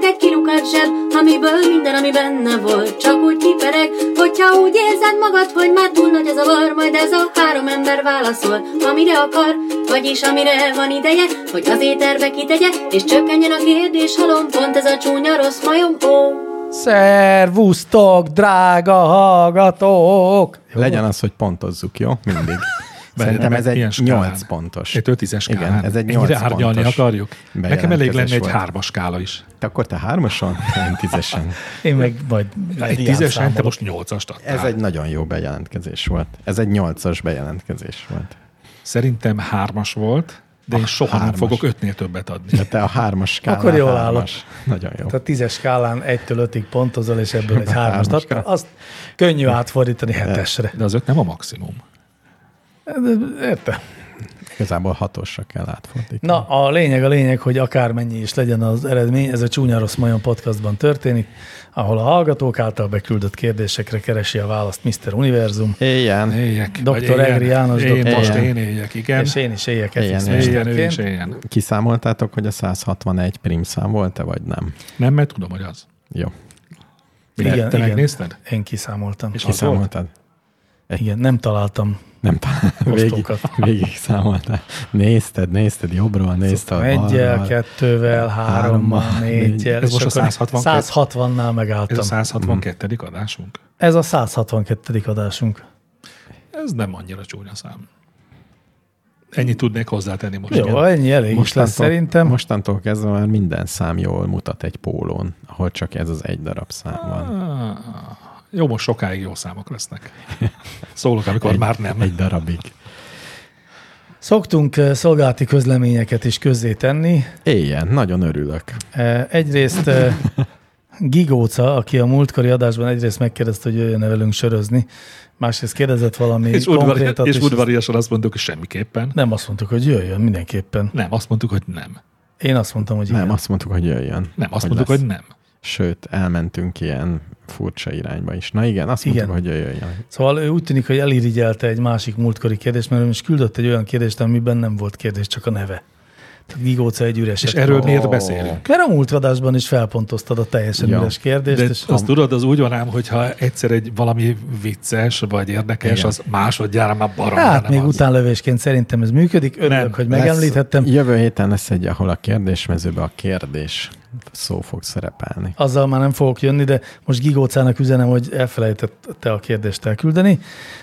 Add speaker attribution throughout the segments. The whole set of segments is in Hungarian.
Speaker 1: egy kilukat zseb, amiből minden, ami benne volt, csak úgy kipereg, hogyha úgy érzed magad, hogy már túl nagy az a var, majd ez a három ember válaszol, amire akar, vagyis amire van ideje, hogy az éterbe kitegye, és csökkenjen a kérdés halom, pont ez a csúnya rossz majom, ó.
Speaker 2: Szervusztok, drága hallgatók!
Speaker 3: Jó. Legyen az, hogy pontozzuk, jó? Mindig. Szerintem ez
Speaker 4: Ilyen
Speaker 3: egy
Speaker 4: skálán.
Speaker 3: 8 pontos.
Speaker 4: Egy 5 10 skálán.
Speaker 3: Igen, ez egy
Speaker 4: Ennyire
Speaker 3: 8
Speaker 4: árnyalni
Speaker 3: pontos
Speaker 4: akarjuk? Nekem elég
Speaker 3: bejelentkezés
Speaker 4: lenne egy
Speaker 3: volt.
Speaker 4: 3 skála is.
Speaker 3: Te akkor te hármason? Én tízesen.
Speaker 2: Én meg majd
Speaker 4: Egy
Speaker 2: hiány
Speaker 4: 10 te
Speaker 2: számolok.
Speaker 4: most 8-ast adtál.
Speaker 3: Ez egy nagyon jó bejelentkezés volt. Ez egy nyolcas bejelentkezés volt.
Speaker 4: Szerintem 3-as volt, de én soha nem
Speaker 3: Ah, hármas.
Speaker 4: fogok 5-nél többet adni.
Speaker 3: De te a hármas skálán
Speaker 2: Akkor jól
Speaker 3: hármas. Nagyon jó.
Speaker 2: Tehát a tízes skálán 1-től 5-ig pontozol, és ebből egy hármast
Speaker 3: Hármas
Speaker 2: adtál. Azt könnyű átfordítani hetesre.
Speaker 4: De az 5 nem a maximum.
Speaker 2: Értem.
Speaker 3: Igazából hatosra kell átfordítani.
Speaker 2: Na, a lényeg, a lényeg, hogy akármennyi is legyen az eredmény, ez a Csúnya Rossz Majon podcastban történik, ahol a hallgatók által beküldött kérdésekre keresi a választ Mr. Univerzum,
Speaker 3: Éjjel.
Speaker 4: Éljek.
Speaker 2: Dr.
Speaker 4: vagy éljen.
Speaker 2: Egri János,
Speaker 4: Én
Speaker 2: dr.
Speaker 4: most
Speaker 3: Egri.
Speaker 4: én éljek, igen.
Speaker 2: és én is éljek
Speaker 3: Éljen,
Speaker 2: ezt
Speaker 3: éljen.
Speaker 4: Éljen, ő is éljen.
Speaker 3: Kiszámoltátok, hogy a 161 prim szám volt-e, vagy nem?
Speaker 4: Nem, mert tudom, hogy az.
Speaker 3: Jó.
Speaker 4: Igen, te megnézted?
Speaker 2: Én kiszámoltam.
Speaker 4: És az volt?
Speaker 3: Kiszámoltad?
Speaker 2: Igen, nem találtam.
Speaker 3: Nem talán. Végig,
Speaker 2: Osztókat.
Speaker 3: végig számoltál. Nézted, nézted jobbról, nézted
Speaker 4: Szóval
Speaker 2: Szóval Egyel,
Speaker 3: balról.
Speaker 2: kettővel, hárommal,
Speaker 3: hárommal,
Speaker 2: négyel.
Speaker 4: Ez
Speaker 2: és
Speaker 4: Szóval most a
Speaker 2: akkor
Speaker 4: 162.
Speaker 2: 160-nál megálltam.
Speaker 4: Ez a 162. adásunk.
Speaker 2: Ez a 162. adásunk.
Speaker 4: Ez nem annyira csúnya szám. Ennyit tudnék hozzátenni most.
Speaker 2: Jó,
Speaker 4: igen.
Speaker 2: ennyi elég is lesz szerintem. Most
Speaker 3: Mostantól kezdve már minden szám jól mutat egy pólón, ahol csak ez az egy darab szám van.
Speaker 4: Ah, Jó, most sokáig jó számok lesznek. Szólok, amikor
Speaker 3: Egy,
Speaker 4: már nem.
Speaker 3: Egy darabig.
Speaker 2: Szoktunk eh, szolgálati közleményeket is közzétenni.
Speaker 3: Éljen, nagyon örülök.
Speaker 2: Eh, Egyrészt eh, Gigóca, aki a múltkori adásban egyrészt megkérdezte, hogy jöjjön velünk sörözni, másrészt kérdezett valami
Speaker 4: És, udvari,
Speaker 2: konkrétat,
Speaker 4: és udvariasan azt mondtuk, hogy semmiképpen.
Speaker 2: nem azt mondtuk, hogy jöjjön mindenképpen.
Speaker 4: Nem, azt mondtuk, hogy nem.
Speaker 2: Én azt mondtam, hogy
Speaker 3: Nem,
Speaker 2: igen.
Speaker 3: azt mondtuk, hogy jöjjön.
Speaker 4: Nem, azt mondtuk,
Speaker 3: lesz.
Speaker 4: hogy nem.
Speaker 3: Sőt, elmentünk ilyen furcsa irányba is. Na igen, azt
Speaker 2: Igen.
Speaker 3: mondtuk, hogy jöjjön.
Speaker 2: Szóval ő úgy tűnik, hogy elirigyelte egy másik múltkori kérdést, mert ő is küldött egy olyan kérdést, amiben nem volt kérdés, csak a neve. Tehát Gigóca egy üres.
Speaker 4: És
Speaker 2: eset
Speaker 4: erről
Speaker 2: volt.
Speaker 4: miért beszélünk?
Speaker 2: Mert a múlt adásban is felpontoztad a teljesen
Speaker 3: Ja.
Speaker 2: üres kérdést,
Speaker 4: De
Speaker 2: és
Speaker 4: azt tudod, az úgy van ám, hogyha egyszer egy valami vicces vagy érdekes,
Speaker 3: Igen.
Speaker 4: az másodjára már baromra
Speaker 2: Hát
Speaker 4: nem
Speaker 2: még
Speaker 4: az.
Speaker 2: utánlövésként szerintem ez működik. Örülök,
Speaker 4: Nem,
Speaker 2: hogy megemlíthettem.
Speaker 3: Lesz, jövő héten lesz egy, ahol a kérdésmezőbe a kérdés szó fog szerepelni.
Speaker 2: Azzal már nem fogok jönni, de most Gigócának üzenem, hogy elfelejtette a kérdést elküldeni.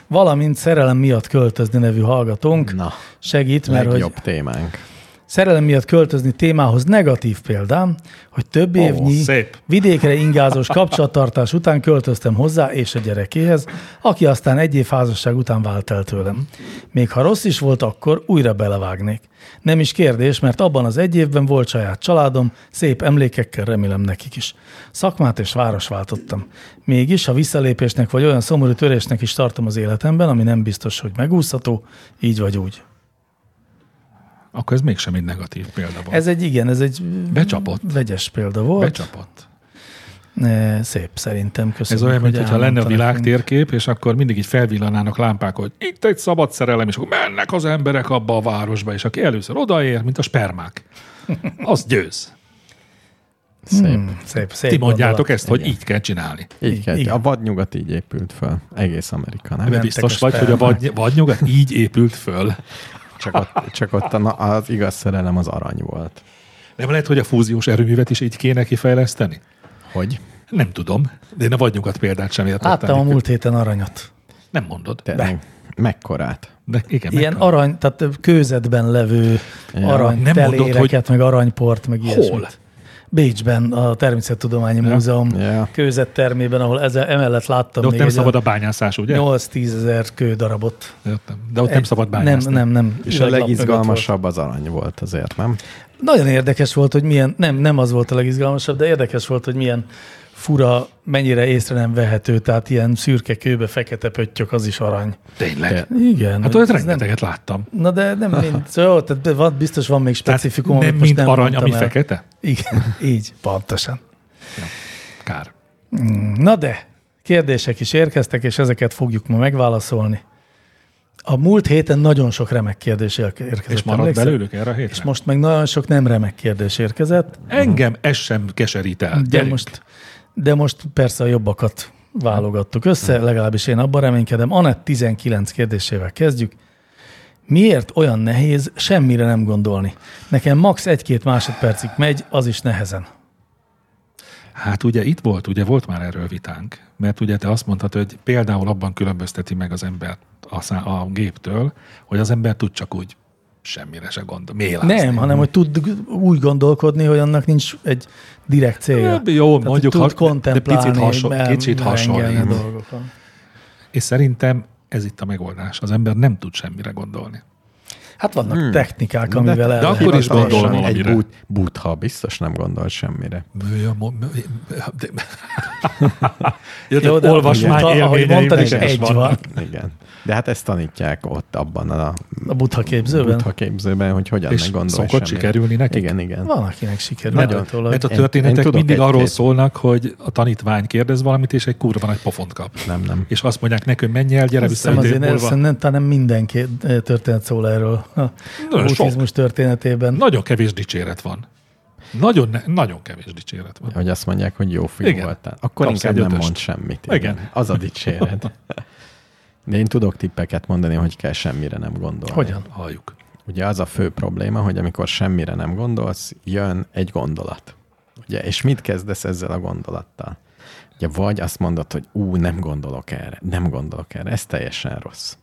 Speaker 2: Valamint szerelem miatt költözni nevű hallgatónk
Speaker 3: Na,
Speaker 2: segít, mert hogy
Speaker 3: legjobb témánk.
Speaker 2: szerelem miatt költözni témához negatív példám, hogy több évnyi
Speaker 4: szép.
Speaker 2: vidékre ingázós kapcsolattartás után költöztem hozzá és a gyerekéhez, aki aztán egy év házasság után vált el tőlem. Még ha rossz is volt, akkor újra belevágnék. Nem is kérdés, mert abban az egy évben volt saját családom, szép emlékekkel remélem nekik is. Szakmát és város váltottam. Mégis, ha visszalépésnek vagy olyan szomorú törésnek is tartom az életemben, ami nem biztos, hogy megúszható, így vagy úgy.
Speaker 4: Akkor ez mégsem egy negatív példa volt.
Speaker 2: Ez
Speaker 4: Ez
Speaker 2: egy igen, ez egy
Speaker 4: Becsapott.
Speaker 2: vegyes példa volt.
Speaker 4: Becsapott.
Speaker 2: Eh, Szép szerintem,
Speaker 4: Ez
Speaker 2: köszönöm.
Speaker 4: olyan,
Speaker 2: Szóval hogy
Speaker 4: mintha lenne a
Speaker 2: elmondta nekünk.
Speaker 4: világtérkép, és akkor mindig így felvillanának lámpák, hogy itt egy szabad szerelem, és akkor mennek az emberek abba a városba, és aki először odaér, mint a spermák, az győz.
Speaker 2: Hmm.
Speaker 3: Szép.
Speaker 2: Szép, szép
Speaker 4: Ti mondjátok
Speaker 2: gondolat.
Speaker 4: ezt, hogy így kell csinálni.
Speaker 3: Így kell,
Speaker 2: Igen.
Speaker 3: a vadnyugat így épült föl, egész Amerika, nem?
Speaker 4: Ebben
Speaker 2: Mentek
Speaker 4: biztos
Speaker 2: a
Speaker 4: vagy, hogy a vad, vadnyugat így épült föl.
Speaker 3: Csak ott, csak ott a, na- az igaz szerelem az arany volt.
Speaker 4: Nem lehet, hogy a fúziós erőművet is így kéne kifejleszteni?
Speaker 3: Hogy?
Speaker 4: Nem tudom, de én a vadnyugat példát sem értettem.
Speaker 2: Láttam a múlt héten aranyat.
Speaker 4: Nem mondod.
Speaker 3: Tényleg. Mekkorát?
Speaker 4: De igen,
Speaker 2: Ilyen
Speaker 4: meg-
Speaker 2: arany, tehát kőzetben levő arany
Speaker 4: Nem mondod,
Speaker 2: teléreket, meg aranyport, meg ilyesmit. Bécsben, a Természettudományi Múzeum
Speaker 3: Ja.
Speaker 2: kőzet termében, ahol ezzel emellett láttam
Speaker 4: de ott
Speaker 2: még
Speaker 4: nem
Speaker 2: egy
Speaker 4: szabad a bányászás, ugye?
Speaker 2: 8-10 ezer kődarabot.
Speaker 4: Értem. De ott nem szabad
Speaker 2: nem,
Speaker 4: bányászni.
Speaker 2: nem, nem.
Speaker 3: És a
Speaker 2: üveglap mögött volt.
Speaker 3: legizgalmasabb az arany volt azért, nem?
Speaker 2: Nagyon érdekes volt, hogy milyen, nem, nem az volt a legizgalmasabb, de érdekes volt, hogy milyen fura, mennyire észre nem vehető, tehát ilyen szürke kőbe fekete pöttyök, az is arany.
Speaker 4: Tényleg.
Speaker 2: Igen.
Speaker 4: Hát
Speaker 2: hogy
Speaker 4: olyat
Speaker 2: ez nem-
Speaker 4: rengeteget láttam.
Speaker 2: Na de nem mind. Jó, tehát be- van, biztos van még specifikum,
Speaker 4: nem
Speaker 2: amit most
Speaker 4: mind
Speaker 2: nem
Speaker 4: arany,
Speaker 2: mondtam
Speaker 4: ami
Speaker 2: el.
Speaker 4: fekete?
Speaker 2: Igen, így, pontosan.
Speaker 4: Kár.
Speaker 2: Na de, kérdések is érkeztek, és ezeket fogjuk ma megválaszolni. A múlt héten nagyon sok remek kérdés ér- érkezett.
Speaker 4: És maradt
Speaker 2: emlékszel?
Speaker 4: belőlük erre a hétre?
Speaker 2: És most meg nagyon sok nem remek kérdés érkezett,
Speaker 4: Engem ez sem keserít el.
Speaker 2: de
Speaker 4: Gyerünk.
Speaker 2: most, de most persze a jobbakat válogattuk össze, legalábbis én abban reménykedem. Anett 19 kérdésével kezdjük. Miért olyan nehéz semmire nem gondolni? Nekem max. egy-két másodpercig megy, az is nehezen.
Speaker 4: Hát ugye itt volt, ugye volt már erről vitánk, mert ugye te azt mondtad, hogy például abban különbözteti meg az embert a, szá- a géptől, hogy az ember tud csak úgy semmire se gondol. Mélázni.
Speaker 2: Nem, hanem hogy tud g- úgy gondolkodni, hogy annak nincs egy direkt célja.
Speaker 4: Jó, Hát, jó,
Speaker 2: Tehát, hogy
Speaker 4: mondjuk,
Speaker 2: tud
Speaker 4: ha- de- de
Speaker 2: kontemplálni,
Speaker 4: picit hasonl-
Speaker 2: mer-
Speaker 4: kicsit Hmm.
Speaker 2: merengeni
Speaker 4: hasonlít.
Speaker 2: dolgokon.
Speaker 4: És szerintem ez itt a megoldás. Az ember nem tud semmire gondolni.
Speaker 2: Hát vannak hmm. technikák, amivel el
Speaker 4: de
Speaker 2: lehet
Speaker 4: akkor is
Speaker 2: hasonlítani.
Speaker 4: gondol
Speaker 3: Hivatalosan Egy
Speaker 4: valamire.
Speaker 3: bút, butha biztos nem gondol semmire.
Speaker 2: Jó, de
Speaker 4: olvasmány
Speaker 2: ahogy
Speaker 4: élményeim
Speaker 2: mondtad is,
Speaker 4: nekem is
Speaker 2: egy
Speaker 4: vannak.
Speaker 2: van
Speaker 3: Igen. De hát ezt tanítják ott abban a
Speaker 2: a butha képzőben.
Speaker 3: butha képzőben, hogy hogyan
Speaker 4: És
Speaker 3: ne gondolj
Speaker 4: szokott
Speaker 3: semmire.
Speaker 4: sikerülni nekik?
Speaker 3: Igen, igen.
Speaker 2: Van, akinek sikerül.
Speaker 4: Mert,
Speaker 2: Nagyon.
Speaker 4: Nagyon,
Speaker 2: Tőle,
Speaker 4: mert a
Speaker 3: Én-
Speaker 4: történetek
Speaker 3: én
Speaker 4: én,
Speaker 3: tudok
Speaker 4: mindig arról
Speaker 3: egy-két.
Speaker 4: szólnak, hogy a tanítvány kérdez valamit, és egy kurva nagy pofont kap.
Speaker 3: Nem, nem.
Speaker 4: És azt mondják neki, hogy menj el, gyere
Speaker 2: Azt
Speaker 4: vissza
Speaker 2: hiszem
Speaker 4: öt év
Speaker 2: azért el-
Speaker 4: múlva.
Speaker 2: szerintem talán nem mindenki eh, történet szól erről a
Speaker 4: sok.
Speaker 2: buddhizmus történetében.
Speaker 4: Nagyon kevés dicséret van. Nagyon, ne- nagyon kevés dicséret van.
Speaker 3: Hogy azt mondják, hogy jó fiú
Speaker 4: Igen.
Speaker 3: voltál. Akkor
Speaker 4: Kapsz
Speaker 3: inkább
Speaker 4: egy
Speaker 3: nem
Speaker 4: ötöst.
Speaker 3: mond semmit.
Speaker 4: Igen.
Speaker 3: Az a dicséret. De én tudok tippeket mondani, hogy kell semmire nem gondolni.
Speaker 2: Hogyan?
Speaker 4: Halljuk.
Speaker 3: Ugye az a fő probléma, hogy amikor semmire nem gondolsz, jön egy gondolat. Ugye, és mit kezdesz ezzel a gondolattal? Ugye, vagy azt mondod, hogy ú, nem gondolok erre, nem gondolok erre, ez teljesen rossz.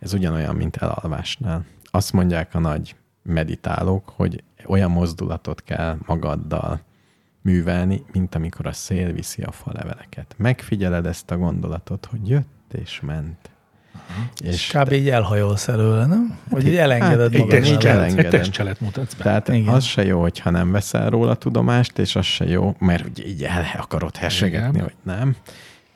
Speaker 3: Ez ugyanolyan, mint elalvásnál. Azt mondják a nagy meditálók, hogy olyan mozdulatot kell magaddal művelni, mint amikor a szél viszi a faleveleket. Megfigyeled ezt a gondolatot, hogy jött és ment.
Speaker 2: És kb. így elhajolsz előle, nem? Vagy így elengeded
Speaker 3: hát,
Speaker 2: hát,
Speaker 4: Egy
Speaker 2: magad
Speaker 3: igen,
Speaker 2: elől.
Speaker 3: igen.
Speaker 4: testcselet, egy
Speaker 3: elengedem.
Speaker 4: testcselet mutatsz be.
Speaker 3: Tehát
Speaker 2: Igen.
Speaker 3: Igen. az se jó, hogyha nem veszel róla tudomást, és az se jó, mert ugye így el akarod hessegetni,
Speaker 4: Igen.
Speaker 3: hogy nem.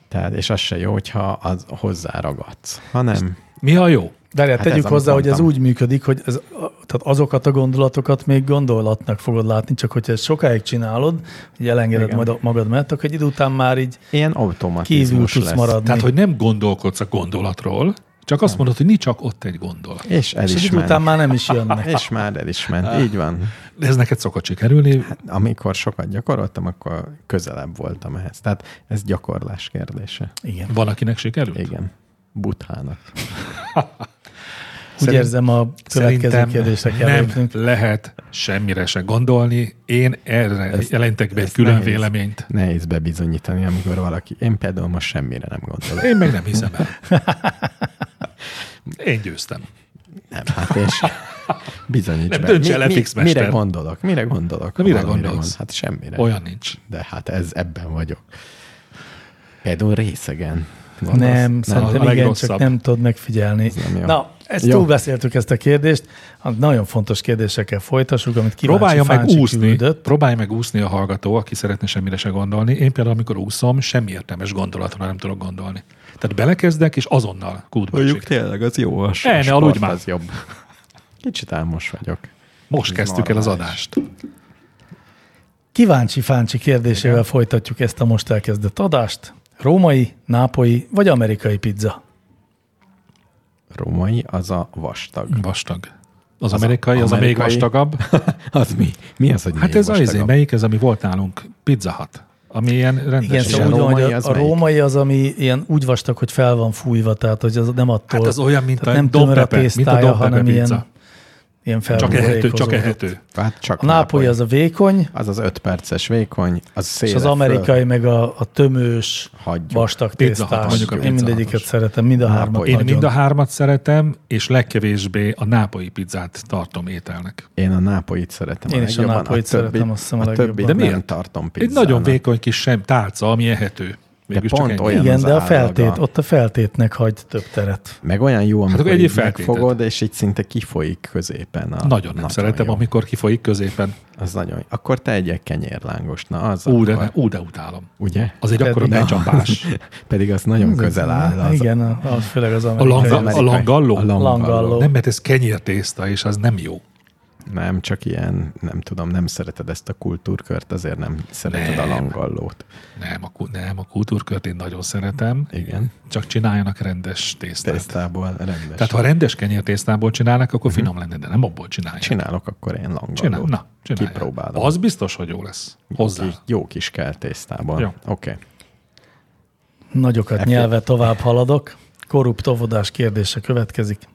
Speaker 3: Tehát, és az se jó, hogyha az hozzáragadsz, hanem
Speaker 4: Mi a jó?
Speaker 2: De hát
Speaker 3: Hát
Speaker 2: tegyük
Speaker 3: ez, amit
Speaker 2: hozzá, hogy ez
Speaker 3: mondtam.
Speaker 2: úgy működik, hogy ez, a- tehát azokat a gondolatokat még gondolatnak fogod látni, csak hogyha ezt sokáig csinálod, hogy elengeded
Speaker 3: Igen.
Speaker 2: majd a- magad mellett, akkor egy idő után már így
Speaker 3: ilyen
Speaker 2: kívül
Speaker 3: automatizmus
Speaker 2: tudsz
Speaker 3: lesz.
Speaker 2: maradni.
Speaker 4: Tehát, hogy nem gondolkodsz a gondolatról, csak azt mondod, hogy nincs csak ott egy gondolat.
Speaker 3: És el
Speaker 2: és egy
Speaker 3: is
Speaker 2: idő után
Speaker 3: ment.
Speaker 2: már nem is jönnek.
Speaker 3: És már el is ment, így van.
Speaker 4: De ez neked szokott sikerülni.
Speaker 3: Hát- Amikor sokat gyakoroltam, akkor közelebb voltam ehhez. Tehát ez gyakorlás kérdése.
Speaker 2: Igen.
Speaker 4: Van, akinek sikerült?
Speaker 3: Igen. Buthának.
Speaker 2: Úgy
Speaker 4: Szerint-
Speaker 2: érzem, a következő
Speaker 4: Szerintem
Speaker 2: kérdésre kell
Speaker 4: nem
Speaker 2: lépnünk.
Speaker 4: lehet semmire se gondolni. Én erre
Speaker 3: Ez-
Speaker 4: jelentek be egy
Speaker 3: ez
Speaker 4: külön
Speaker 3: nehéz.
Speaker 4: véleményt.
Speaker 3: Nehéz bebizonyítani, amikor valaki, én például most semmire nem gondolok.
Speaker 4: Én meg nem hiszem el. Én győztem.
Speaker 3: Nem, hát és bizonyíts
Speaker 4: Nem,
Speaker 3: be.
Speaker 4: dönts el, FX mester.
Speaker 3: mire gondolok? Mire gondolok?
Speaker 4: De mire
Speaker 3: Valamire
Speaker 4: gondolsz?
Speaker 3: gond- Hát semmire.
Speaker 4: Olyan nincs.
Speaker 3: De hát ez ebben vagyok. Például részegen. Gondolsz?
Speaker 2: Nem,
Speaker 4: a
Speaker 2: szerintem igen, csak
Speaker 4: legrosszabb.
Speaker 2: nem tudod megfigyelni.
Speaker 3: nem jó.
Speaker 2: Na, ezt
Speaker 3: Jó.
Speaker 2: túlbeszéltük ezt a kérdést. Hát Nagyon fontos kérdésekkel folytassuk, amit kíváncsi
Speaker 4: Próbálja meg
Speaker 2: Fáncsi
Speaker 4: úszni,
Speaker 2: küldött.
Speaker 4: próbálja meg úszni a hallgató, aki szeretne semmire se gondolni. Én például, amikor úszom, semmi értelmes gondolatra nem tudok gondolni. Tehát belekezdek, és azonnal kútba
Speaker 3: Mondjuk
Speaker 4: esik.
Speaker 3: tényleg, az jó. A
Speaker 4: El ne
Speaker 3: sport
Speaker 4: aludj már.
Speaker 3: Az jobb. Kicsit álmos vagyok.
Speaker 4: Most
Speaker 3: Ez
Speaker 4: kezdtük el az
Speaker 3: normális.
Speaker 4: adást.
Speaker 2: Kíváncsi Fáncsi kérdésével Igen. folytatjuk ezt a most elkezdett adást. Római, nápolyi vagy amerikai pizza?
Speaker 3: Római az a vastag.
Speaker 4: Vastag. Az, az amerikai, az a még
Speaker 3: amerikai.
Speaker 4: vastagabb.
Speaker 3: Az mi? Mi az, hogy
Speaker 4: Hát
Speaker 3: még
Speaker 4: ez az,
Speaker 3: vastagabb?
Speaker 4: melyik ez, ami volt nálunk? Pizza Hut. Ami ilyen
Speaker 2: Igen,
Speaker 4: rendes.
Speaker 2: szóval
Speaker 3: a
Speaker 2: úgy van, hogy
Speaker 3: római
Speaker 2: a,
Speaker 3: az
Speaker 2: a
Speaker 3: melyik?
Speaker 2: római az, ami ilyen úgy vastag, hogy fel van fújva, tehát hogy az nem attól.
Speaker 4: Hát az olyan, mint
Speaker 2: tehát
Speaker 4: a
Speaker 2: nem
Speaker 4: Dom
Speaker 2: tömör a
Speaker 4: Pepe, mint a
Speaker 2: tésztája,
Speaker 4: Dom Pepe
Speaker 2: hanem ilyen,
Speaker 4: pizza.
Speaker 2: ilyen
Speaker 4: Csak ehető, csak
Speaker 2: felbuborékozódott.
Speaker 4: ehető.
Speaker 3: Hát csak
Speaker 2: A nápolyi az a vékony,
Speaker 3: az az öt perces vékony, az széle
Speaker 2: és az amerikai meg a, a tömős,
Speaker 3: Hagyjuk.
Speaker 2: vastag
Speaker 4: Pizza Hut,
Speaker 2: tésztás.
Speaker 4: mondjuk a
Speaker 2: Én
Speaker 4: Pizza
Speaker 2: mindegyiket
Speaker 4: Hutos.
Speaker 2: szeretem, mind a hármat
Speaker 3: Nápoly.
Speaker 4: Én
Speaker 2: nagyon.
Speaker 4: mind a hármat szeretem, és legkevésbé a nápolyi pizzát tartom ételnek.
Speaker 3: Én a nápolyit szeretem.
Speaker 2: Én is a
Speaker 3: legjobban,
Speaker 2: nápolyit szeretem, azt hiszem a
Speaker 3: a többi,
Speaker 2: legjobban.
Speaker 3: de
Speaker 4: De
Speaker 3: nem
Speaker 4: miért?
Speaker 3: tartom
Speaker 4: Egy
Speaker 3: pizzának.
Speaker 4: nagyon vékony kis sem tálca, ami ehető. Mégis csak
Speaker 3: pont
Speaker 4: ennyi.
Speaker 3: olyan-
Speaker 2: Igen,
Speaker 3: az
Speaker 2: de a
Speaker 3: állaga.
Speaker 2: feltét, ott a feltétnek hagy több teret.
Speaker 3: Meg olyan jó, amikor
Speaker 4: akkor
Speaker 3: hát,
Speaker 4: egyéb
Speaker 3: így
Speaker 4: feltétet.
Speaker 3: megfogod, és így szinte kifolyik középen. A
Speaker 4: Nagyon nem szeretem,
Speaker 3: jó.
Speaker 4: amikor kifolyik középen.
Speaker 3: Az nagyon Akkor te egyek kenyérlángos. Na, az
Speaker 4: Ú, de,
Speaker 3: akkor,
Speaker 4: ne, ú, de utálom.
Speaker 3: Ugye?
Speaker 4: Az egy akkora
Speaker 3: Na,
Speaker 4: becsapás.
Speaker 3: Pedig az nagyon közel áll. Az,
Speaker 2: Igen, a, a, főleg az
Speaker 4: A,
Speaker 2: amerikai.
Speaker 4: langa, a
Speaker 3: amerikai.
Speaker 4: langalló?
Speaker 3: A langalló.
Speaker 2: Langalló.
Speaker 4: Nem, mert ez kenyértészta, és az nem jó.
Speaker 3: Nem, csak ilyen, nem tudom, nem szereted ezt a kultúrkört, azért nem szereted nem. a langallót.
Speaker 4: Nem, a, ku- nem, a kultúrkört én nagyon szeretem,
Speaker 3: Igen.
Speaker 4: csak csináljanak rendes tésztát.
Speaker 3: Tésztából rendes.
Speaker 4: Hát- Tehát ha rendes kenyértésztából csinálnak, akkor finom lenne, de nem abból csinálják.
Speaker 3: Csinálok, akkor én langallót.
Speaker 4: Csinál, na, csinálják.
Speaker 3: Kipróbálom.
Speaker 4: Az biztos, hogy jó lesz. Hozzá.
Speaker 3: Jó kis, jó kis kell tésztában.
Speaker 4: Jó.
Speaker 3: Oké. Okay.
Speaker 2: Nagyokat nyelve tovább haladok. Korrupt óvodás kérdése következik.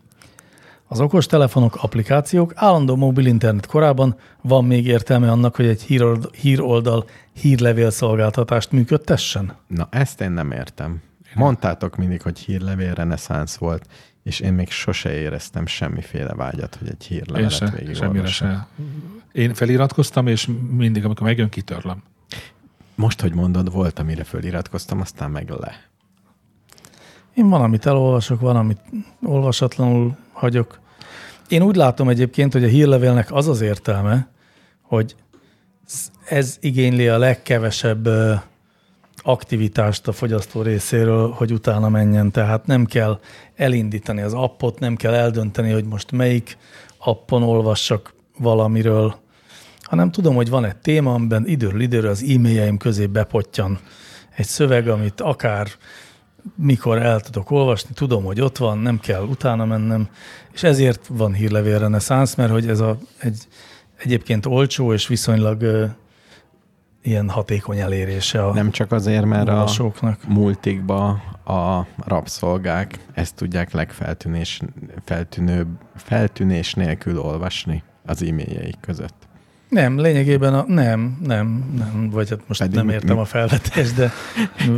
Speaker 2: Az okostelefonok, applikációk, állandó mobil internet korában van még értelme annak, hogy egy hírold- híroldal hírlevél szolgáltatást működtessen?
Speaker 3: Na ezt én nem értem. Mondtátok mindig, hogy hírlevél reneszánsz volt, és én még sose éreztem semmiféle vágyat, hogy egy
Speaker 4: Én
Speaker 3: hírlevelet
Speaker 4: se, semmire
Speaker 3: végigolvassam.
Speaker 4: se. Én feliratkoztam, és mindig, amikor megjön, kitörlöm.
Speaker 3: Most, hogy mondod, volt, amire föliratkoztam, aztán meg le.
Speaker 2: Én van, amit elolvasok, van, amit olvasatlanul hagyok. Én úgy látom egyébként, hogy a hírlevélnek az az értelme, hogy sz- ez igényli a legkevesebb ö, aktivitást a fogyasztó részéről, hogy utána menjen. Tehát nem kell elindítani az appot, nem kell eldönteni, hogy most melyik appon olvassak valamiről, hanem tudom, hogy van egy téma, amiben időről időre az e-mailjeim közé bepottyan egy szöveg, amit akár mikor el tudok olvasni, tudom, hogy ott van, nem kell utána mennem, és ezért van hírlevél reneszánsz, mert hogy ez a, egy egyébként olcsó és viszonylag ö, ilyen hatékony elérése a
Speaker 3: Nem csak azért, mert a
Speaker 2: olvasóknak.
Speaker 3: multikba a rabszolgák ezt tudják legfeltűnés, feltűnőbb, feltűnés nélkül olvasni az e-mailjeik között.
Speaker 2: Nem, lényegében a, nem, nem, nem, vagy hát most
Speaker 3: Pedig
Speaker 2: nem
Speaker 3: mi-
Speaker 2: értem
Speaker 3: mi-
Speaker 2: a felvetést, de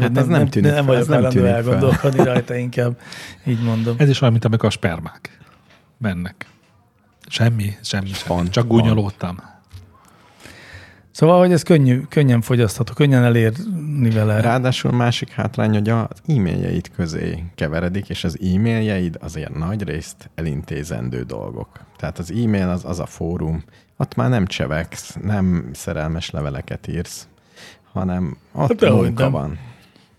Speaker 2: hát
Speaker 3: ez nem tűnik
Speaker 2: nem
Speaker 3: fel,
Speaker 2: vagyok
Speaker 3: ez nem
Speaker 2: hajlandó
Speaker 3: tűnik fel. Hát-
Speaker 2: elgondolkodni rajta, inkább így mondom.
Speaker 4: Ez is olyan, mint amikor a spermák mennek. Semmi, semmi, semmi.
Speaker 3: Pont,
Speaker 4: Csak
Speaker 3: pont.
Speaker 4: gúnyolódtam.
Speaker 2: Szóval, hogy ez könnyű, könnyen fogyasztható, könnyen elérni vele.
Speaker 3: Ráadásul másik hátrány, hogy az e-mailjeid közé keveredik, és az e-mailjeid azért nagy részt elintézendő dolgok. Tehát az e-mail az, az a fórum, ott már nem csevegsz, nem szerelmes leveleket írsz, hanem ott
Speaker 2: Dehogy
Speaker 3: munka
Speaker 2: nem.
Speaker 3: van.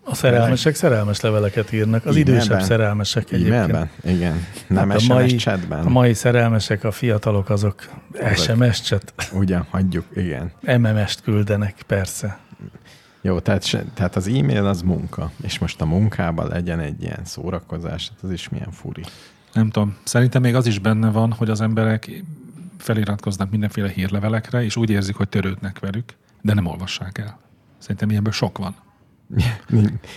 Speaker 2: A szerelmesek szerelmes leveleket írnak, az
Speaker 3: E-mailben?
Speaker 2: idősebb szerelmesek egyébként.
Speaker 3: E-mailben? Igen. Nem
Speaker 2: Hát
Speaker 3: hát
Speaker 2: a
Speaker 3: SMS
Speaker 2: mai-
Speaker 3: chatben.
Speaker 2: A mai szerelmesek, a fiatalok azok SMS-cset,
Speaker 3: Ugyan, hagyjuk, igen.
Speaker 2: MMS-t küldenek, persze.
Speaker 3: Jó, tehát, se, tehát az e-mail az munka, és most a munkában legyen egy ilyen szórakozás, hát az is milyen furi.
Speaker 4: Nem tudom. Szerintem még az is benne van, hogy az emberek feliratkoznak mindenféle hírlevelekre, és úgy érzik, hogy törődnek velük, de nem olvassák el. Szerintem ilyenből sok van.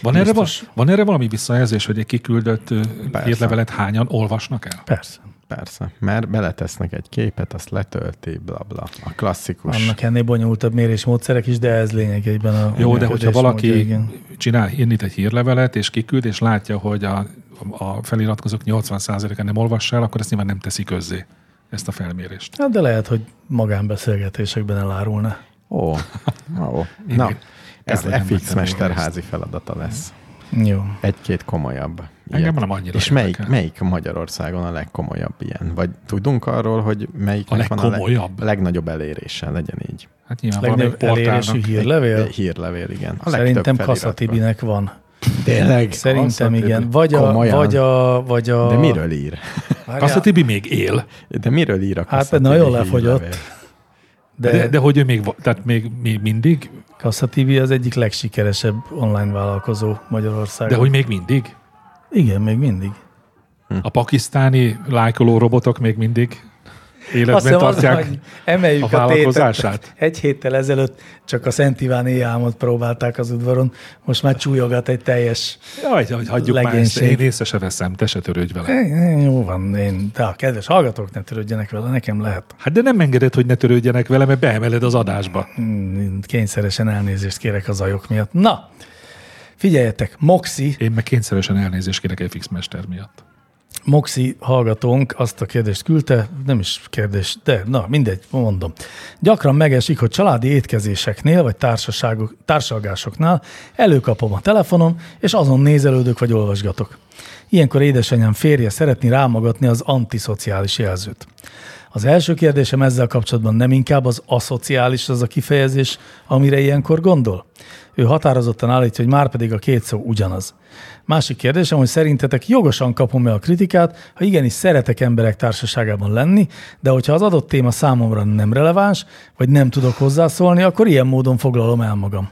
Speaker 4: Van erre, val- van erre valami visszajelzés, hogy egy kiküldött ö,
Speaker 3: Persze.
Speaker 4: hírlevelet hányan olvasnak el?
Speaker 2: Persze.
Speaker 3: Persze, mert beletesznek egy képet, azt letölti, bla bla. A klasszikus.
Speaker 2: Annak ennél bonyolultabb mérésmódszerek is, de ez lényegében a
Speaker 4: Jó, de
Speaker 2: működés
Speaker 4: hogyha
Speaker 2: módja,
Speaker 4: valaki
Speaker 2: igen.
Speaker 4: csinál, indít egy hírlevelet, és kiküld, és látja, hogy a, a feliratkozók 80%-a nem olvassa el, akkor ezt nyilván nem teszi közzé, ezt a felmérést.
Speaker 2: Hát de lehet, hogy magánbeszélgetésekben elárulna.
Speaker 3: Ó, ó. Na, ez
Speaker 4: Kár, hogy nem
Speaker 3: FX
Speaker 4: vettem
Speaker 3: mesterházi feladata lesz.
Speaker 2: Jó.
Speaker 3: Egy-két komolyabb.
Speaker 4: Engem
Speaker 3: ilyet.
Speaker 4: nem annyira
Speaker 3: És melyik,
Speaker 4: érdekel.
Speaker 3: melyik Magyarországon a legkomolyabb ilyen? Vagy tudunk arról, hogy melyik
Speaker 4: A legkomolyabb?
Speaker 3: a legnagyobb elérése legyen így?
Speaker 4: Hát nyilván valamelyik
Speaker 2: Legnagyobb elérésű
Speaker 4: portálnak.
Speaker 2: hírlevél?
Speaker 3: Hírlevél, igen.
Speaker 2: Szerintem
Speaker 3: A legtöbb feliratban.
Speaker 2: Kaszatibinek van.
Speaker 3: Tényleg?
Speaker 2: Szerintem
Speaker 4: Kassa
Speaker 2: igen.
Speaker 4: Tibi.
Speaker 2: Vagy a,
Speaker 3: Komolyan?
Speaker 2: vagy a, vagy a...
Speaker 3: De miről ír?
Speaker 2: Várjál.
Speaker 4: Kassa Tibi még él,
Speaker 3: De miről ír a
Speaker 2: Hát,
Speaker 3: Kassa
Speaker 2: nagyon
Speaker 3: Tibi
Speaker 2: lefogyott.
Speaker 3: hírlevél?
Speaker 4: de, de,
Speaker 2: De,
Speaker 4: de hogy ő még, va- tehát még, még mindig,
Speaker 2: Kassa Tibi az egyik legsikeresebb online vállalkozó Magyarországon.
Speaker 4: de hogy még mindig?
Speaker 2: Igen, még mindig.
Speaker 4: A pakisztáni lájkoló robotok még mindig
Speaker 2: Azt
Speaker 4: életben
Speaker 2: hiszem, az,
Speaker 4: tartják.
Speaker 2: hogy emeljük
Speaker 4: a
Speaker 2: a, tétet.
Speaker 4: vállalkozását?
Speaker 2: Egy héttel ezelőtt csak a Szent Iváni álmot próbálták az udvaron, most már csúlyogat egy teljes...
Speaker 4: Jaj, jaj, hagyjuk már ezt,
Speaker 2: legénység.
Speaker 4: én észre se veszem, te se törődj vele.
Speaker 2: Eh, eh, Jó van, én, de a kedves hallgatók ne törődjenek vele, nekem lehet.
Speaker 4: Hát de nem engeded, hogy ne törődjenek vele, mert beemeled az adásba.
Speaker 2: Hmm, Kényszeresen elnézést kérek az ajok miatt. Na, figyeljetek, Moxi,
Speaker 4: Én meg kényszeresen elnézést kérek FX Mester miatt.
Speaker 2: Moxi hallgatónk azt a kérdést küldte, nem is kérdés, de na mindegy, mondom. Gyakran megesik, hogy családi étkezéseknél vagy társaságok, társalgásoknál előkapom a telefonom, és azon nézelődök vagy olvasgatok. Ilyenkor édesanyám férje szeretni rámagatni az antiszociális jelzőt. Az első kérdésem ezzel kapcsolatban nem inkább az aszociális az a kifejezés, amire ilyenkor gondol? Ő határozottan állítja, hogy már pedig a két szó ugyanaz. Másik kérdésem, hogy szerintetek jogosan kapom-e a kritikát, ha igenis szeretek emberek társaságában lenni, de hogyha az adott téma számomra nem releváns, vagy nem tudok hozzászólni, akkor ilyen módon foglalom el magam.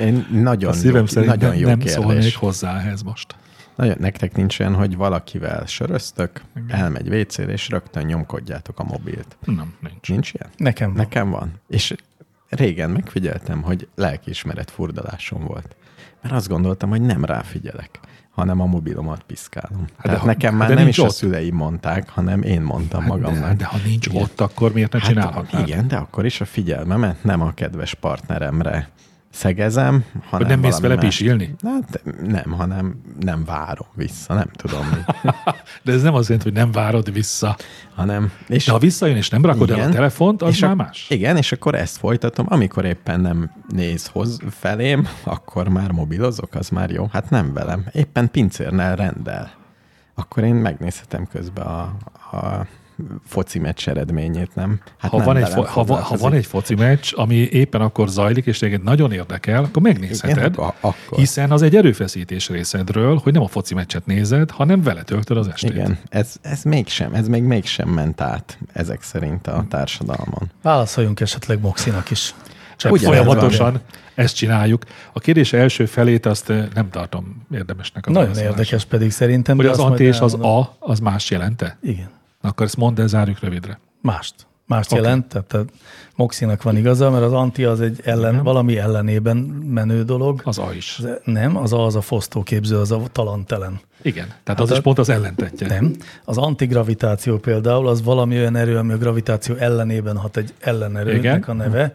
Speaker 3: Én nagyon
Speaker 4: A szívem
Speaker 3: jó,
Speaker 4: szerint
Speaker 3: nagyon
Speaker 4: nem,
Speaker 3: jó
Speaker 4: nem szólnék
Speaker 3: kérdés.
Speaker 4: hozzá ehhez most.
Speaker 3: Nagyon, nektek nincs olyan, hogy valakivel söröztök, elmegy wc és rögtön nyomkodjátok a mobilt.
Speaker 4: Nem, nincs.
Speaker 3: Nincs ilyen?
Speaker 2: Nekem van.
Speaker 3: Nekem van. És régen megfigyeltem, hogy lelkiismeret furdalásom volt. Mert azt gondoltam, hogy nem ráfigyelek, hanem a mobilomat piszkálom. Hát Tehát
Speaker 4: ha-
Speaker 3: nekem már
Speaker 4: de
Speaker 3: nem
Speaker 4: nincs
Speaker 3: is ott. a
Speaker 4: ott.
Speaker 3: szüleim mondták, hanem én mondtam hát magamnak.
Speaker 4: De, de ha nincs ott, akkor miért nem csinálhatnád?
Speaker 3: Hát, Igen, de akkor is a figyelmemet nem a kedves partneremre szegezem, hanem
Speaker 4: Hogy nem mész
Speaker 3: valami
Speaker 4: vele
Speaker 3: más-
Speaker 4: pisilni?
Speaker 3: Hát nem, hanem nem várom vissza, nem tudom mi.
Speaker 4: De ez nem azt jelenti, hogy nem várod vissza.
Speaker 3: hanem, és
Speaker 4: De ha visszajön és nem rakod el
Speaker 3: Igen.
Speaker 4: a telefont, az
Speaker 3: és
Speaker 4: már
Speaker 3: ak-
Speaker 4: más.
Speaker 3: Igen, és akkor ezt folytatom, amikor éppen nem néz hoz felém, akkor már mobilozok, az már jó. Hát nem velem, éppen pincérnel rendel. Akkor én megnézhetem közben a, a foci meccs eredményét, nem? Hát
Speaker 4: Ha
Speaker 3: nem
Speaker 4: van, egy,
Speaker 3: velem
Speaker 4: fo- ha, va- ha
Speaker 3: foglalkozik.
Speaker 4: van egy foci meccs, ami éppen akkor zajlik, és téged nagyon érdekel, akkor
Speaker 3: Igen,
Speaker 4: megnézheted,
Speaker 3: ak- akkor.
Speaker 4: hiszen az egy erőfeszítés részedről, hogy nem a foci meccset nézed, hanem vele töltöd az estét.
Speaker 3: Igen, ez, ez mégsem, ez még mégsem ment át ezek szerint a társadalmon.
Speaker 2: Válaszoljunk esetleg Moxinak is.
Speaker 4: Csak
Speaker 3: Ugyanez
Speaker 4: folyamatosan
Speaker 3: van.
Speaker 4: ezt csináljuk. A kérdés első felét azt eh, nem tartom érdemesnek. A
Speaker 2: Nagyon
Speaker 4: válaszolásra.
Speaker 2: érdekes pedig szerintem.
Speaker 4: Hogy
Speaker 2: de
Speaker 4: az
Speaker 2: azt
Speaker 4: anti
Speaker 2: majd
Speaker 4: és az
Speaker 2: elmondom.
Speaker 4: a, az más jelente?
Speaker 2: Igen.
Speaker 4: Na, Akkor ezt mondd el, zárjuk rövidre.
Speaker 2: Mást. Mást
Speaker 4: Oké.
Speaker 2: okay. jelent, tehát a Moxinak van igaza, mert az anti az egy ellen, valami ellenében menő dolog.
Speaker 4: Az a is.
Speaker 2: Az- Nem, az a, az a fosztóképző, az a talantelen.
Speaker 4: Igen. Tehát az is pont az ellentetje.
Speaker 2: Hát Nem. Az antigravitáció például, az valami olyan erő, ami a gravitáció ellenében hat egy ellenerőnek
Speaker 4: Igen.
Speaker 2: a neve.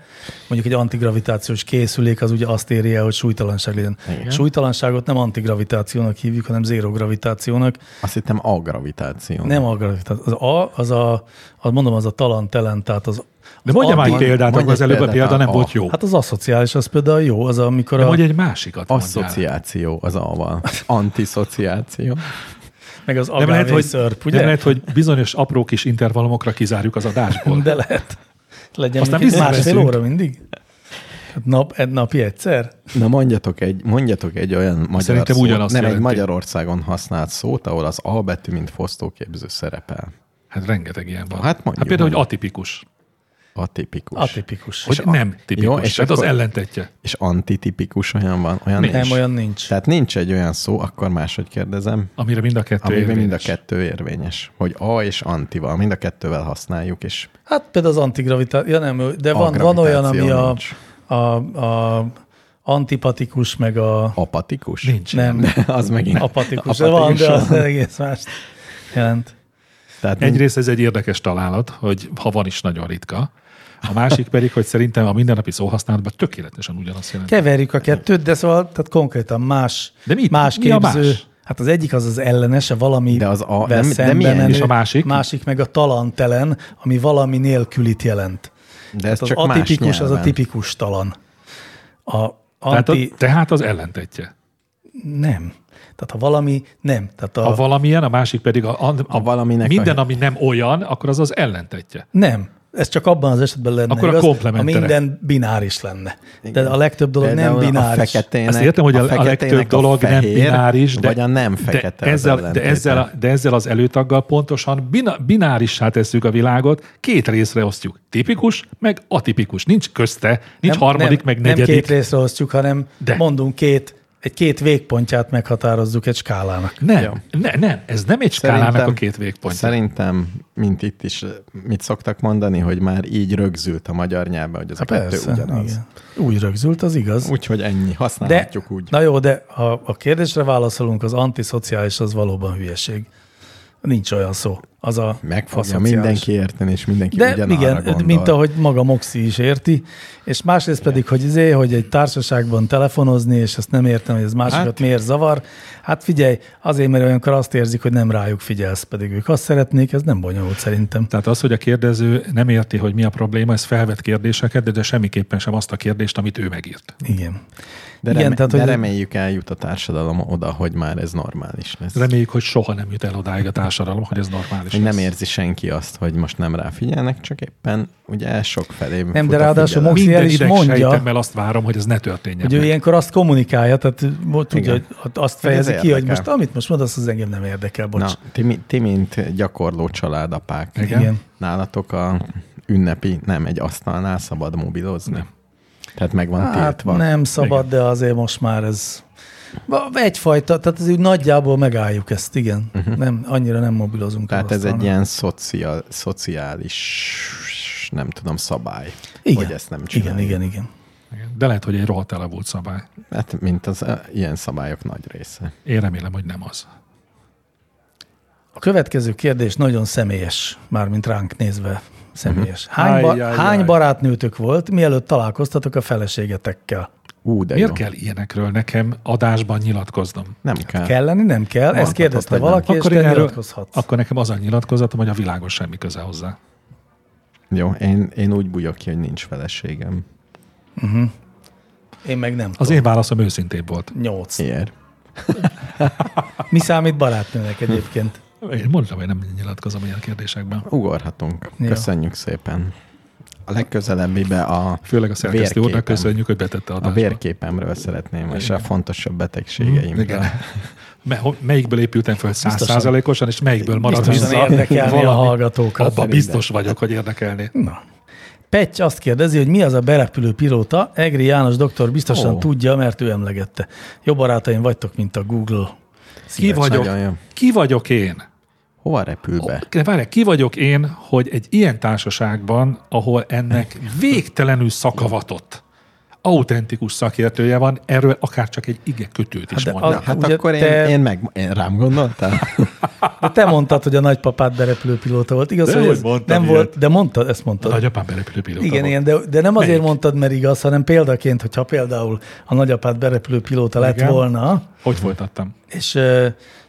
Speaker 2: Mondjuk egy antigravitációs készülék az ugye azt éri el, hogy súlytalanság legyen. Igen. Súlytalanságot nem antigravitációnak hívjuk, hanem zéró gravitációnak.
Speaker 3: Azt hittem a gravitáció.
Speaker 2: Nem a gravitáció. Az a, az a, az mondom, az a talantelen, tehát az
Speaker 4: De mondja már egy
Speaker 3: Mondj-
Speaker 4: példát,
Speaker 3: mondj
Speaker 4: akkor az
Speaker 3: egy
Speaker 4: előbb a
Speaker 3: példát,
Speaker 4: példa nem
Speaker 3: a-
Speaker 4: volt jó.
Speaker 2: Hát az aszociális, az például jó, az amikor
Speaker 4: De
Speaker 2: a,
Speaker 4: mondj egy másikat. mondjál.
Speaker 3: Asszociáció az A-val. Antiszociáció.
Speaker 2: meg az
Speaker 4: Nem lehet, hogy,
Speaker 2: szörp, ugye?
Speaker 4: nem lehet, hogy bizonyos apró kis intervallumokra kizárjuk az adásból.
Speaker 2: De lehet. Legyen Aztán
Speaker 4: Aztán
Speaker 2: még egy
Speaker 4: visszaveszünk.
Speaker 2: másfél óra mindig. Hát Nap, egy napi egyszer?
Speaker 3: Na mondjatok egy, mondjatok egy olyan magyar
Speaker 4: Szerintem
Speaker 3: szót, nem
Speaker 4: ugyanazt
Speaker 3: egy
Speaker 4: jelenti.
Speaker 3: Magyarországon használt szót, ahol az A betű, mint fosztóképző szerepel.
Speaker 4: Hát rengeteg ilyen van.
Speaker 3: Hát mondjuk,
Speaker 4: hát például, hogy
Speaker 3: mondjuk.
Speaker 4: atipikus.
Speaker 3: Atipikus.
Speaker 2: Atipikus.
Speaker 4: Hogy
Speaker 3: a-
Speaker 4: nem tipikus.
Speaker 3: Jó,
Speaker 4: Jó,
Speaker 3: és
Speaker 4: és Tehát az
Speaker 3: akkor-
Speaker 4: ellentetje.
Speaker 3: És antitipikus olyan van? Olyan nincs.
Speaker 2: Nem, olyan nincs.
Speaker 3: Tehát nincs egy olyan szó, akkor máshogy kérdezem,
Speaker 4: Amire mind a kettő
Speaker 3: amiben mind a
Speaker 4: érvényes.
Speaker 3: kettő érvényes. Hogy A és antival, mind a kettővel használjuk, és
Speaker 2: Hát például az antigravitáció, ja nem, ő- de
Speaker 3: A
Speaker 2: van, van olyan, ami a,
Speaker 3: gravitáció
Speaker 2: a, a, antipatikus, meg a
Speaker 3: apatikus.
Speaker 4: Nincs.
Speaker 2: nem,
Speaker 3: az megint
Speaker 2: apatikus. De van, de az egész más jelent.
Speaker 3: Tehát Egyre...
Speaker 4: Egyrészt ez egy érdekes találat, hogy ha van is nagyon ritka. A másik pedig, hogy szerintem a mindennapi szóhasználatban tökéletesen ugyanazt jelenti.
Speaker 2: Keverjük a kettőt, de szóval tehát konkrétan más,
Speaker 4: De mit-
Speaker 2: más
Speaker 4: mi a
Speaker 2: képző.
Speaker 4: más?
Speaker 2: Hát az egyik az az ellenese, valami
Speaker 3: De az a-
Speaker 2: vel
Speaker 3: de mi- de
Speaker 2: szembe
Speaker 3: milyen?
Speaker 2: menő,
Speaker 4: És a másik?
Speaker 2: Másik meg a talantelen, ami valami nélkülit jelent.
Speaker 3: de ez
Speaker 2: Az
Speaker 3: csak más
Speaker 2: atipikus, az a
Speaker 3: nyelven.
Speaker 2: tipikus talan. A
Speaker 4: tehát,
Speaker 2: anti...
Speaker 4: a, tehát az ellentetje.
Speaker 2: Nem. Tehát ha valami nem. Tehát a,
Speaker 4: Ha valamilyen, a másik pedig a, a, a
Speaker 3: A valaminek
Speaker 4: minden,
Speaker 3: a-
Speaker 4: ami nem olyan, akkor az az ellentetje.
Speaker 2: nem. Ez csak abban az esetben lenne
Speaker 4: Akkor a
Speaker 2: igaz, ha
Speaker 4: komplementere.
Speaker 2: minden bináris lenne. Igen. De a legtöbb dolog
Speaker 3: Például
Speaker 2: nem
Speaker 3: A
Speaker 2: bináris.
Speaker 3: feketének,
Speaker 4: Azt értem, hogy a, a
Speaker 3: feketének
Speaker 4: legtöbb dolog
Speaker 3: fehér,
Speaker 4: nem bináris, de,
Speaker 3: vagy a nem fekete
Speaker 4: de,
Speaker 3: az
Speaker 4: ezzel, de,
Speaker 3: ellentéte.
Speaker 4: ezzel, a- de ezzel az előtaggal pontosan bina, binárissá tesszük a világot, két részre osztjuk. Tipikus, meg atipikus. Nincs közte, nincs
Speaker 2: nem,
Speaker 4: harmadik,
Speaker 2: nem,
Speaker 4: meg
Speaker 2: Nem két
Speaker 4: negyedik.
Speaker 2: részre osztjuk, hanem
Speaker 4: De.
Speaker 2: De. mondunk két, egy két végpontját meghatározzuk egy skálának.
Speaker 4: Nem, ne, nem, ez nem egy skálának a két végpontja.
Speaker 3: Szerintem, mint itt is, mit szoktak mondani, hogy már így rögzült a magyar nyelvbe, hogy ez a
Speaker 4: hát
Speaker 3: kettő ugyanaz.
Speaker 2: Hát igen. Úgy rögzült, az igaz.
Speaker 3: Úgyhogy ennyi,
Speaker 2: De,
Speaker 3: használhatjuk úgy.
Speaker 2: na jó, de ha a kérdésre válaszolunk, az antiszociális az valóban hülyeség. Nincs olyan szó. Az a
Speaker 3: Meg fogja
Speaker 2: aszociális.
Speaker 3: mindenki érteni, és mindenki
Speaker 2: De
Speaker 3: ugyanarra
Speaker 2: igen,
Speaker 3: gondol.
Speaker 2: mint ahogy maga Moxi is érti, és másrészt pedig, hogy izé, hogy egy társaságban telefonozni, és ezt nem értem, hogy ez másikat
Speaker 3: Hát-
Speaker 2: hát, miért zavar. Hát figyelj, azért, mert olyankor azt érzik, hogy nem rájuk figyelsz, pedig ők azt szeretnék, ez nem bonyolult szerintem.
Speaker 4: Tehát az, hogy a kérdező nem érti, hogy mi a probléma, ez felvet kérdéseket, de, de semmiképpen sem azt a kérdést, amit ő megírt.
Speaker 2: Igen.
Speaker 3: De,
Speaker 2: igen,
Speaker 3: reme-
Speaker 2: tehát,
Speaker 3: de
Speaker 2: hogy-
Speaker 3: reméljük eljut a társadalom oda, hogy már ez normális lesz.
Speaker 4: Reméljük, hogy soha nem jut el odáig a társadalom, hogy ez normális.
Speaker 3: Hogy nem
Speaker 4: lesz.
Speaker 3: érzi senki azt, hogy most nem ráfigyelnek, csak éppen ugye sok felé
Speaker 2: Nem,
Speaker 3: fut
Speaker 2: de
Speaker 3: a
Speaker 2: ráadásul
Speaker 3: figyelem.
Speaker 2: Moxi el
Speaker 4: Minden
Speaker 2: is
Speaker 4: ideg
Speaker 2: mondja.
Speaker 4: sejtemmel azt várom, hogy ez ne történjen
Speaker 2: Ugye ő
Speaker 4: meg.
Speaker 2: ilyenkor azt kommunikálja, tehát mo- tudja, hogy
Speaker 3: Igen.
Speaker 2: azt
Speaker 3: Hogy ez
Speaker 2: fejezi ki, hogy
Speaker 3: érdekel.
Speaker 2: most amit most mondasz, az engem nem érdekel, bocs.
Speaker 3: Na, ti, mi- ti, mint gyakorló családapák,
Speaker 4: Igen.
Speaker 2: Igen.
Speaker 3: nálatok a ünnepi, nem, egy asztalnál szabad mobilozni? Nem. Tehát meg van hát, tiltva?
Speaker 2: nem szabad, de azért most már ez ba- egyfajta, tehát ez úgy nagyjából megálljuk ezt, igen. Uh-huh. Nem, annyira nem mobilozunk.
Speaker 3: Mhm. Tehát
Speaker 2: az
Speaker 3: ez egy
Speaker 2: asztalnál.
Speaker 3: ilyen szociál, szociális, nem tudom, szabály,
Speaker 2: igen.
Speaker 3: hogy ezt nem
Speaker 2: igen,
Speaker 3: csináljuk.
Speaker 2: igen, igen.
Speaker 4: Igen. De lehet, hogy egy rohadt elavult szabály.
Speaker 3: Hát, mint az eh, ilyen szabályok nagy része.
Speaker 4: Én remélem, hogy nem az.
Speaker 2: A következő kérdés nagyon személyes, mármint ránk nézve személyes. Hány, ba-
Speaker 4: Mhm. Ajj, ajj,
Speaker 2: hány
Speaker 4: ajj.
Speaker 2: barátnőtök volt, mielőtt találkoztatok a feleségetekkel?
Speaker 4: Hát.
Speaker 3: Ú, de
Speaker 4: Miért
Speaker 3: jó.
Speaker 4: kell ilyenekről nekem adásban nyilatkoznom?
Speaker 3: Nem kell.
Speaker 2: Kell lenni, nem kell? Ezt
Speaker 3: Mondhatod,
Speaker 2: kérdezte
Speaker 3: hogy nem.
Speaker 2: valaki, és
Speaker 4: Akkor,
Speaker 2: te
Speaker 4: én erről,
Speaker 2: nyilatkozhatsz.
Speaker 4: akkor nekem az a nyilatkozatom, hogy a világos semmi köze hozzá.
Speaker 3: Jó, én, én úgy bújok ki, hogy nincs feleségem.
Speaker 2: Én meg nem
Speaker 4: Az
Speaker 2: tudom.
Speaker 4: én válaszom őszintébb volt.
Speaker 2: Nyolc.
Speaker 3: Miért?
Speaker 2: Mi számít barátnőnek egyébként?
Speaker 4: Én mondtam, hogy nem nyilatkozom ilyen kérdésekben.
Speaker 3: Ugorhatunk.
Speaker 2: Jó.
Speaker 3: Ja. Köszönjük szépen. A legközelebbibe a
Speaker 4: Főleg a szerkesztő úrnak
Speaker 3: Vérképen.
Speaker 4: köszönjük, hogy betette
Speaker 3: A
Speaker 4: adásba.
Speaker 3: vérképemről szeretném, és a fontosabb betegségeimről.
Speaker 4: Igen. Me- ho- melyikből épültem föl százszázalékosan, és melyikből maradt
Speaker 2: Biztosan
Speaker 4: vissza?
Speaker 2: érdekelni a
Speaker 4: valami?
Speaker 2: hallgatókat.
Speaker 4: Abban biztos vagyok, hogy érdekelni.
Speaker 2: Na. Petty azt kérdezi, hogy mi az a berepülő pilóta. Egri János doktor biztosan
Speaker 3: Ó.
Speaker 2: tudja, mert ő emlegette. Jó barátaim vagytok, mint a Google.
Speaker 4: Ki vagyok,
Speaker 3: nagyon jó.
Speaker 4: ki vagyok én?
Speaker 3: Hova repül be?
Speaker 4: De várj, ki vagyok én, hogy egy ilyen társaságban, ahol ennek végtelenül szakavatott, autentikus szakértője van, erről akár csak egy ige kötőt is
Speaker 2: Hát de
Speaker 4: mondnak.
Speaker 2: az-
Speaker 3: Hát
Speaker 2: Ugye
Speaker 3: akkor én,
Speaker 2: te-
Speaker 3: én, meg, én rám gondoltál?
Speaker 2: De te mondtad, hogy a nagypapád berepülőpilóta volt. Igaz,
Speaker 4: De
Speaker 2: hogy
Speaker 4: hogy
Speaker 2: ez
Speaker 4: mondtam
Speaker 2: nem
Speaker 4: ilyet?
Speaker 2: volt, de mondtad, ezt mondtad.
Speaker 4: A nagyapám berepülőpilóta
Speaker 2: Igen,
Speaker 4: volt.
Speaker 2: igen, de, de nem azért
Speaker 4: Melyik?
Speaker 2: mondtad, mert igaz, hanem példaként, hogyha például a nagyapád berepülőpilóta lett
Speaker 4: Igen.
Speaker 2: volna,
Speaker 4: Hogy folytattam?
Speaker 2: és ö,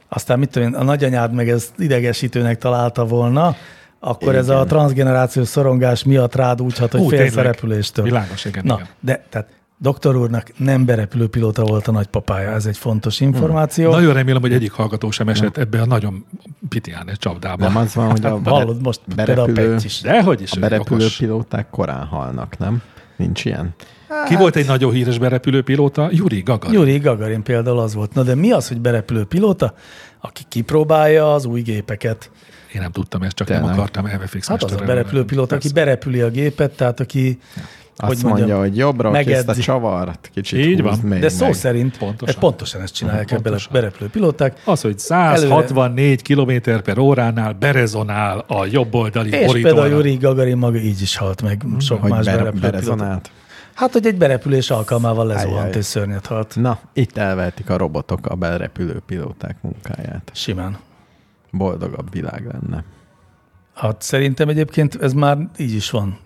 Speaker 2: aztán mit tudom én, a nagyanyád meg ezt idegesítőnek találta volna, akkor igen. ez a
Speaker 3: Igen.
Speaker 2: transgenerációs szorongás miatt rád úgy hat, hogy
Speaker 4: Ú,
Speaker 2: félsz a
Speaker 4: tényleg.
Speaker 2: repüléstől.
Speaker 4: Világos, igen,
Speaker 2: Na,
Speaker 4: igen.
Speaker 2: de tehát doktor úrnak nem berepülőpilóta volt a nagypapája, ez egy fontos információ.
Speaker 4: Nagyon remélem, hogy egyik hallgató sem esett ebbe a nagyon pitiánes csapdába.
Speaker 3: Nem az van, hogy a bere-
Speaker 2: Hallod, most például a Petty is.
Speaker 4: Dehogy is.
Speaker 3: a
Speaker 4: ő
Speaker 3: berepülő
Speaker 4: okos.
Speaker 3: pilóták korán halnak, nem? Nincs ilyen?
Speaker 4: Ki volt
Speaker 3: Hát.
Speaker 4: egy nagyon híres berepülőpilóta? Yuri Gagarin.
Speaker 2: Gyuri Gagarin például az volt. Na de mi az, hogy berepülőpilóta, aki kipróbálja az új gépeket?
Speaker 4: Én nem tudtam ezt, csak nem
Speaker 3: Tényleg.
Speaker 4: akartam EVFX
Speaker 2: Hát az a
Speaker 4: mesterrel
Speaker 2: berepülőpilóta, aki
Speaker 4: lenni.
Speaker 2: berepüli a gépet, tehát aki,
Speaker 3: Azt hogy mondja, hogy jobbra, hogy ezt a
Speaker 2: megedzi.
Speaker 3: csavart kicsit
Speaker 4: Így van.
Speaker 3: húzd még
Speaker 2: De szó
Speaker 3: meg.
Speaker 2: szerint
Speaker 4: Pontosan.
Speaker 2: pontosan, pontosan ezt csinálják ebben a
Speaker 4: Pontosan.
Speaker 2: berepülőpilóták.
Speaker 4: Az, hogy 164 km per óránál berezonál a jobboldali
Speaker 2: És
Speaker 4: borítóra.
Speaker 2: például Juri Gagarin maga így is halt meg sok
Speaker 3: Hm, Hogy
Speaker 2: más
Speaker 3: bere,
Speaker 2: berepülőpilóta.
Speaker 3: berezonált.
Speaker 2: Hát, hogy egy berepülés alkalmával lezuhant
Speaker 3: Ajjaj.
Speaker 2: és szörnyet halt.
Speaker 3: Na, itt elvehetik a robotok a berepülő pilóták munkáját.
Speaker 2: Simán.
Speaker 3: Boldogabb világ lenne.
Speaker 2: Hát szerintem egyébként ez már így is van.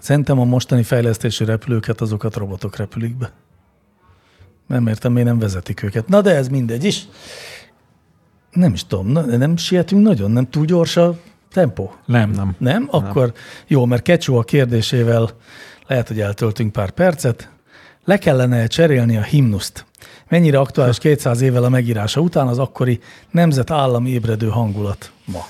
Speaker 2: Szerintem a mostani fejlesztésű repülőket azokat robotok repülik be. Nem értem, miért nem vezetik őket. Na de ez mindegy is. Nem is tudom, na, de nem sietünk nagyon, nem túl gyors a tempó.
Speaker 4: Nem, nem.
Speaker 2: Nem? Akkor nem. jó, mert Kecsó a kérdésével lehet, hogy eltöltünk pár percet. Le kellene cserélni a himnuszt. Mennyire aktuális 200 évvel a megírása után az akkori nemzetállami ébredő hangulat ma?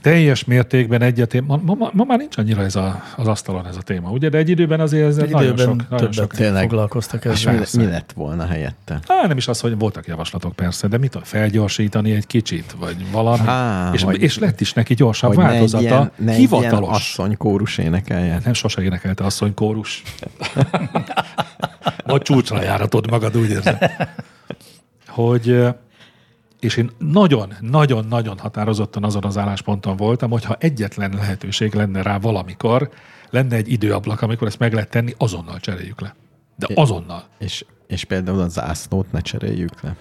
Speaker 4: Teljes mértékben egyetért. Ma, ma, ma, ma, már nincs annyira ez a, az asztalon ez a téma, ugye? De egy időben azért ez
Speaker 2: Egy
Speaker 4: nagyon
Speaker 2: időben
Speaker 4: sok, nagyon
Speaker 2: többet Hát
Speaker 4: sok.
Speaker 3: Tényleg.
Speaker 2: foglalkoztak
Speaker 3: És Hát mi,
Speaker 2: ezzel.
Speaker 3: mi lett volna helyette?
Speaker 4: Á, nem is az, hogy voltak javaslatok persze, de mit tudom, felgyorsítani egy kicsit, vagy valami.
Speaker 3: Á,
Speaker 4: és,
Speaker 3: hogy-
Speaker 4: és lett is neki gyorsabb
Speaker 3: Hogy ne egy
Speaker 4: változata,
Speaker 3: ilyen, ne egy ilyen
Speaker 4: hivatalos.
Speaker 3: asszony kórus énekeljen.
Speaker 4: Hát Nem sose énekelte asszony kórus. Vagy csúcsra járatod magad, úgy érzem. Hogy, ö, és én nagyon-nagyon-nagyon határozottan azon az állásponton voltam, hogyha egyetlen lehetőség lenne rá valamikor, lenne egy időablak, amikor ezt meg lehet tenni, azonnal cseréljük le. De azonnal.
Speaker 3: És, és például a zászlót ne cseréljük le.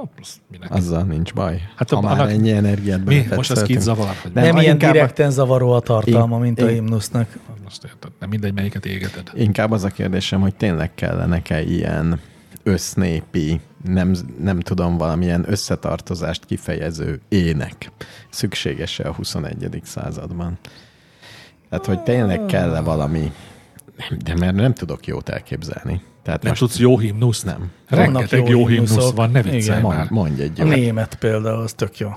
Speaker 4: Ah, plusz minek.
Speaker 3: Azzal nincs baj.
Speaker 4: Hát
Speaker 3: Hát ha
Speaker 4: a-
Speaker 3: már
Speaker 4: annak-
Speaker 3: ennyi energiát
Speaker 4: Mi? Most az
Speaker 3: belefetszeltünk.
Speaker 4: kit zavar? Hogy
Speaker 3: Nem,
Speaker 2: Nem, nem
Speaker 3: ha
Speaker 2: ilyen
Speaker 3: inkább a-
Speaker 2: direkten zavaró a tartalma, mint a
Speaker 3: Én-
Speaker 2: himnusznak.
Speaker 4: Most érted, nem mindegy, melyiket égeted.
Speaker 3: Inkább az a kérdésem, hogy tényleg kellene-e ilyen össznépi, nem, nem tudom, valamilyen összetartozást kifejező ének. Szükséges-e a 21. században? Tehát, hogy tényleg kell-e valami? Nem, de mert nem tudok jót elképzelni. Tehát
Speaker 4: Nem
Speaker 3: most
Speaker 4: tudsz jó himnuszt?
Speaker 3: Nem.
Speaker 2: Vannak
Speaker 4: Rengeteg
Speaker 2: jó
Speaker 4: jó himnusz
Speaker 2: himnuszok.
Speaker 4: van, ne viccelj
Speaker 2: Igen.
Speaker 4: már.
Speaker 3: mond, mondj egy
Speaker 2: A
Speaker 3: jót.
Speaker 2: német például, az tök jó.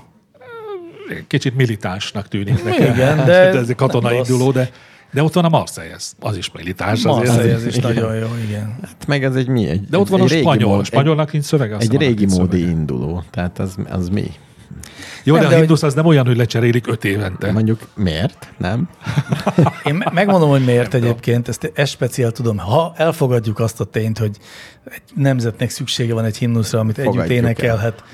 Speaker 4: kicsit militánsnak tűnik nekem.
Speaker 2: Igen, de
Speaker 4: ez egy katona
Speaker 2: nem rossz.
Speaker 4: induló, de, de ott van a Marseillez, az is militáns. azért.
Speaker 2: Marseille ez is nagyon jó, igen.
Speaker 3: Hát meg ez egy mi? Egy,
Speaker 4: De ott van
Speaker 3: egy
Speaker 4: a
Speaker 3: régi
Speaker 4: spanyol,
Speaker 3: mód-
Speaker 4: spanyolnak nincs szövege. azt
Speaker 3: Egy, egy
Speaker 4: hiszem, annak
Speaker 3: régi
Speaker 4: nincs
Speaker 3: módi
Speaker 4: szövege.
Speaker 3: induló, tehát az, az mi?
Speaker 4: Jó,
Speaker 2: Nem,
Speaker 4: de a
Speaker 2: de hogy-
Speaker 4: Hindus az nem olyan, hogy lecserélik öt évente.
Speaker 3: Mondjuk miért? Nem?
Speaker 2: Én me- megmondom, hogy miért egyébként, ezt, e-, ezt speciál tudom. Ha elfogadjuk azt a tényt, hogy egy nemzetnek szüksége van egy himnuszra, amit együtt
Speaker 3: Fogadjuk el.
Speaker 2: énekelhet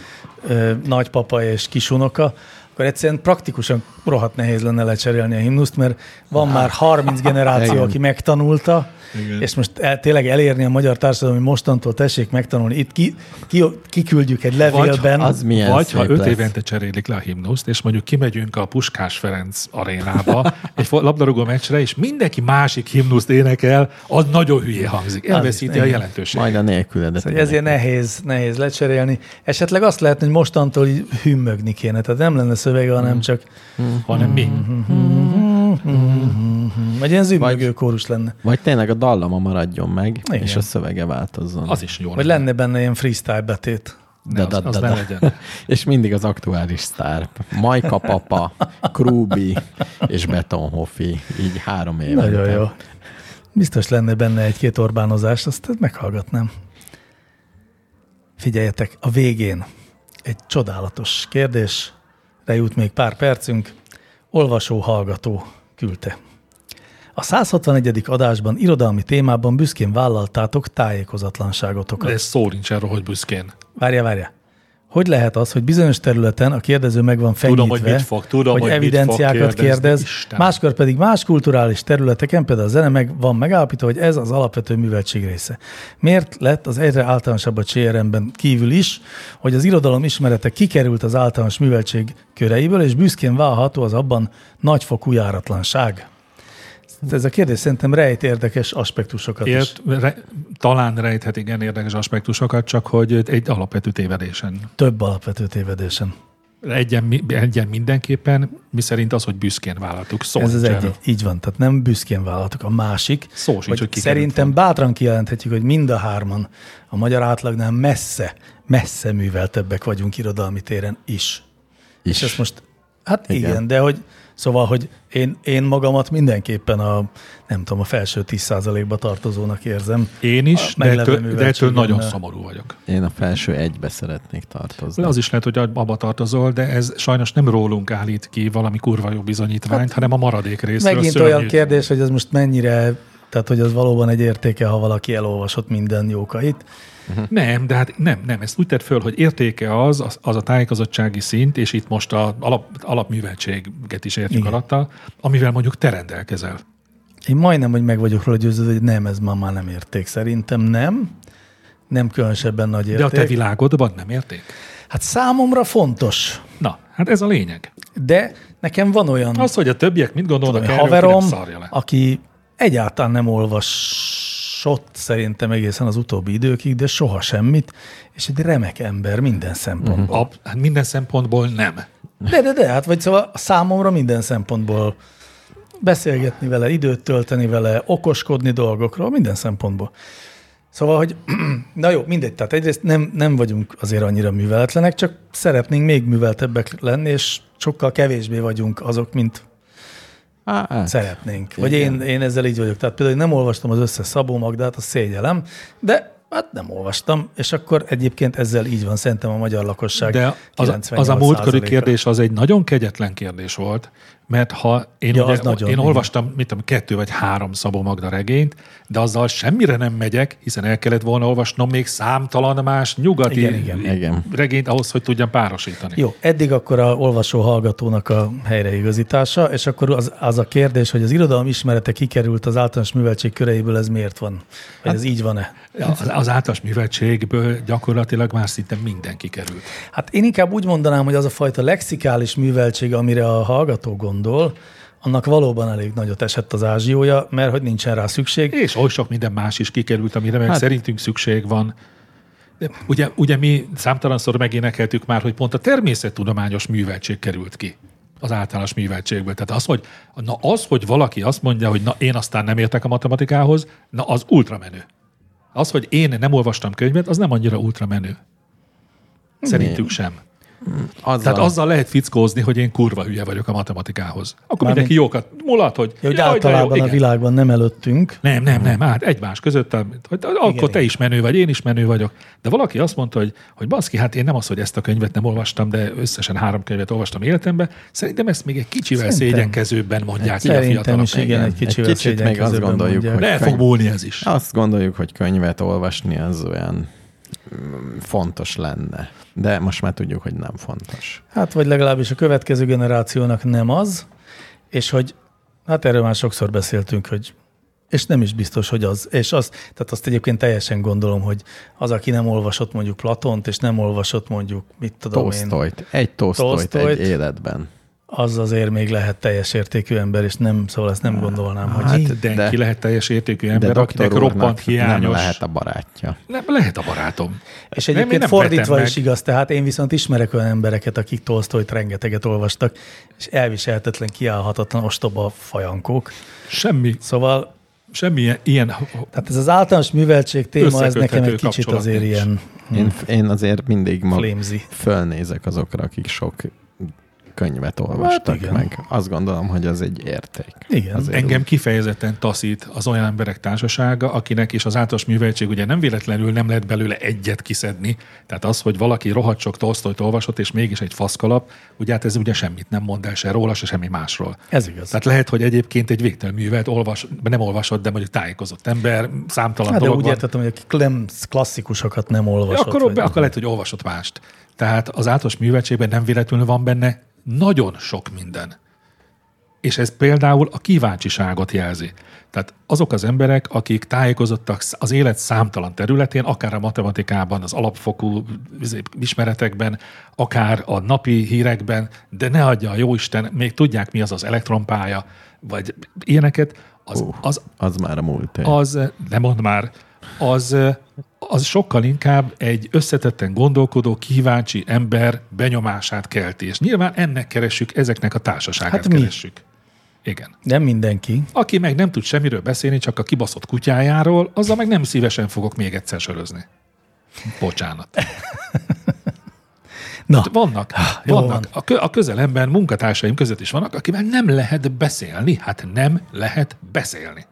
Speaker 2: ö, nagypapa és kisunoka, akkor egyszerűen praktikusan rohadt nehéz lenne lecserélni a himnuszt, mert van már 30 generáció,
Speaker 3: Igen.
Speaker 2: aki megtanulta,
Speaker 4: Igen.
Speaker 2: és most el, tényleg elérni a magyar társadalom, hogy mostantól tessék megtanulni. Itt ki, ki, kiküldjük egy levélben.
Speaker 3: az milyen
Speaker 4: Vagy
Speaker 3: szép
Speaker 4: ha öt
Speaker 3: lesz.
Speaker 4: évente cserélik le a himnuszt, és mondjuk kimegyünk a Puskás Ferenc arénába egy fo- labdarúgó meccsre, és mindenki másik himnuszt énekel, az nagyon hülyé hangzik. Elveszíti a
Speaker 2: igen.
Speaker 4: jelentőséget.
Speaker 3: Majd a nélküledet.
Speaker 2: Szóval ezért nehéz, nehéz lecserélni. Esetleg azt lehetne, hogy mostantól így hümmögni kéne, tehát nem lenne szövege, hanem csak
Speaker 4: Hanem mi?
Speaker 2: Mhm. egy ilyen zümmögő kórus lenne.
Speaker 3: Vagy tényleg a dallama maradjon meg,
Speaker 2: Igen.
Speaker 3: Igen. és a szövege változzon.
Speaker 4: Az is jó.
Speaker 2: Vagy
Speaker 4: lenne.
Speaker 2: lenne benne ilyen freestyle betét.
Speaker 4: Ne, az- az ne legyen.
Speaker 3: És mindig az aktuális sztár. Majka papa, Krúbi és Betonhofi. Így három éve.
Speaker 2: Nagyon jó. Biztos lenne benne egy-két Orbánozás, azt meghallgatnám. Figyeljetek, a végén egy csodálatos kérdés, de jut még pár percünk. Olvasó-hallgató küldte. A 161. adásban irodalmi témában büszkén vállaltátok tájékozatlanságotokat.
Speaker 4: De szó nincs erről, hogy büszkén.
Speaker 2: Várja, várja. Hogy lehet az, hogy bizonyos területen a kérdező meg van fenyítve,
Speaker 4: Tudom, hogy mit fog- tudom,
Speaker 2: hogy,
Speaker 4: hogy mit
Speaker 2: evidenciákat
Speaker 4: fog kérdezni,
Speaker 2: kérdez,
Speaker 4: Istenem.
Speaker 2: máskor pedig más kulturális területeken, például a zene meg van megállapítva, hogy ez az alapvető műveltség része. Miért lett az egyre általánosabb a CRM-ben kívül is, hogy az irodalom ismerete kikerült az általános műveltség köreiből, és büszkén válható az abban nagyfokú járatlanság? Ez a kérdés szerintem rejt érdekes aspektusokat is.
Speaker 4: Ért, re, talán rejthet igen érdekes aspektusokat, csak hogy egy alapvető tévedésen
Speaker 2: Több alapvető tévedésem.
Speaker 4: Egyen, mi- egyen mindenképpen, mi szerint az, hogy büszkén vállaltuk. Szóval Szó
Speaker 2: Ez az
Speaker 4: nincs
Speaker 2: egyik.
Speaker 4: erről.
Speaker 2: Így van, tehát nem büszkén vállaltuk. A másik,
Speaker 4: Szó sincs, hogy kikerült
Speaker 2: szerintem bátran kijelenthetjük, hogy mind a hárman a magyar átlagnál messze, messze műveltebbek vagyunk irodalmi téren is.
Speaker 3: Is.
Speaker 2: És ezt most, hát igen,
Speaker 3: Igen.
Speaker 2: igen de hogy szóval, hogy én, én magamat mindenképpen a, nem tudom, a felső 10%-ba tartozónak érzem.
Speaker 4: Én
Speaker 2: A
Speaker 4: is, de
Speaker 2: meglevő
Speaker 4: ettől, de ettől
Speaker 2: műveltségemmel.
Speaker 4: nagyon szomorú vagyok.
Speaker 3: Én a felső egybe szeretnék tartozni.
Speaker 4: Az is lehet, hogy abba tartozol, de ez sajnos nem rólunk állít ki valami kurva jó bizonyítványt, hát, hanem a maradék részről.
Speaker 2: Megint
Speaker 4: szörnyű.
Speaker 2: olyan kérdés, hogy ez most mennyire, tehát hogy az valóban egy értéke, ha valaki elolvasott minden jókait.
Speaker 4: Nem, de hát nem, nem. Ezt úgy tett föl, hogy értéke az, az, az a tájékozottsági szint, és itt most a alap, alapműveltséget is értjük
Speaker 2: Igen.
Speaker 4: igen. alatta, amivel mondjuk te rendelkezel.
Speaker 2: Én majdnem, hogy meg vagyok róla győződve, hogy nem, ez ma már nem érték. Szerintem nem. Nem különösebben nagy
Speaker 4: De a
Speaker 2: érték.
Speaker 4: te világodban nem érték?
Speaker 2: Hát számomra fontos,
Speaker 4: Na, hát ez a lényeg.
Speaker 2: de nekem van olyan
Speaker 4: Az, hogy a többiek mit gondolnak
Speaker 2: tudom,
Speaker 4: erről,
Speaker 2: haverom,
Speaker 4: ki nem szarja le.
Speaker 2: aki egyáltalán nem olvasott szerintem egészen az utóbbi időkig, de soha semmit, és egy remek ember minden szempontból.
Speaker 4: A, hát minden szempontból nem.
Speaker 2: De, de, de, hát vagy szóval számomra minden szempontból beszélgetni vele, időt tölteni vele, okoskodni dolgokról, minden szempontból. Szóval, hogy na jó, mindegy, tehát egyrészt nem, nem vagyunk azért annyira műveletlenek, csak szeretnénk még műveltebbek lenni, és sokkal kevésbé vagyunk azok, mint
Speaker 3: Á, á.
Speaker 2: szeretnénk. Vagy én, én ezzel így vagyok. Tehát például én nem olvastam az összes Szabó Magdát, a szégyelem, de hát nem olvastam, és akkor egyébként ezzel így van szerintem a magyar lakosság
Speaker 4: De az, az a múltkori
Speaker 2: 98%-a.
Speaker 4: kérdés az egy nagyon kegyetlen kérdés volt, mert ha én,
Speaker 2: Ja,
Speaker 4: ja, ugye,
Speaker 2: az nagyon,
Speaker 4: én
Speaker 2: igen.
Speaker 4: olvastam, mit tudom, kettő vagy három Szabó Magda regényt, de azzal semmire nem megyek, hiszen el kellett volna olvasnom még számtalan más nyugati
Speaker 2: Igen, igen.
Speaker 3: Igen.
Speaker 4: regényt ahhoz, hogy tudjam párosítani.
Speaker 2: Jó, eddig akkor a olvasó-hallgatónak a helyreigazítása, és akkor az, az a kérdés, hogy az irodalom ismerete kikerült az általános műveltség köreiből, ez miért van? Vagy hát, ez így van-e?
Speaker 4: Az, az általános műveltségből gyakorlatilag már szinte mindenki került.
Speaker 2: Hát én inkább úgy mondanám, hogy az a fajta lexikális műveltség, amire a hallgató gondol, annak valóban elég nagyot esett az ázsiója, mert hogy nincsen rá szükség.
Speaker 4: És oly sok minden más is kikerült, amire meg hát. szerintünk szükség van. De ugye, ugye mi számtalanszor megénekeltük már, hogy pont a természettudományos műveltség került ki az általános műveltségből. Tehát az, hogy, na az, hogy valaki azt mondja, hogy na én aztán nem értek a matematikához, na az ultramenő. Az, hogy én nem olvastam könyvet, az nem annyira ultramenő. Szerintük sem.
Speaker 3: Azzal,
Speaker 4: Tehát azzal lehet fickózni, hogy én kurva hülye vagyok a matematikához. Akkor
Speaker 2: Mármint-
Speaker 4: mindenki jókat mulat, hogy
Speaker 2: Ja, hogy
Speaker 4: jaj, de
Speaker 2: általában a
Speaker 4: igen.
Speaker 2: világban nem előttünk.
Speaker 4: Nem, nem, nem, hát egymás között, amit- hogy akkor
Speaker 2: igen.
Speaker 4: te is menő vagy, én is menő vagyok. De valaki azt mondta, hogy, hogy baszki, hát én nem az, hogy ezt a könyvet nem olvastam, de összesen három könyvet olvastam életemben. Szerintem ezt még egy kicsivel
Speaker 2: Szerintem. Hát
Speaker 4: szégyenkezőbben mondják ki a
Speaker 2: Szerintem
Speaker 4: fiatalok.
Speaker 2: is igen, egy kicsivel
Speaker 3: Egy kicsit még azt gondoljuk,
Speaker 2: szégyenkezőbben
Speaker 3: hogy-
Speaker 2: mondják.
Speaker 4: Le fog
Speaker 3: könyv.
Speaker 4: múlni ez is.
Speaker 3: Azt gondoljuk, hogy könyvet olvasni az olyan mm, fontos lenne. De most már tudjuk, hogy nem fontos.
Speaker 2: Hát, vagy legalábbis a következő generációnak nem az, és hogy, hát erről már sokszor beszéltünk, hogy és nem is biztos, hogy az. És az, tehát azt egyébként teljesen gondolom, hogy az, aki nem olvasott mondjuk Platont, és nem olvasott mondjuk, mit tudom én,
Speaker 3: Tolstoyt. Egy Tolstoyt
Speaker 2: Tolstoyt.
Speaker 3: egy életben.
Speaker 2: az azért még lehet teljes értékű ember, és nem, szóval ezt nem gondolnám, hogy
Speaker 4: Hát,
Speaker 2: hát,
Speaker 4: Mindenki de,
Speaker 3: de-
Speaker 4: lehet teljes értékű ember,
Speaker 3: de
Speaker 4: akinek
Speaker 3: doktor
Speaker 4: roppant
Speaker 3: úrnak
Speaker 4: hiányos.
Speaker 3: nem lehet a barátja.
Speaker 4: nem, lehet a barátom.
Speaker 2: És
Speaker 4: Nem, én
Speaker 2: egyébként
Speaker 4: nem
Speaker 2: nem,
Speaker 4: vetem
Speaker 2: fordítva
Speaker 4: meg.
Speaker 2: is igaz, tehát én viszont ismerek olyan embereket, akik Tolstoyt rengeteget olvastak, és elviselhetetlen, kiállhatatlan ostoba fajankók.
Speaker 4: Semmi,
Speaker 2: Szóval
Speaker 4: semmi ilyen, ilyen
Speaker 2: tehát ez az általános műveltség téma, ez nekem
Speaker 4: Összeköthető
Speaker 2: egy kicsit
Speaker 4: kapcsolat
Speaker 2: azért
Speaker 4: nincs.
Speaker 2: ilyen
Speaker 3: Én, én azért mindig ma
Speaker 2: flimsy.
Speaker 3: fölnézek azokra, akik sok könyvet olvastak
Speaker 2: igen.
Speaker 3: hát meg. Azt gondolom, hogy az egy érték.
Speaker 2: Igen.
Speaker 3: Azért
Speaker 4: Engem kifejezetten taszít az olyan emberek társasága, akinek és az általános műveltség ugye nem véletlenül nem lehet belőle egyet kiszedni. Tehát az, hogy valaki rohadt sok Tolstoyt olvasott, és mégis egy faszkalap, ugye hát ez ugye semmit nem mond el se róla, se semmi másról.
Speaker 2: Ez igaz.
Speaker 4: Tehát lehet, hogy egyébként egy végtelen művelt olvas, nem olvasott, de mondjuk tájékozott ember, számtalan
Speaker 2: Hát de
Speaker 4: dolog
Speaker 2: úgy
Speaker 4: van.
Speaker 2: értettem, hogy akik nem klasszikusokat nem olvasott.
Speaker 4: Akkor,
Speaker 2: vagy-
Speaker 4: vagy... akkor lehet, hogy olvasott mást. Tehát az általános műveltségben nem véletlenül van benne nagyon sok minden. És ez például a kíváncsiságot jelzi. Tehát azok az emberek, akik tájékozottak sz- az élet számtalan területén, akár a matematikában, az alapfokú izé, ismeretekben, akár a napi hírekben, de ne adja a jóisten, még tudják, mi az az elektronpálya, vagy ilyeneket, az,
Speaker 3: Hú.
Speaker 4: az
Speaker 3: Az már a múlt. A...
Speaker 4: az, nem mond már, az, az sokkal inkább egy összetetten gondolkodó, kíváncsi ember benyomását kelti. És nyilván ennek keressük, ezeknek a társaságát
Speaker 2: Hát
Speaker 4: hát
Speaker 2: mi?
Speaker 4: keressük. Igen.
Speaker 2: Nem mindenki.
Speaker 4: Aki meg nem tud semmiről beszélni, csak a kibaszott kutyájáról, azzal meg nem szívesen fogok még egyszer sörözni. Bocsánat. Hát
Speaker 2: Na,
Speaker 4: Vannak,
Speaker 2: jó
Speaker 4: vannak.
Speaker 2: van.
Speaker 4: A, kö, a közelemben munkatársaim között is vannak, akivel nem lehet beszélni. Hát nem lehet beszélni.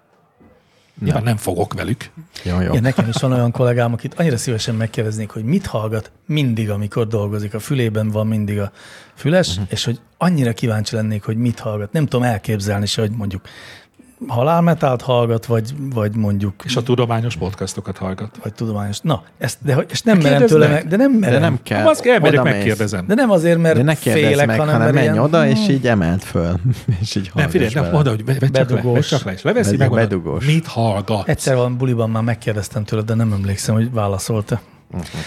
Speaker 4: Nyilván nem fogok velük.
Speaker 3: Jó, jó.
Speaker 2: igen, nekem is van olyan kollégám, akit annyira szívesen megkérdeznék, hogy mit hallgat mindig, amikor dolgozik. A fülében van mindig a füles,
Speaker 4: Mhm.
Speaker 2: és hogy annyira kíváncsi lennék, hogy mit hallgat. Nem tudom elképzelni se, hogy mondjuk halálmetált hallgat, vagy, vagy mondjuk
Speaker 4: És a tudományos podcastokat hallgat.
Speaker 2: vagy tudományos. Na, ezt, de, hogy- és nem merem
Speaker 4: kérdezd
Speaker 2: tőle
Speaker 4: meg.
Speaker 2: meg, de nem merem.
Speaker 3: De nem kell.
Speaker 4: Ha baszki, elmegyek,
Speaker 3: Oda mész.
Speaker 4: megkérdezem.
Speaker 2: de Hát, nem azért, mert
Speaker 3: De ne kérdezz
Speaker 2: félek,
Speaker 3: meg,
Speaker 2: hanem,
Speaker 3: hanem, hanem
Speaker 2: mert
Speaker 3: menj
Speaker 2: ilyen, Hm.
Speaker 3: oda, és így emeld föl. És így
Speaker 4: Nem,
Speaker 3: hallgass
Speaker 4: figyelj, nem,
Speaker 3: bele.
Speaker 4: oda, hogy vedd csak le,
Speaker 2: Bedugós.
Speaker 4: vedd csak le, és leveszi
Speaker 3: Bedug-
Speaker 4: meg
Speaker 3: bedugós.
Speaker 4: Mit hallgat?
Speaker 2: Egyszer van buliban már megkérdeztem tőle, de nem emlékszem, hogy válaszolta.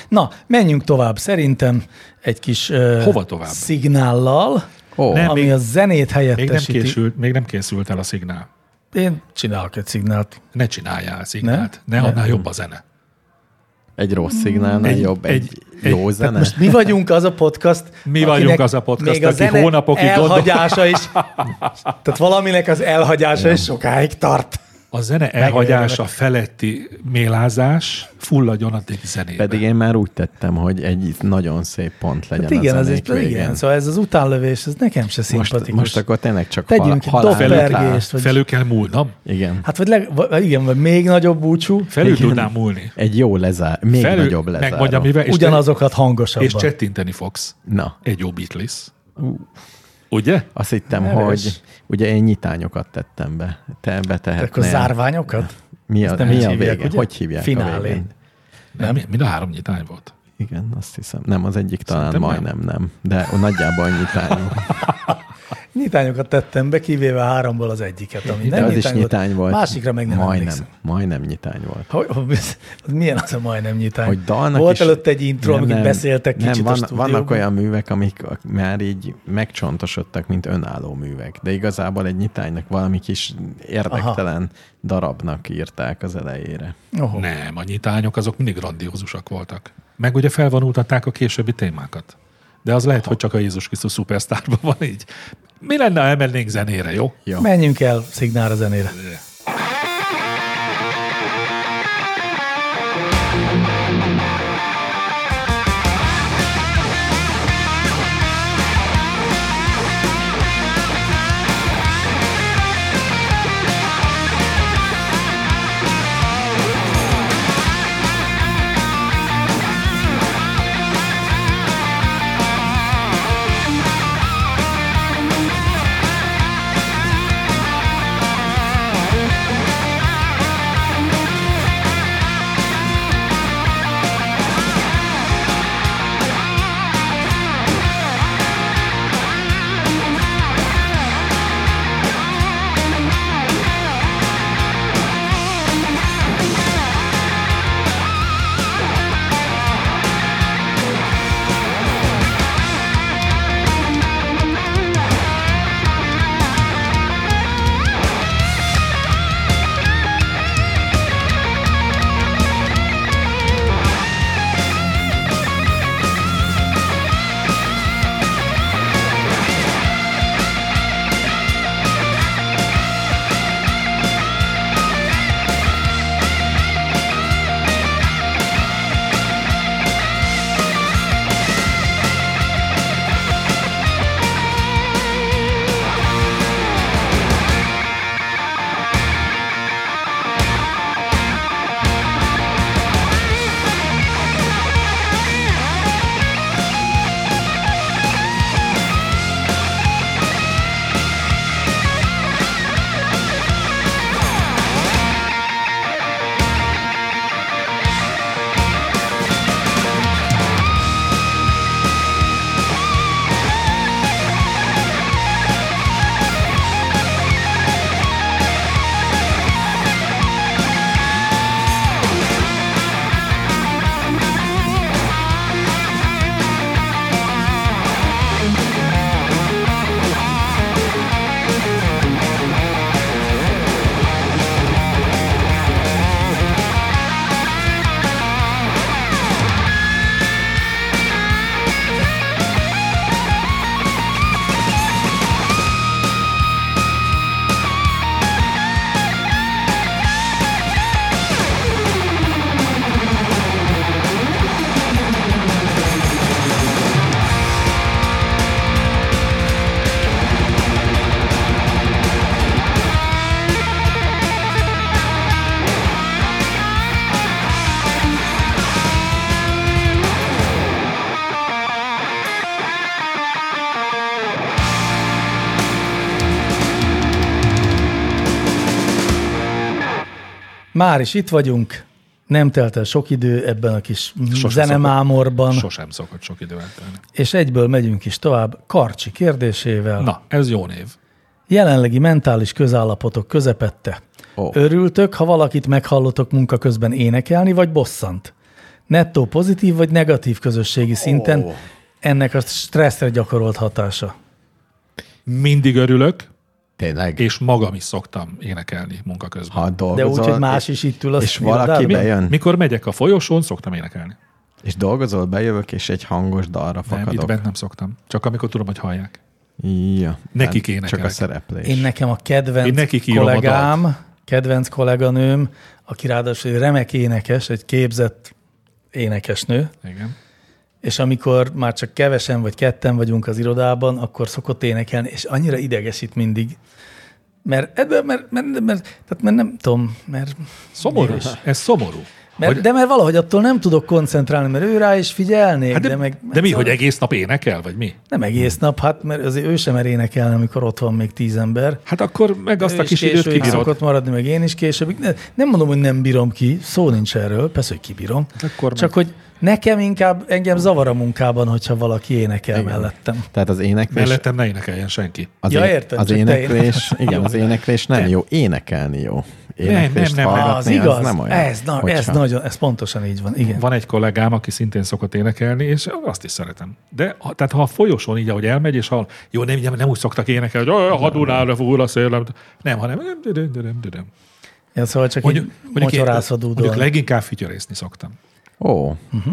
Speaker 2: Na, menjünk tovább. Szerintem egy kis uh,
Speaker 4: Hova tovább?
Speaker 2: szignállal,
Speaker 3: Ó,
Speaker 4: Nem.
Speaker 3: nem.
Speaker 2: ami
Speaker 4: még-
Speaker 2: a zenét
Speaker 4: Még nem,
Speaker 2: helyettesíti.
Speaker 4: készült, még nem készült el a szignál.
Speaker 2: Én csinálok egy szignált.
Speaker 4: Ne csináljál szignált. Ne, annál jobb a zene.
Speaker 3: egy rossz szignálnál
Speaker 4: Egy-
Speaker 3: jobb, egy,
Speaker 4: egy-
Speaker 3: egy jó
Speaker 4: egy-
Speaker 3: zene.
Speaker 2: Most mi vagyunk az a podcast,
Speaker 4: Mi vagyunk
Speaker 2: akinek
Speaker 4: az a podcast,
Speaker 2: még a
Speaker 4: aki
Speaker 2: zene
Speaker 4: hónapokig gondol-
Speaker 2: elhagyása is, tehát valaminek az elhagyása is sokáig tart.
Speaker 4: A zene elhagyása feletti mélázás fulladjon addig zenébe.
Speaker 3: Pedig én már úgy tettem, hogy egy nagyon szép pont legyen
Speaker 2: Hát igen,
Speaker 3: a
Speaker 2: ez
Speaker 3: zenék
Speaker 2: egy, igen,
Speaker 3: végén.
Speaker 2: szóval ez az utánlövés, ez nekem se
Speaker 3: most,
Speaker 2: szimpatikus.
Speaker 3: most akkor tényleg csak
Speaker 2: Tegyünk
Speaker 3: hal,
Speaker 2: egy
Speaker 3: halál után.
Speaker 2: dobpergést, vagy
Speaker 4: Felül kell múlnom.
Speaker 3: Igen.
Speaker 2: Hát vagy, leg, vagy igen, vagy még nagyobb búcsú,
Speaker 4: Felül
Speaker 3: Igen.
Speaker 4: tudnám múlni.
Speaker 3: Egy jó lezár, még
Speaker 4: Felül,
Speaker 3: nagyobb lezáró.
Speaker 4: megmondja, mivel, és, te,
Speaker 2: ugyanazokat hangosabban. Hát
Speaker 4: és csettinteni fogsz.
Speaker 3: Na,
Speaker 4: Egy jó Beatles. Ugye?
Speaker 3: azt hittem,
Speaker 2: Neves.
Speaker 3: hogy ugye én nyitányokat tettem be. Te betehetnél.
Speaker 2: Akkor zárványokat?
Speaker 3: Mi a,
Speaker 2: Ezt nem
Speaker 3: mi
Speaker 2: így
Speaker 3: a
Speaker 2: hívják,
Speaker 3: vége?
Speaker 2: ugye?
Speaker 3: Hogy hívják a
Speaker 2: Finálé.
Speaker 3: végén?
Speaker 4: Nem, mi- mind a három nyitány volt.
Speaker 3: Igen, azt hiszem. Nem, az egyik talán
Speaker 4: Szerintem nem.
Speaker 3: majdnem nem. de nagyjából annyit állunk.
Speaker 2: Nyitányokat tettem be, kivéve háromból az egyiket, ami
Speaker 3: De
Speaker 2: nem
Speaker 3: az is nyitány volt.
Speaker 2: Másikra meg nem
Speaker 3: majdnem,
Speaker 2: emlékszem.
Speaker 3: majdnem nyitány volt.
Speaker 2: Hogy, hogy- az milyen az a majdnem nyitány?
Speaker 3: Hogy dalnak
Speaker 2: Volt
Speaker 3: is,
Speaker 2: előtte egy intro, nem, amit beszéltek
Speaker 3: nem,
Speaker 2: kicsit a
Speaker 3: van,
Speaker 2: stúdióban.
Speaker 3: Vannak olyan művek, amik már így megcsontosodtak, mint önálló művek, de igazából egy nyitánynak valami kis érdektelen Aha. darabnak írták az elejére.
Speaker 2: Oho.
Speaker 4: Nem, a nyitányok azok mindig grandiózusak voltak. Meg ugye felvonultatták a későbbi témákat. De az lehet, hogy csak a Jézus Krisztus szupersztárban van így. Mi lenne, ha elmennénk zenére, jó?
Speaker 3: Jó.
Speaker 2: Menjünk el szignára zenére.
Speaker 5: Thank
Speaker 2: Már is itt vagyunk. Nem telt el sok idő ebben a kis
Speaker 4: Sose
Speaker 2: zenemámorban,
Speaker 4: Sosem szokott sok idő eltelni.
Speaker 2: és egyből megyünk is tovább Karcsi kérdésével.
Speaker 4: Na, ez jó név.
Speaker 2: Jelenlegi mentális közállapotok közepette.
Speaker 3: Ó.
Speaker 2: Oh. Örültök, ha valakit meghallotok munka közben énekelni, vagy bosszant? Nettó pozitív vagy negatív közösségi szinten
Speaker 3: Ó.
Speaker 2: ennek a stresszre gyakorolt hatása.
Speaker 4: Mindig örülök,
Speaker 3: Tényleg.
Speaker 4: és magam is szoktam énekelni munka közben.
Speaker 3: ha
Speaker 2: De
Speaker 3: dolgozol,
Speaker 2: úgy, hogy más is itt ül a
Speaker 3: és valaki
Speaker 2: irodában?
Speaker 3: bejön,
Speaker 4: Mikor megyek a folyosón, szoktam énekelni.
Speaker 3: és dolgozol, bejövök, és egy hangos dalra
Speaker 4: Nem, itt
Speaker 3: fakadok.
Speaker 4: bent nem szoktam. Csak amikor tudom, hogy hallják.
Speaker 3: Ja,
Speaker 4: Nekik
Speaker 3: nem, Hát, Csak a
Speaker 4: énekelek.
Speaker 3: szereplés.
Speaker 2: Én nekem a kedvenc
Speaker 4: Én nekik írom a
Speaker 2: kollégám, kedvenc kolléganőm, aki ráadásul egy remek énekes, egy képzett énekesnő,
Speaker 4: Igen.
Speaker 2: és amikor már csak kevesen vagy ketten vagyunk az irodában, akkor szokott énekelni, és annyira idegesít mindig. Mert, ebben, mert, mert, mert, tehát mert nem tudom, mert,
Speaker 4: Szomorú. Ez szomorú.
Speaker 2: mert,
Speaker 4: Hogy-
Speaker 2: de mert valahogy attól nem tudok koncentrálni, mert ő rá is figyelnék,
Speaker 4: Hát
Speaker 2: hát
Speaker 4: de,
Speaker 2: de, meg...
Speaker 4: de mi, hogy egész nap énekel, vagy mi?
Speaker 2: Nem egész nap, hát mert azért ő sem mer énekelni, amikor ott van még tíz ember.
Speaker 4: Hát akkor meg azt
Speaker 2: Ő
Speaker 4: a
Speaker 2: is
Speaker 4: kis időt
Speaker 2: későig
Speaker 4: kibírod.
Speaker 2: szokott maradni, meg én is később. Ne, nem mondom, hogy nem bírom ki, szó nincs erről, persze, hogy kibírom.
Speaker 4: Akkor
Speaker 2: Csak hogy nekem inkább, engem zavar a munkában, hogyha valaki énekel
Speaker 3: Igen.
Speaker 2: Igen. mellettem.
Speaker 3: Tehát az éneklés...
Speaker 4: Mellettem ne énekeljen senki.
Speaker 3: Az,
Speaker 2: Ja,
Speaker 3: é-
Speaker 2: értem,
Speaker 3: az
Speaker 2: csak te
Speaker 3: éneklés,
Speaker 2: énekelsz.
Speaker 3: igen, az éneklés nem jó, énekelni jó. Éneklést
Speaker 4: nem, nem, nem.
Speaker 3: hallgatni,
Speaker 2: Az igaz,
Speaker 3: az nem olyan.
Speaker 2: ez, na, ez
Speaker 3: hogyha-
Speaker 2: nagyon, ez pontosan így van, igen.
Speaker 4: Van egy kollégám, aki szintén szokott énekelni, és azt is szeretem. De ha, tehát ha a folyosón így, ahogy elmegy, és hall, jó, nem, nem, nem úgy szoktak énekelni, hogy "Aj, ha Dunára fúl a szélem. Nem, hanem nem, dödöm, dödöm, dödöm.
Speaker 2: Ja, szóval csak
Speaker 4: Mondjuk,
Speaker 2: mondjuk, így
Speaker 4: mondjuk, én-
Speaker 2: mocsorászva
Speaker 4: mondjuk
Speaker 2: dúdol.
Speaker 4: leginkább fütyörészni szoktam.
Speaker 3: Ó, az
Speaker 2: Mhm.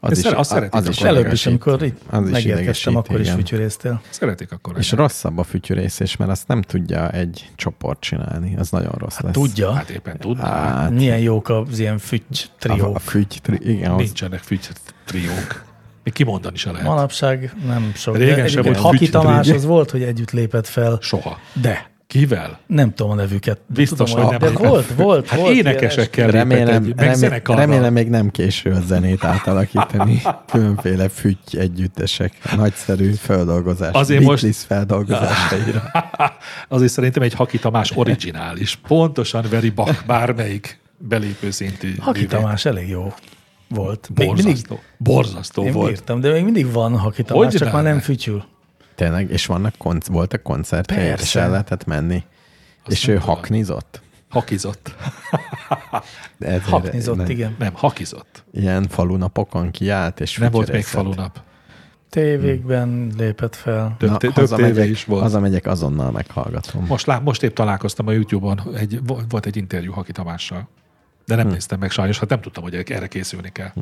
Speaker 4: Ezt
Speaker 3: is,
Speaker 4: szere- azt
Speaker 3: az,
Speaker 4: szeretik
Speaker 3: az
Speaker 4: a
Speaker 3: is
Speaker 2: És előbb is,
Speaker 3: idegesít.
Speaker 2: amikor itt
Speaker 3: Az is idegesít,
Speaker 2: megérkeztem, akkor is
Speaker 3: igen.
Speaker 2: fütyörésztél.
Speaker 4: Szeretik akkor.
Speaker 3: És rosszabb a fütyűrészés, mert azt nem tudja egy csoport csinálni, az nagyon rossz lesz.
Speaker 2: Tudja,
Speaker 4: Hát éppen tudnám.
Speaker 3: Hát,
Speaker 2: milyen jók az ilyen füty
Speaker 3: a, a
Speaker 2: triók.
Speaker 3: füty, tri, igen, az,
Speaker 4: Nincsenek füty triók. Még kimondani se lehet.
Speaker 2: Manapság nem sok. de
Speaker 4: Régen se
Speaker 2: egyébként
Speaker 4: volt
Speaker 2: Haki
Speaker 4: füty
Speaker 2: Tamás
Speaker 4: trió.
Speaker 2: az volt, hogy együtt lépett fel,
Speaker 4: Soha.
Speaker 2: de
Speaker 4: Kivel?
Speaker 2: nem tudom a nevüket. de
Speaker 4: Biztos,
Speaker 2: tudom,
Speaker 4: hogy
Speaker 2: hogy
Speaker 4: nem.
Speaker 2: De volt, volt,
Speaker 4: Hát
Speaker 2: volt. ilyen est.
Speaker 4: énekesekkel lépett
Speaker 3: remélem,
Speaker 4: egy- meg
Speaker 3: remélem,
Speaker 4: zenekarral.
Speaker 3: remélem, még nem késő a zenét átalakítani. Különféle füty együttesek, nagyszerű feldolgozás,
Speaker 4: Azért most-
Speaker 3: Beatles feldolgozásaira.
Speaker 4: Azért szerintem egy Haki Tamás originális. Pontosan veri Bach bármelyik belépő szintű
Speaker 2: Haki
Speaker 4: művét.
Speaker 2: Tamás elég jó volt. Még mindig,
Speaker 4: Borzasztó. Borzasztó
Speaker 2: én
Speaker 4: volt.
Speaker 2: bírtam, de még mindig van Haki Tamás, csak már
Speaker 4: ne?
Speaker 2: nem fütyül.
Speaker 3: Tényleg, és vannak konc- voltak koncerthelyek, és
Speaker 2: Persze.
Speaker 3: el lehetett menni. Azt és ő haknizott.
Speaker 4: Hakizott.
Speaker 3: De ezért
Speaker 2: Haknizott,
Speaker 3: nem-
Speaker 2: igen.
Speaker 4: Nem, hakizott.
Speaker 3: Ilyen falunapokon kiállt, és
Speaker 4: Nem volt még
Speaker 3: fütyörészett.
Speaker 4: falunap.
Speaker 2: Tévékben lépett fel.
Speaker 4: Több,
Speaker 3: Na,
Speaker 4: té- több
Speaker 3: hazamegyek-
Speaker 4: tévé is volt.
Speaker 3: Hazamegyek, azonnal meghallgatom.
Speaker 4: Most, lá- most épp találkoztam a YouTube-on, egy, vo- volt egy interjú Haki Tamással, de
Speaker 2: Hm.
Speaker 4: nem néztem meg sajnos, hát nem tudtam, hogy erre készülni kell.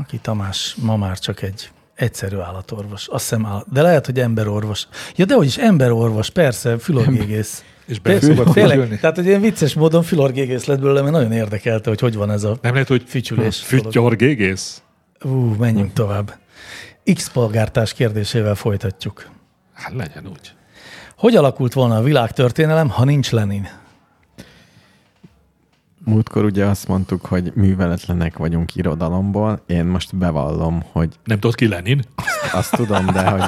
Speaker 2: Aki Tamás ma már csak egy egyszerű állatorvos. Azt hiszem, áll- de lehet, hogy emberorvos. Ja, de is emberorvos, persze, fülorgégész.
Speaker 4: És bele szokott
Speaker 2: Tényleg,
Speaker 4: fütyülni?
Speaker 2: tehát egy ilyen vicces módon fülorgégész lett belőle, mert nagyon érdekelte, hogy hogy van ez a...
Speaker 4: Nem lehet, hogy
Speaker 2: Fütyülés.
Speaker 4: Fütyor gégész?
Speaker 2: Ú, menjünk tovább. X polgártárs kérdésével folytatjuk.
Speaker 4: Hát legyen úgy.
Speaker 2: Hogy alakult volna a világtörténelem, ha nincs Lenin?
Speaker 3: Múltkor ugye azt mondtuk, hogy műveletlenek vagyunk irodalomból. Én most bevallom, hogy
Speaker 4: Nem tudod ki Lenin?
Speaker 3: azt tudom, de hogy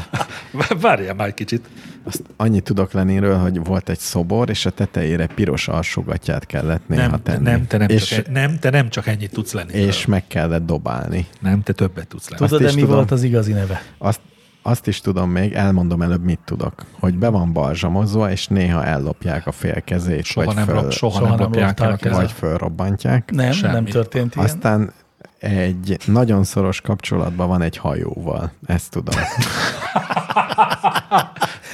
Speaker 4: Várjál már egy kicsit.
Speaker 3: azt annyit tudok Leninről, hogy volt egy szobor, és a tetejére piros alsógatját kellett néha
Speaker 4: Nem, te
Speaker 3: tenni.
Speaker 4: nem, te nem,
Speaker 3: és,
Speaker 4: csak, egy- nem, te nem csak ennyit tudsz lenni.
Speaker 3: és meg kellett dobálni.
Speaker 4: Nem, te többet tudsz lenni.
Speaker 2: Tudod, de
Speaker 3: is
Speaker 2: mi
Speaker 3: tudom.
Speaker 2: volt az igazi neve?
Speaker 3: Azt, azt is tudom még, elmondom előbb, mit tudok. Hogy be van balzsamozva, és néha ellopják a fél kezét,
Speaker 4: Soha
Speaker 3: vagy,
Speaker 4: nem,
Speaker 3: föl,
Speaker 4: rab, soha,
Speaker 2: soha
Speaker 4: nem
Speaker 2: nem
Speaker 4: lopják el a
Speaker 2: lopták el.
Speaker 3: vagy
Speaker 4: kezed.
Speaker 3: fölrobbantják.
Speaker 2: Nem,
Speaker 4: Semmi.
Speaker 2: nem történt ilyen. Aztán...
Speaker 3: Aztán egy nagyon szoros kapcsolatban van egy hajóval. Ezt tudom.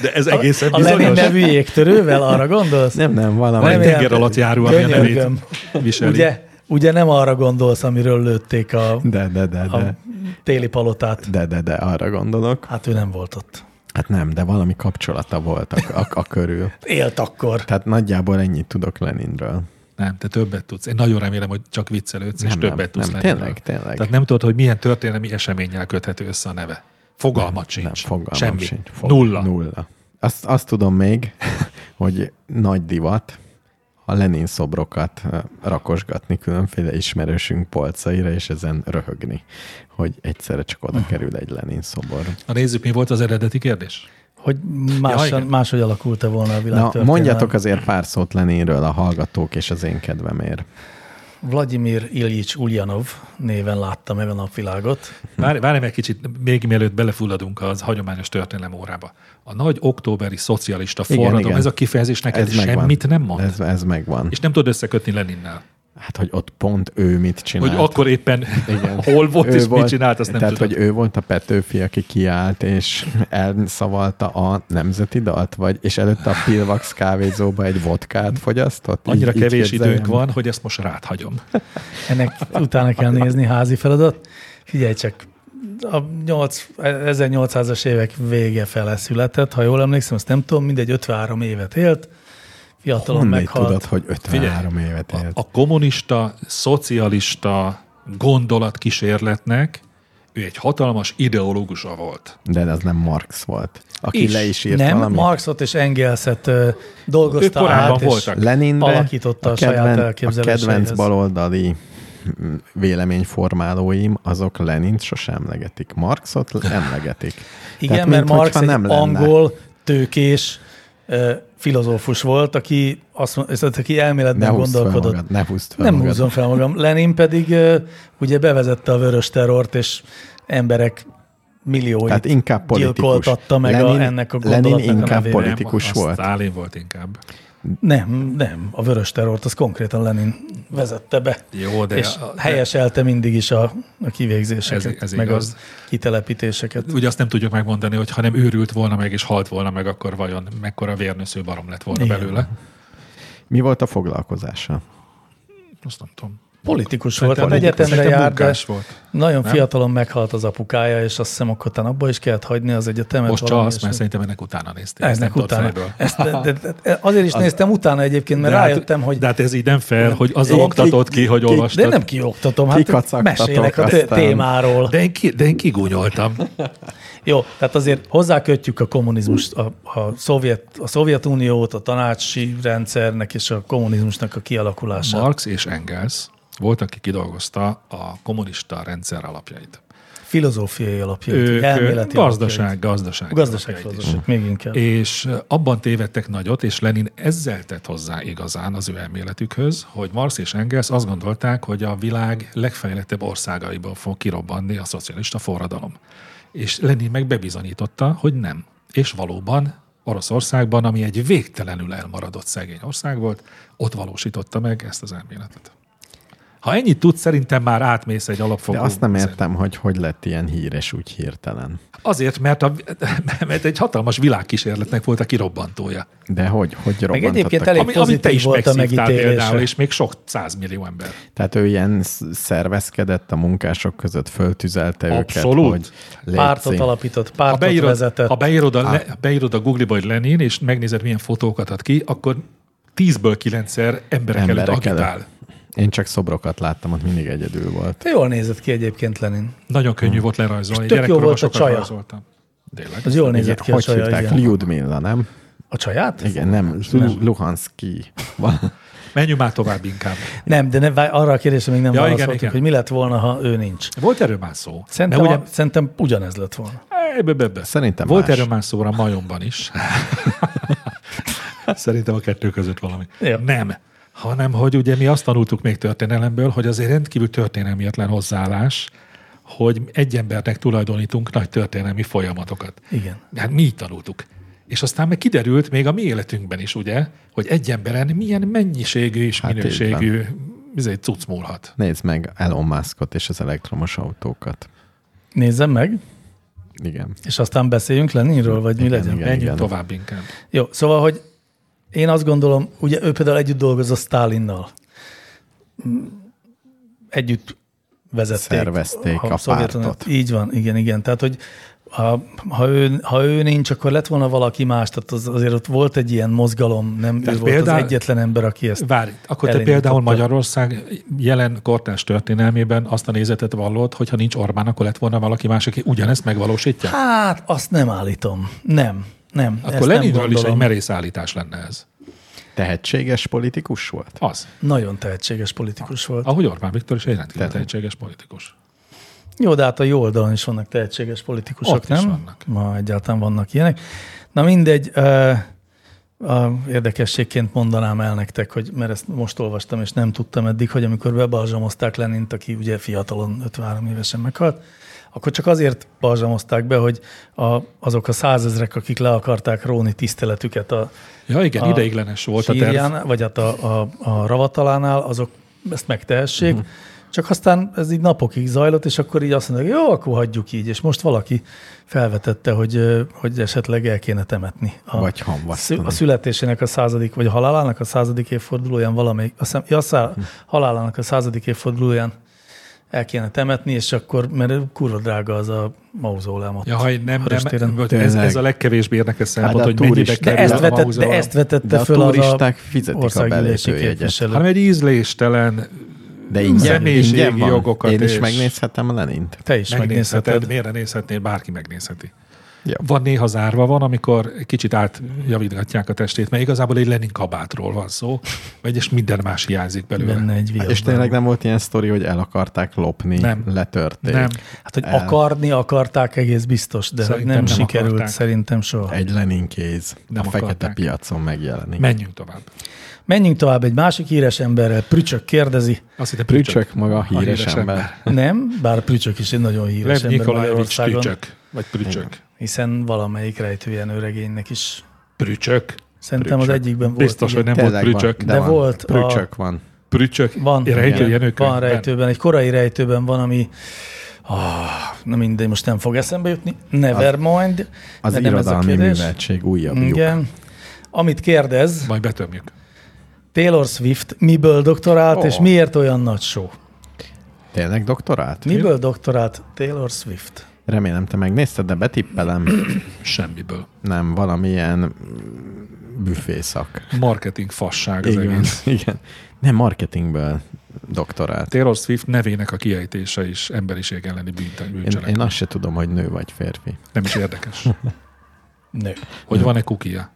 Speaker 4: De ez egészen
Speaker 2: A Lenin
Speaker 4: bizonyos.
Speaker 2: nevű jégtörővel arra gondolsz?
Speaker 3: Nem, nem,
Speaker 4: Van egy
Speaker 3: valami.
Speaker 2: Remélem-
Speaker 4: tenger alatt járó, ami a nevét
Speaker 2: Könyörgöm.
Speaker 4: viseli.
Speaker 2: Ugye, ugye nem arra gondolsz, amiről lőtték a,
Speaker 3: De, de, de,
Speaker 2: a
Speaker 4: Ah.
Speaker 3: de.
Speaker 2: téli palotát?
Speaker 3: De, de, de, arra gondolok.
Speaker 2: Hát ő nem volt ott.
Speaker 3: Hát nem, de valami kapcsolata volt a, a, a körül.
Speaker 2: Élt akkor.
Speaker 3: Tehát nagyjából ennyit tudok Leninről.
Speaker 4: Nem, te többet tudsz. Én nagyon remélem, hogy csak viccelődsz, és
Speaker 3: Nem,
Speaker 4: többet
Speaker 3: nem,
Speaker 4: tudsz
Speaker 3: nem,
Speaker 4: lenni.
Speaker 3: tényleg, tényleg.
Speaker 4: Tehát nem tudod, hogy milyen történelmi eseménnyel köthető össze a neve. Fogalmat sincs.
Speaker 3: Nem, fogalmam
Speaker 4: Semmi.
Speaker 3: sincs. Fog-
Speaker 4: Nulla.
Speaker 3: Nulla. Azt, azt tudom még, hogy nagy divat a Lenin szobrokat ö, rakosgatni különféle ismerősünk polcaira, és ezen röhögni, hogy egyszerre csak
Speaker 4: Mhm.
Speaker 3: oda kerül egy Lenin szobor.
Speaker 4: Na nézzük, mi volt az eredeti kérdés.
Speaker 2: Hogy
Speaker 4: Ja,
Speaker 2: másan,
Speaker 4: igen.
Speaker 2: máshogy alakult-e volna a
Speaker 3: Na,
Speaker 2: világtörténelem?
Speaker 3: mondjatok azért pár szót Leninről a hallgatók és az én kedvemért.
Speaker 2: Vladimir Ilyich Ulyanov néven láttam ebben a világot.
Speaker 4: Várj, várj egy kicsit, még mielőtt belefulladunk az hagyományos történelem órába. A nagy októberi szocialista
Speaker 3: Igen,
Speaker 4: forradalom,
Speaker 3: igen.
Speaker 4: ez a kifejezés neked ez
Speaker 3: megvan.
Speaker 4: semmit nem mond?
Speaker 3: Ez,
Speaker 4: Ez...
Speaker 3: ez megvan.
Speaker 4: És nem tudod összekötni Leninnel?
Speaker 3: Hát, hogy ott pont ő mit csinált.
Speaker 4: Hogy akkor éppen Igen. hol volt ő és volt, mit csinált, azt nem
Speaker 3: Tehát,
Speaker 4: tudod.
Speaker 3: hogy ő volt a Petőfi, aki kiállt, és elszavalta a nemzeti dalt, vagy, és előtte a Pilvax kávézóba egy vodkát fogyasztott. Így-
Speaker 4: Annyira
Speaker 3: így
Speaker 4: kevés
Speaker 3: képzeljem.
Speaker 4: időnk van, hogy ezt most rád hagyom.
Speaker 2: Ennek utána kell nézni házi feladat. Figyelj csak, a 8, 1800-as évek vége fele született, ha jól emlékszem, azt nem tudom, mindegy 53 évet élt, fiatalon
Speaker 3: Honnan
Speaker 2: meghalt.
Speaker 3: tudod, hogy 53 Figyelj, évet élt?
Speaker 4: A kommunista, szocialista gondolatkísérletnek ő egy hatalmas ideológusa volt.
Speaker 3: De ez nem Marx volt. Aki
Speaker 4: Is.
Speaker 3: le is írt
Speaker 2: nem,
Speaker 3: valami.
Speaker 2: Marxot és Engelset ö,
Speaker 4: Ők
Speaker 2: dolgozta
Speaker 4: korábban
Speaker 2: át, és
Speaker 4: voltak.
Speaker 3: Leninre
Speaker 2: alakította a saját elképzeléseihez.
Speaker 3: A kedvenc baloldali mm, véleményformálóim, azok Lenint sosem emlegetik. Marxot emlegetik.
Speaker 2: Igen, mert
Speaker 3: Tehát, minthogyha
Speaker 2: Marx egy nem
Speaker 3: lenne.
Speaker 2: angol tőkés ö, filozófus volt, aki, azt, mond- tehát aki
Speaker 3: ne
Speaker 2: elméletben
Speaker 3: húzd fel
Speaker 2: gondolkodott.
Speaker 3: magad, ne húzd fel
Speaker 2: Nem
Speaker 3: magad.
Speaker 2: húzom fel magam. Lenin pedig ö, ugye bevezette a vörös terort, és emberek millióit
Speaker 3: Tehát inkább politikus.
Speaker 2: gyilkoltatta meg Lenin, a, ennek a
Speaker 3: Lenin
Speaker 2: gondolatnak a
Speaker 3: inkább
Speaker 2: nevére.
Speaker 3: politikus
Speaker 4: nem,
Speaker 3: volt.
Speaker 4: Stálin volt inkább.
Speaker 2: Nem, nem. A vörös terort az konkrétan Lenin vezette be.
Speaker 4: Jó, de...
Speaker 2: De, és
Speaker 4: a- de-
Speaker 2: helyeselte mindig is a, a kivégzéseket,
Speaker 4: Ez- ez
Speaker 2: meg
Speaker 4: igaz.
Speaker 2: az kitelepítéseket.
Speaker 4: Ugye azt nem tudjuk megmondani, hogy ha nem őrült volna meg és halt volna meg, akkor vajon mekkora vérnősző barom lett volna
Speaker 2: Igen.
Speaker 4: Igen. belőle.
Speaker 3: Mi volt a foglalkozása?
Speaker 4: Azt nem tudom.
Speaker 2: Politikus volt, tehát
Speaker 4: Politikus.
Speaker 2: Szóval egyetemre
Speaker 4: Szerintem
Speaker 2: járt, de
Speaker 4: munkás volt.
Speaker 2: nagyon
Speaker 4: nem?
Speaker 2: fiatalon meghalt az apukája, és azt hiszem, akkor utána abba is kellett hagyni az egyetemet.
Speaker 4: Most
Speaker 2: valami
Speaker 4: csalsz,
Speaker 2: ilyesmi.
Speaker 4: mert szerintem ennek utána néztél. ezt
Speaker 2: Eznek
Speaker 4: nem tudod
Speaker 2: utána.
Speaker 4: fejből.
Speaker 2: Ezt, de, de, de, azért is néztem utána egyébként, mert
Speaker 4: De hát-
Speaker 2: rájöttem, hogy
Speaker 4: De hát ez így nem fel, hogy az
Speaker 2: Én ki-
Speaker 4: oktatod ki, hogy olvastad.
Speaker 2: de nem kioktatom, hát
Speaker 3: Kikacagtatok
Speaker 2: mesélek a te-
Speaker 3: aztán.
Speaker 2: témáról. De...
Speaker 4: De én, ki, de én kigúnyoltam.
Speaker 2: Jó, tehát azért hozzákötjük a kommunizmust, a, a, Szovjet, a Szovjetuniót, a tanácsi rendszernek és a kommunizmusnak a kialakulását.
Speaker 4: Marx és Engels volt, aki kidolgozta a kommunista rendszer alapjait.
Speaker 2: Filozófiai alapjait,
Speaker 4: Ők
Speaker 2: elméleti
Speaker 4: gazdaság,
Speaker 2: alapjait.
Speaker 4: gazdaság. alapjait is.
Speaker 2: Gazdaságfilozófia, még inkább.
Speaker 4: És abban tévedtek nagyot, és Lenin ezzel tett hozzá igazán az ő elméletükhöz, hogy Marx és Engels azt gondolták, hogy a világ legfejlettebb országaiban fog kirobbanni a szocialista forradalom. És Lenin meg bebizonyította, hogy nem. És valóban Oroszországban, ami egy végtelenül elmaradott szegény ország volt, ott valósította meg ezt az elméletet. Ha ennyit tudsz, szerintem már átmész egy alapfogó.
Speaker 3: De azt nem
Speaker 4: szem-
Speaker 3: értem, hogy hogy lett ilyen híres úgy hirtelen.
Speaker 4: Azért, mert, a, mert egy hatalmas világkísérletnek volt a kirobbantója.
Speaker 3: De hogy, hogy robbantottak?
Speaker 2: egyébként
Speaker 3: ki?
Speaker 2: elég-
Speaker 4: Ami, amit te
Speaker 2: pozitív
Speaker 4: is
Speaker 2: volt a
Speaker 4: megszívtál
Speaker 2: megítélése.
Speaker 4: például, és még sok százmillió ember.
Speaker 3: Tehát ő ilyen sz- szervezkedett a munkások között, föltüzelte
Speaker 4: Abszolút.
Speaker 3: őket, hogy légy
Speaker 2: Pártot
Speaker 3: szín-
Speaker 2: alapított, pártot
Speaker 4: beírod,
Speaker 2: vezetett. Hát.
Speaker 4: ha beírod a, le, ha beírod a Google-ba, hogy Lenin, és megnézed, milyen fotókat ad ki, akkor tízből kilencszer emberek, emberek előtt
Speaker 3: emberek
Speaker 4: agitál.
Speaker 3: előtt. Én csak szobrokat láttam, ott mindig egyedül volt.
Speaker 2: Jól nézett ki egyébként Lenin.
Speaker 4: Nagyon könnyű volt lerajzolni.
Speaker 2: Hmm. És tök jó
Speaker 4: Gyerekkoromban
Speaker 2: volt a
Speaker 4: sokat
Speaker 2: csaja.
Speaker 4: Rajzoltam. Tényleg.
Speaker 2: Az jól
Speaker 3: Igen,
Speaker 2: nézett ki a
Speaker 3: hogy
Speaker 2: csaja,
Speaker 3: hívták?
Speaker 2: igen.
Speaker 3: Lyudmilla, nem?
Speaker 2: A csaját?
Speaker 3: Igen, nem, Lu- Luhanszki. Val-
Speaker 4: Menjünk már tovább inkább.
Speaker 2: Nem, de ne, várj, arra a kérdésre még nem
Speaker 4: Ja,
Speaker 2: ja,
Speaker 4: igen,
Speaker 2: válaszoltuk, igen, igen. hogy
Speaker 4: igen.
Speaker 2: mi lett volna, ha ő nincs.
Speaker 4: Volt erről már szó.
Speaker 2: Szerintem,
Speaker 4: De ugye,
Speaker 2: a, szerintem ugyanez lett volna.
Speaker 4: Ebbe, ebbe, ebbe.
Speaker 3: Szerintem
Speaker 4: Volt
Speaker 3: más.
Speaker 4: erről már szóra majomban is. Szerintem a kettő között valami.
Speaker 2: Ja.
Speaker 4: Nem. Hanem, hogy ugye mi azt tanultuk még történelemből, hogy azért rendkívül történelmietlen hozzáállás, hogy egy embernek tulajdonítunk nagy történelmi folyamatokat.
Speaker 2: Igen.
Speaker 4: Hát mi így tanultuk. És aztán meg kiderült még a mi életünkben is, ugye, hogy egy emberen milyen mennyiségű és
Speaker 3: Hát így
Speaker 4: minőségű hát cucc múlhat.
Speaker 3: Nézd meg Elon Muskot és az elektromos autókat.
Speaker 2: Nézzem meg,
Speaker 3: Igen.
Speaker 2: és aztán beszéljünk Leninről, vagy mi
Speaker 3: Igen,
Speaker 2: legyen.
Speaker 3: igen.
Speaker 4: Menjünk tovább inkább.
Speaker 2: Jó, szóval, hogy én azt gondolom, ugye ő például együtt dolgozott Stálinnal. Mm, Együtt vezették.
Speaker 3: Szervezték a
Speaker 2: Szovjetunió-
Speaker 3: pártot.
Speaker 2: Így van, igen, igen. Tehát, hogy ha, ha, ő, ha ő nincs, akkor lett volna valaki más, tehát az, azért ott volt egy ilyen mozgalom, nem ő
Speaker 4: Tehát
Speaker 2: volt
Speaker 4: például-
Speaker 2: az egyetlen ember, aki ezt...
Speaker 4: Várj, akkor te
Speaker 2: elindította.
Speaker 4: például Magyarország jelen kortárs történelmében azt a nézetet vallod, hogy ha nincs Orbán, akkor lett volna valaki más, aki ugyanezt megvalósítja? Hát,
Speaker 2: Hát, azt nem állítom. Nem, nem.
Speaker 4: akkor
Speaker 2: ezt nem
Speaker 4: Leninről is egy
Speaker 2: gondolom.
Speaker 4: merész állítás lenne ez.
Speaker 3: Tehetséges politikus volt?
Speaker 4: Az.
Speaker 2: Nagyon tehetséges politikus volt.
Speaker 4: Ahogy Orbán Viktor is egy rendkívül
Speaker 3: Tényleg.
Speaker 4: tehetséges politikus.
Speaker 2: Jó, de hát a jó oldalon is vannak tehetséges politikusok,
Speaker 4: Ott is
Speaker 2: nem?
Speaker 4: vannak.
Speaker 2: Ma egyáltalán vannak ilyenek. Na mindegy, ö, a érdekességként mondanám el nektek, hogy mert ezt most olvastam, és nem tudtam eddig, hogy amikor bebalzsamozták Lenint, aki ugye fiatalon 53 évesen meghalt, akkor csak azért balzsamozták be, hogy a, azok a százezrek, akik le akarták róni tiszteletüket a
Speaker 4: Ja, igen,
Speaker 2: a
Speaker 4: ideiglenes volt a terv.
Speaker 2: sírján, vagy hát a, a, a ravatalánál, azok ezt megtehessék,
Speaker 4: Mhm.
Speaker 2: uh-huh. csak aztán ez így napokig zajlott, és akkor így azt mondták, jó, akkor hagyjuk így, és most valaki felvetette, hogy, ö, hogy esetleg el kéne temetni. A,
Speaker 3: Vagy hamvasztani.
Speaker 2: szü- A születésének a századik, vagy a halálának a századik évfordulóján valamelyik, azt hiszem, ja, szá-
Speaker 4: Mhm.
Speaker 2: halálának a századik évfordulóján el kéne temetni, és akkor, mert kurva drága az a mauzóleum ott.
Speaker 4: Ja, ha én nem,
Speaker 2: Harostéren.
Speaker 4: nem vagy ez,
Speaker 3: Tényleg.
Speaker 4: ez a legkevésbé érdekes szempont,
Speaker 3: de a
Speaker 4: hogy mennyibe
Speaker 3: turista-
Speaker 2: Hát, de,
Speaker 4: kerül
Speaker 2: ezt
Speaker 4: a
Speaker 2: vetett, de
Speaker 4: mauzóleum.
Speaker 2: ezt vetette
Speaker 3: De a
Speaker 2: föl az a Hát
Speaker 3: turisták fizetik a
Speaker 2: országgyűlési
Speaker 3: belépőjegyet.
Speaker 2: képviselő.
Speaker 4: hanem egy ízléstelen,
Speaker 3: De Mm. ingyen,
Speaker 4: Személyiségi
Speaker 3: ingyen van.
Speaker 4: jogokat
Speaker 3: Én is
Speaker 4: és-
Speaker 3: megnézhetem Lenint.
Speaker 2: Te is
Speaker 4: megnézheted,
Speaker 2: megnézheted.
Speaker 4: miért nézhetnél, bárki megnézheti.
Speaker 3: Ja.
Speaker 4: Van néha zárva van, amikor egy kicsit átjavítgatják a testét, mert igazából egy Lenin kabátról van szó, vagy és minden más hiányzik belőle.
Speaker 2: Benne egy viadban.
Speaker 3: És tényleg nem volt ilyen sztori, hogy el akarták lopni,
Speaker 4: Nem.
Speaker 3: letörték.
Speaker 4: Nem.
Speaker 2: Hát, hogy
Speaker 3: El.
Speaker 2: akarni akarták egész biztos, de hogy
Speaker 4: Szerintem
Speaker 2: nem,
Speaker 4: nem
Speaker 2: sikerült
Speaker 4: akarták.
Speaker 2: szerintem soha.
Speaker 3: Egy Lenin kéz
Speaker 4: Nem
Speaker 3: a fekete
Speaker 4: akarták.
Speaker 3: piacon megjelenik.
Speaker 4: Menjünk tovább.
Speaker 2: Menjünk tovább egy másik híres emberrel. Prücsök kérdezi.
Speaker 4: Azt hittem,
Speaker 3: Prücsök maga a híres,
Speaker 4: híres
Speaker 3: ember.
Speaker 4: ember.
Speaker 2: Nem, bár Prücsök is egy nagyon híres
Speaker 4: Lev
Speaker 2: ember
Speaker 4: Nikolajevics
Speaker 2: Magyarországon,
Speaker 4: Prücsök. Vagy Prücsök.
Speaker 2: hiszen valamelyik rejtőjenő regénynek is.
Speaker 4: Prücsök.
Speaker 2: Szerintem az egyikben volt.
Speaker 4: Biztos, hogy
Speaker 2: igen.
Speaker 4: nem volt
Speaker 3: Tényleg van,
Speaker 4: Prücsök.
Speaker 2: De volt a-
Speaker 3: Prücsök van.
Speaker 4: Prücsök.
Speaker 2: Van,
Speaker 4: Rejtő
Speaker 2: igen,
Speaker 4: Jenőkönyvben.
Speaker 2: van rejtőben, egy korai rejtőben van, ami ah, na mindegy, most nem fog eszembe jutni. Nevermind.
Speaker 3: Az
Speaker 2: de nem ez a
Speaker 3: irodalmi
Speaker 2: kérdés.
Speaker 3: műveltség újabb lyuk.
Speaker 2: Igen. Amit kérdez,
Speaker 4: Majd betömjük.
Speaker 2: Taylor Swift miből doktorált,
Speaker 3: Ó.
Speaker 2: és miért olyan nagy show?
Speaker 3: Tényleg doktorát?
Speaker 2: Miből doktorált Taylor Swift?
Speaker 3: Remélem te megnézted, de betippelem.
Speaker 4: Semmiből.
Speaker 3: Nem, valamilyen mm, büfészak.
Speaker 4: Marketing fasság az
Speaker 3: Igen,
Speaker 4: egész.
Speaker 3: igen. Nem marketingből doktorált.
Speaker 4: Taylor Swift nevének a kiejtése is emberiség elleni bűntel-
Speaker 3: Én,
Speaker 4: bűncselekmény.
Speaker 3: én azt se tudom, hogy nő vagy férfi.
Speaker 4: Nem is érdekes.
Speaker 2: Nő.
Speaker 4: Hogy van-e kukia?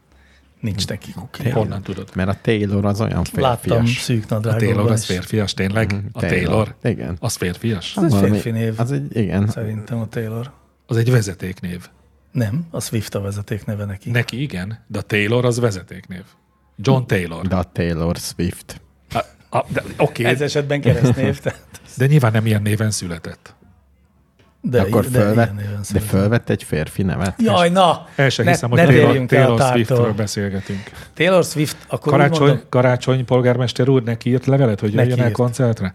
Speaker 2: Nincs neki kuki.
Speaker 4: Honnan tudod?
Speaker 3: Mert a Taylor az olyan férfias.
Speaker 2: Láttam szűk
Speaker 4: A Taylor
Speaker 2: nadrágokban
Speaker 4: az
Speaker 2: is.
Speaker 4: férfias,
Speaker 2: Mhm.
Speaker 4: tényleg? A Taylor.
Speaker 3: Igen.
Speaker 4: Az férfias?
Speaker 2: Ez egy
Speaker 3: Valami-
Speaker 2: férfi név,
Speaker 3: Az egy, igen.
Speaker 2: szerintem a Taylor.
Speaker 4: Az egy vezetéknév.
Speaker 2: Nem, a Swift a vezeték neve neki.
Speaker 4: Neki igen, de a Taylor az vezetéknév.
Speaker 2: Hm.
Speaker 4: John Taylor.
Speaker 3: De a Taylor Swift.
Speaker 4: A, a, de, oké,
Speaker 2: Ez
Speaker 4: okay,
Speaker 2: esetben keresztnév, tehát.
Speaker 4: de nyilván nem ilyen néven született.
Speaker 2: De,
Speaker 3: Akkor
Speaker 2: de,
Speaker 3: fölvett,
Speaker 2: ilyen néven
Speaker 3: de
Speaker 2: született.
Speaker 3: fölvett egy férfi nevet.
Speaker 2: Jaj, na!
Speaker 4: El sem
Speaker 2: ne,
Speaker 4: hiszem,
Speaker 2: ne
Speaker 4: hogy Taylor,
Speaker 2: térjünk el a
Speaker 4: Taylor Swiftről
Speaker 2: tártól.
Speaker 4: beszélgetünk.
Speaker 2: Taylor Swift, akkor úgy
Speaker 4: Karácsony,
Speaker 2: mondom,
Speaker 4: karácsony polgármester úr neki írt levelet, hogy
Speaker 2: Neki
Speaker 4: jöjjön el
Speaker 2: írt. Hm.
Speaker 4: koncertre?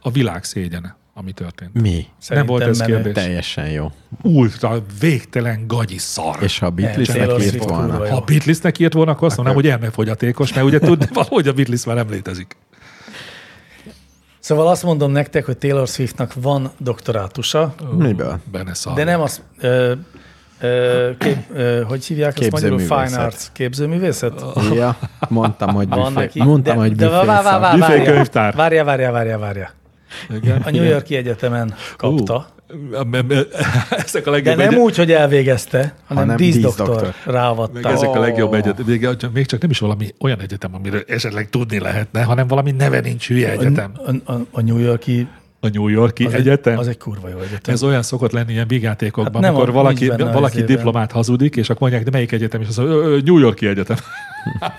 Speaker 4: A világ szégyene, ami történt.
Speaker 3: Mi?
Speaker 4: Nem volt ez
Speaker 2: menő.
Speaker 4: kérdés.
Speaker 3: Teljesen jó.
Speaker 4: Ultra végtelen gagyi szar. És
Speaker 3: És ha a
Speaker 2: Taylor
Speaker 3: Beatlesnek írt
Speaker 2: Swift kurva
Speaker 3: volna.
Speaker 2: jó.
Speaker 4: ha a Beatlesnek írt volna, akkor azt mondanám, hogy elmefogyatékos, mert ugye tudni valahogy a Beatles már nem létezik.
Speaker 2: Szóval azt mondom nektek, hogy Taylor Swiftnak van doktorátusa,
Speaker 3: Miből?
Speaker 4: Benne szar.
Speaker 2: de nem az, ö, ö, kép, ö, hogy hívják azt magyarul? Fine
Speaker 3: Képzőművészet.
Speaker 2: Arts képzőművészet?
Speaker 3: Ja, mondtam, hogy
Speaker 2: Van
Speaker 3: büfé.
Speaker 2: neki.
Speaker 3: Mondtam,
Speaker 2: de,
Speaker 3: hogy
Speaker 2: de vá, vá, vá,
Speaker 3: büfészak.
Speaker 4: Büfékönyvtár.
Speaker 2: Várja, várja, várja, várja.
Speaker 4: Igen.
Speaker 2: A New Yorki Egyetemen kapta.
Speaker 4: Ezek
Speaker 2: De
Speaker 4: a legjobb
Speaker 2: nem
Speaker 4: egyet-
Speaker 2: úgy, hogy elvégezte, hanem
Speaker 3: Hanem
Speaker 2: díszdoktor
Speaker 3: díszdoktor.
Speaker 2: ráadta.
Speaker 4: Meg ezek a legjobb
Speaker 3: Ó.
Speaker 4: egyetem. Még, még csak nem is valami olyan egyetem, amiről esetleg tudni lehetne, hanem valami neve nincs hülye egyetem.
Speaker 2: A, a, a New Yorki
Speaker 4: A New Yorki
Speaker 2: az
Speaker 4: egyetem.
Speaker 2: Egy, az egy kurva jó egyetem.
Speaker 4: ez olyan szokott lenni ilyen
Speaker 2: Hát
Speaker 4: vigyátékokban,
Speaker 2: nem,
Speaker 4: hát amikor
Speaker 2: a-
Speaker 4: valaki,
Speaker 2: nincs benne az
Speaker 4: valaki
Speaker 2: éven.
Speaker 4: diplomát hazudik, és akkor mondják, de melyik egyetem, és azt mondja, "Ö, ö, New Yorki egyetem.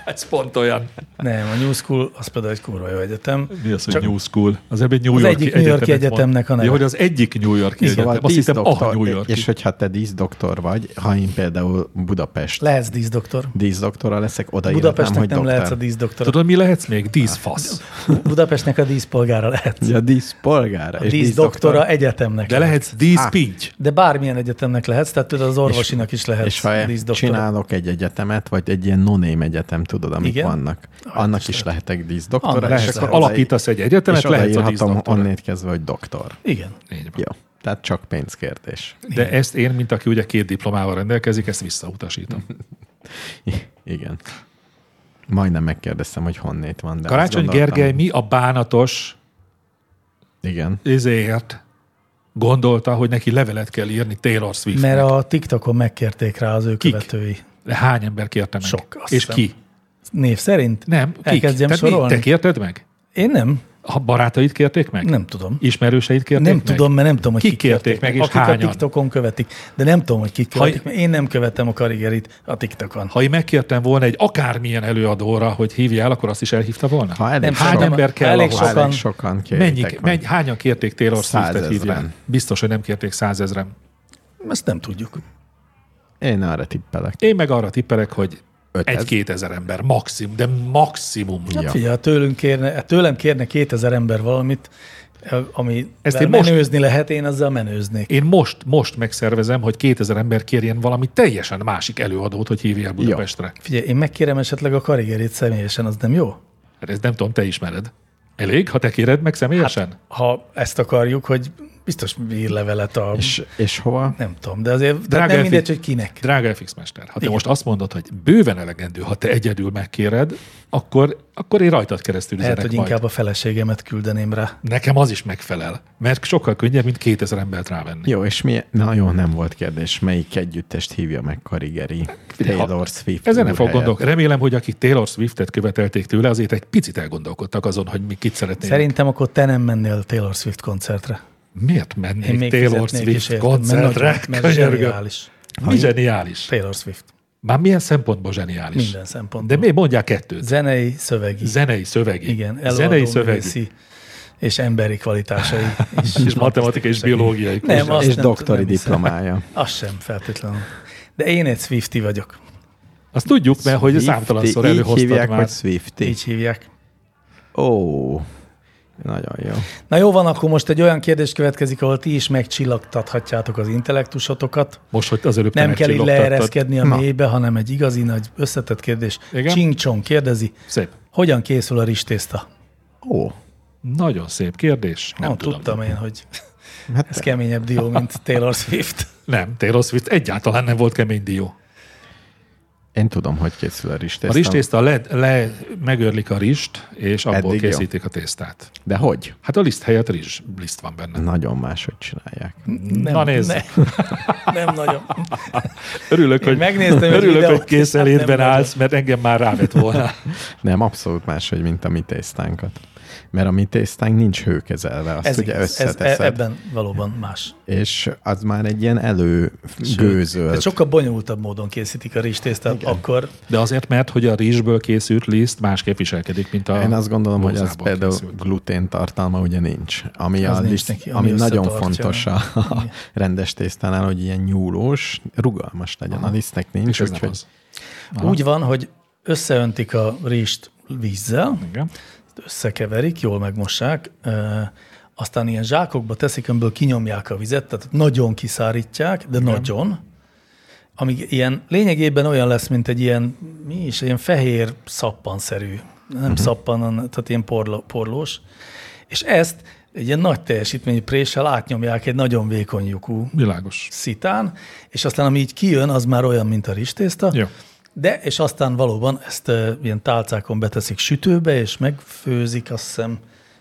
Speaker 4: Ez pont olyan.
Speaker 2: Nem, a New School az például egy kurva jó egyetem.
Speaker 4: Mi az, hogy
Speaker 2: Csak-
Speaker 4: Csak New School? Az ebben New
Speaker 2: Az
Speaker 4: Yorki
Speaker 2: egyik New Yorki
Speaker 4: egyetemet mond.
Speaker 2: egyetemnek a neve.
Speaker 4: Ja, hogy az egyik New Yorki
Speaker 3: Szóval
Speaker 4: egyetem. Azt hittem, ah, a
Speaker 3: díszdoktor,
Speaker 4: New Yorki.
Speaker 3: és hogyha te díszdoktor vagy, ha én például Budapest
Speaker 2: Lehetsz díszdoktor.
Speaker 3: díszdoktora leszek, odaírtam,
Speaker 2: Budapestnek
Speaker 3: hogy
Speaker 2: nem
Speaker 3: doktor.
Speaker 2: lehetsz a díszdoktor.
Speaker 4: Tudod, mi lehetsz még?
Speaker 3: Hát,
Speaker 4: Díszfasz.
Speaker 2: Budapestnek a díszpolgára lehetsz.
Speaker 3: Ja, díszpolgára.
Speaker 2: A díszdoktora egyetemnek.
Speaker 4: De lehetsz díszpinty.
Speaker 2: De bármilyen egyetemnek lehetsz, tehát tudod, az orvosinak is lehetsz
Speaker 3: És
Speaker 4: e-
Speaker 3: ha
Speaker 2: díszdoktora.
Speaker 3: csinálok egy egyetemet, vagy egy ilyen noném egyetem, tudod, amik
Speaker 2: Igen?
Speaker 3: Igen? vannak, annak is lehetek díszdoktora.
Speaker 2: Annak
Speaker 3: és
Speaker 4: Lehetsz,
Speaker 3: akkor
Speaker 4: akkor
Speaker 3: oda-
Speaker 4: alakítasz egy
Speaker 3: és
Speaker 4: egyetemet, lehetsz a
Speaker 3: odaírhatom
Speaker 4: díszdoktor.
Speaker 3: onnét kezdve, hogy doktor.
Speaker 2: Igen.
Speaker 4: Így van.
Speaker 3: Jó. Tehát csak pénzkérdés.
Speaker 4: De ezt én, mint aki ugye két diplomával rendelkezik, ezt visszautasítom.
Speaker 3: Igen. Majdnem megkérdeztem, hogy honnét van. De azt
Speaker 4: Karácsony
Speaker 3: gondoltam-
Speaker 4: Gergely mi a bánatos
Speaker 3: Igen.
Speaker 4: izéért gondolta, hogy neki levelet kell írni Taylor Swift.
Speaker 2: Mert a TikTokon megkérték rá az ő
Speaker 4: Kik?
Speaker 2: követői.
Speaker 4: Hány ember kérte meg?
Speaker 2: Sok, azt
Speaker 4: És
Speaker 2: hiszem.
Speaker 4: ki?
Speaker 2: Név szerint?
Speaker 4: Nem, kik?
Speaker 2: Elkezdjem
Speaker 4: Tehát mi?
Speaker 2: sorolni?
Speaker 4: Te kérted meg?
Speaker 2: Én nem.
Speaker 4: A barátaid kérték meg?
Speaker 2: Nem tudom.
Speaker 4: Ismerőseid kérték
Speaker 2: Nem
Speaker 4: meg?
Speaker 2: tudom, mert nem tudom, hogy
Speaker 4: Kik
Speaker 2: kik
Speaker 4: kérték meg, és
Speaker 2: akik
Speaker 4: hányan?
Speaker 2: a TikTokon követik. De nem tudom, hogy kik
Speaker 4: Ha-
Speaker 2: követik, mert én nem követem a karigerit a TikTokon.
Speaker 4: Ha én megkértem volna egy akármilyen előadóra, hogy hívjál, akkor azt is elhívta volna?
Speaker 3: Ha elég
Speaker 2: Nem
Speaker 3: sokan,
Speaker 4: Hány ember kell
Speaker 2: elég
Speaker 4: ahhoz?
Speaker 2: sokan.
Speaker 3: elég sokan
Speaker 4: Mennyi,
Speaker 3: kérjétek
Speaker 4: menny,
Speaker 3: meg.
Speaker 4: hányan kérték Taylor Swift-et
Speaker 3: Százezren.
Speaker 4: hívjál? Biztos, hogy nem kérték százezren.
Speaker 2: Ezt nem tudjuk.
Speaker 3: Én arra tippelek.
Speaker 4: Én meg arra tippelek, hogy
Speaker 3: Ötezer.
Speaker 4: egy-kétezer ember maximum, de maximum.
Speaker 2: Hát
Speaker 3: Ja.
Speaker 2: figyelj, ha tőlünk kérne, tőlem kérne 2000 ember valamit, eh, ami
Speaker 4: Ezt
Speaker 2: Ezt
Speaker 4: én
Speaker 2: én
Speaker 4: most-
Speaker 2: menőzni lehet, én azzal menőznék.
Speaker 4: Én most, most megszervezem, hogy 2000 ember kérjen valami teljesen másik előadót, hogy hívjál Budapestre.
Speaker 2: Figyelj, én megkérem esetleg a karigerét személyesen, az nem jó?
Speaker 4: Hát ezt nem tudom, te ismered. Elég, ha te kéred meg személyesen? Hát,
Speaker 2: Ha ezt akarjuk, hogy biztos ír levelet a...
Speaker 3: És, és hova?
Speaker 2: Nem tudom, de azért tehát
Speaker 4: Drága
Speaker 2: nem
Speaker 4: Efi.
Speaker 2: mindegy, hogy kinek.
Speaker 4: Drága FX Mester, ha te most azt mondod, hogy bőven elegendő, ha te egyedül megkéred, akkor, akkor én rajtad keresztül
Speaker 2: Lehet,
Speaker 4: üzenek
Speaker 2: hogy
Speaker 4: majd.
Speaker 2: inkább a feleségemet küldeném rá.
Speaker 4: Nekem az is megfelel, mert sokkal könnyebb, mint 2000 embert rávenni.
Speaker 3: Jó, és mi? Na jó, nem volt kérdés. Melyik együttest hívja meg Karigeri? Taylor Swift.
Speaker 4: Ezen nem
Speaker 3: úr
Speaker 4: fog
Speaker 3: helyett.
Speaker 4: gondolkodni. Remélem, hogy akik Taylor Swiftet követelték tőle, azért egy picit elgondolkodtak azon, hogy mi kit szeretnének.
Speaker 2: Szerintem akkor te nem mennél Taylor Swift koncertre.
Speaker 4: Miért
Speaker 2: Én
Speaker 4: mennék
Speaker 2: még
Speaker 4: Taylor
Speaker 2: fizetnék is
Speaker 4: Swift
Speaker 2: érted, mert
Speaker 4: koncertre?
Speaker 2: nagyon- Mert
Speaker 4: Könyörgöm.
Speaker 2: zseniális.
Speaker 4: Mi zseniális?
Speaker 2: Taylor Swift.
Speaker 4: Már milyen szempontból zseniális?
Speaker 2: Minden szempontból.
Speaker 4: De miért mondják kettőt?
Speaker 2: Zenei, szövegi.
Speaker 4: Zenei szövegi.
Speaker 2: Igen,
Speaker 4: Zenei
Speaker 2: előadó,
Speaker 4: szövegi.
Speaker 2: művészi és emberi kvalitásai.
Speaker 4: És matematikai és biológiai.
Speaker 2: Nem, azt
Speaker 3: És
Speaker 2: nem-
Speaker 3: doktori
Speaker 2: nem hiszem.
Speaker 3: diplomája.
Speaker 2: Az sem feltétlenül. De én egy Swifty vagyok.
Speaker 4: Azt tudjuk, mert hogy
Speaker 3: Swiftie,
Speaker 4: számtalanszor
Speaker 3: így
Speaker 4: előhoztad
Speaker 3: hívják,
Speaker 4: már.
Speaker 3: hogy Swifty.
Speaker 2: Így hívják.
Speaker 3: Ó, nagyon jó.
Speaker 2: Na jó van, akkor most egy olyan kérdés következik, ahol ti is megcsillagtathatjátok az intellektusotokat.
Speaker 4: Most, hogy az előbb te
Speaker 2: Nem kell így
Speaker 4: megcsillogtattad.
Speaker 2: leereszkedni a
Speaker 3: Na.
Speaker 2: mélybe, hanem egy igazi nagy összetett kérdés.
Speaker 4: Igen?
Speaker 2: Ching Chong kérdezi,
Speaker 4: Szép.
Speaker 2: hogyan készül a ristészta?
Speaker 3: Ó,
Speaker 4: Nagyon szép kérdés. Nem
Speaker 2: Nem
Speaker 4: tudom.
Speaker 2: tudtam én, hogy
Speaker 3: hát
Speaker 2: ez keményebb dió, mint Taylor Swift.
Speaker 4: Nem, Taylor Swift egyáltalán nem volt kemény dió.
Speaker 3: én tudom, hogy készül a
Speaker 4: A
Speaker 3: ristészta.
Speaker 4: rizstészta le, le, megörlik a rist, és abból
Speaker 3: Eddig
Speaker 4: Eddig
Speaker 3: jó.
Speaker 4: készítik jó. a tésztát.
Speaker 3: De hogy?
Speaker 4: Hát a liszt helyett rizs liszt van benne.
Speaker 3: Nagyon máshogy csinálják.
Speaker 2: Nem,
Speaker 4: Na nézd.
Speaker 2: Ne, nem nagyon.
Speaker 4: Örülök, hogy,
Speaker 2: megnéztem egy
Speaker 4: örülök,
Speaker 2: videót,
Speaker 4: hogy kész
Speaker 2: hát
Speaker 4: elétben
Speaker 2: nem
Speaker 4: állsz, mert engem már rávet volna.
Speaker 3: Nem, abszolút máshogy, mint a mi tésztánkat. Mert a mi tésztánk nincs hőkezelve, azt
Speaker 2: Ez,
Speaker 3: ugye
Speaker 2: igaz, ez,
Speaker 3: összeteszed,
Speaker 2: e- ebben valóban más.
Speaker 3: és az már egy ilyen előgőzölt.
Speaker 2: Tehát sokkal bonyolultabb módon készítik a rizstésztát, akkor
Speaker 4: De azért, mert hogy a rizsből készült liszt másképp viselkedik, mint a
Speaker 3: Én azt gondolom, hogy az
Speaker 4: lózából
Speaker 3: például
Speaker 4: készült.
Speaker 3: glutén tartalma ugye nincs. Ami,
Speaker 2: Az
Speaker 3: a
Speaker 2: nincs
Speaker 3: liszt,
Speaker 2: neki, ami
Speaker 3: ami, nagyon
Speaker 2: összetartja.
Speaker 3: fontos a, a rendes tésztánál, hogy ilyen nyúlós, rugalmas legyen. A lisztnek nincs,
Speaker 4: És ez nem
Speaker 3: úgyhogy
Speaker 4: az.
Speaker 2: Aha. úgy van, hogy összeöntik a rizst vízzel,
Speaker 4: Igen.
Speaker 2: összekeverik, jól megmossák, ö, aztán ilyen zsákokba teszik, amiből kinyomják a vizet, tehát nagyon kiszárítják, de Igen. nagyon, amíg ilyen lényegében olyan lesz, mint egy ilyen, mi is, ilyen fehér szappanszerű, nem uh-huh. szappan, hanem- tehát ilyen porló, porlós, és ezt egy ilyen nagy teljesítményű préssel átnyomják egy nagyon vékony lyukú
Speaker 4: Világos.
Speaker 2: szitán, és aztán ami így kijön, az már olyan, mint a ristészta.
Speaker 4: Jó.
Speaker 2: De, és aztán valóban ezt ö, ilyen tálcákon beteszik sütőbe, és megfőzik, azt hiszem,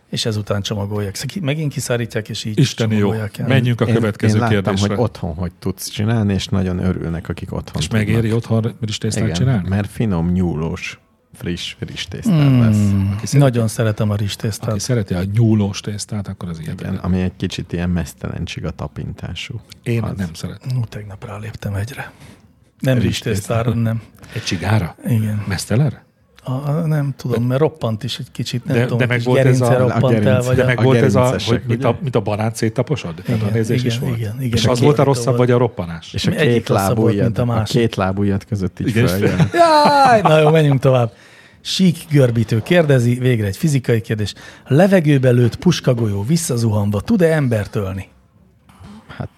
Speaker 2: és ezután csomagolják. Szóval ki- Megint kiszárítják, és így
Speaker 4: Isteni jó.
Speaker 2: csomagolják el.
Speaker 4: Menjünk a
Speaker 3: én,
Speaker 4: következő
Speaker 3: én láttam,
Speaker 4: kérdésre.
Speaker 3: hogy otthon hogy tudsz csinálni, és nagyon örülnek, akik otthon
Speaker 4: és megéri
Speaker 3: tudnak.
Speaker 4: otthon rizstésztát
Speaker 3: Igen,
Speaker 4: csinálni?
Speaker 3: mert finom, nyúlós, friss, friss tésztát
Speaker 2: Hmm.
Speaker 3: mm. lesz.
Speaker 2: Nagyon szeretem a
Speaker 4: Aki
Speaker 2: ristésztát.
Speaker 4: szereti a nyúlós tésztát, akkor az ilyet.
Speaker 3: Igen, ami egy kicsit ilyen mesztelen csiga tapintású.
Speaker 4: Én az.
Speaker 3: Hát-
Speaker 4: nem szeretem.
Speaker 2: Ú, tegnap ráléptem egyre. Nem ristésztára, nem.
Speaker 4: Egy csigára?
Speaker 2: Igen.
Speaker 4: Meszteler?
Speaker 2: A, a, nem tudom, mert roppant is egy kicsit, nem
Speaker 4: De-
Speaker 2: tudom,
Speaker 4: de meg
Speaker 2: kis
Speaker 4: volt ez
Speaker 2: gerince
Speaker 4: a- a
Speaker 2: roppant el,
Speaker 3: gerince.
Speaker 2: vagy
Speaker 4: De
Speaker 2: a-
Speaker 4: meg
Speaker 3: A
Speaker 4: volt ez a,
Speaker 3: gerincesek,
Speaker 4: hogy mint a,
Speaker 3: ugye?
Speaker 4: mint a banánt széttaposod? Igen, Tehát a
Speaker 2: Igen,
Speaker 4: nézés is
Speaker 2: igen,
Speaker 4: volt.
Speaker 2: igen, igen.
Speaker 4: és
Speaker 2: De
Speaker 4: az volt a
Speaker 2: két
Speaker 4: rosszabb,
Speaker 2: volt.
Speaker 4: vagy a roppanás?
Speaker 3: És a
Speaker 2: Egyik
Speaker 3: két,
Speaker 2: rosszabb volt,
Speaker 3: lábujjad,
Speaker 2: mint a
Speaker 3: a,
Speaker 2: másik.
Speaker 3: két lábujjad között így
Speaker 4: Igen, és
Speaker 3: följön.
Speaker 2: Jaj, na jó, menjünk tovább. Sík görbítő kérdezi, végre egy fizikai kérdés. Levegőbe lőtt puskagolyó visszazuhanva tud-e embert ölni?
Speaker 3: Hát,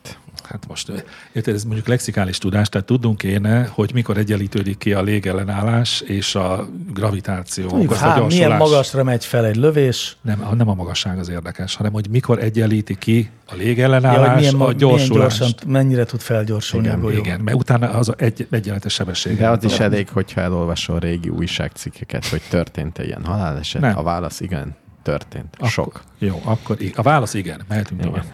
Speaker 4: Hát most, érted, ez mondjuk lexikális tudás, tehát tudnunk kéne, hogy mikor egyenlítődik ki a légellenállás és a gravitáció. okozta
Speaker 2: Há, hát milyen
Speaker 4: gyorsulás.
Speaker 2: magasra megy fel egy lövés?
Speaker 4: Nem, a- nem a magasság az érdekes, hanem hogy mikor egyenlíti ki a
Speaker 2: Ja, hogy
Speaker 4: légellenállás,
Speaker 2: milyen,
Speaker 4: ja, a
Speaker 2: ma- milyen
Speaker 4: gyorsulást.
Speaker 2: gyorsan, mennyire tud felgyorsulni igen, a golyó? Igen.
Speaker 4: Igen, mert utána az a egy, egyenletes sebesség.
Speaker 3: de az is elég, hogyha elolvasol régi újságcikkeket, hogy történt-e ilyen haláleset.
Speaker 4: Nem.
Speaker 3: A válasz igen, történt.
Speaker 4: Akkor-
Speaker 3: Sok.
Speaker 4: Jó, akkor i- a válasz igen, mehetünk
Speaker 3: Igen.
Speaker 4: tovább.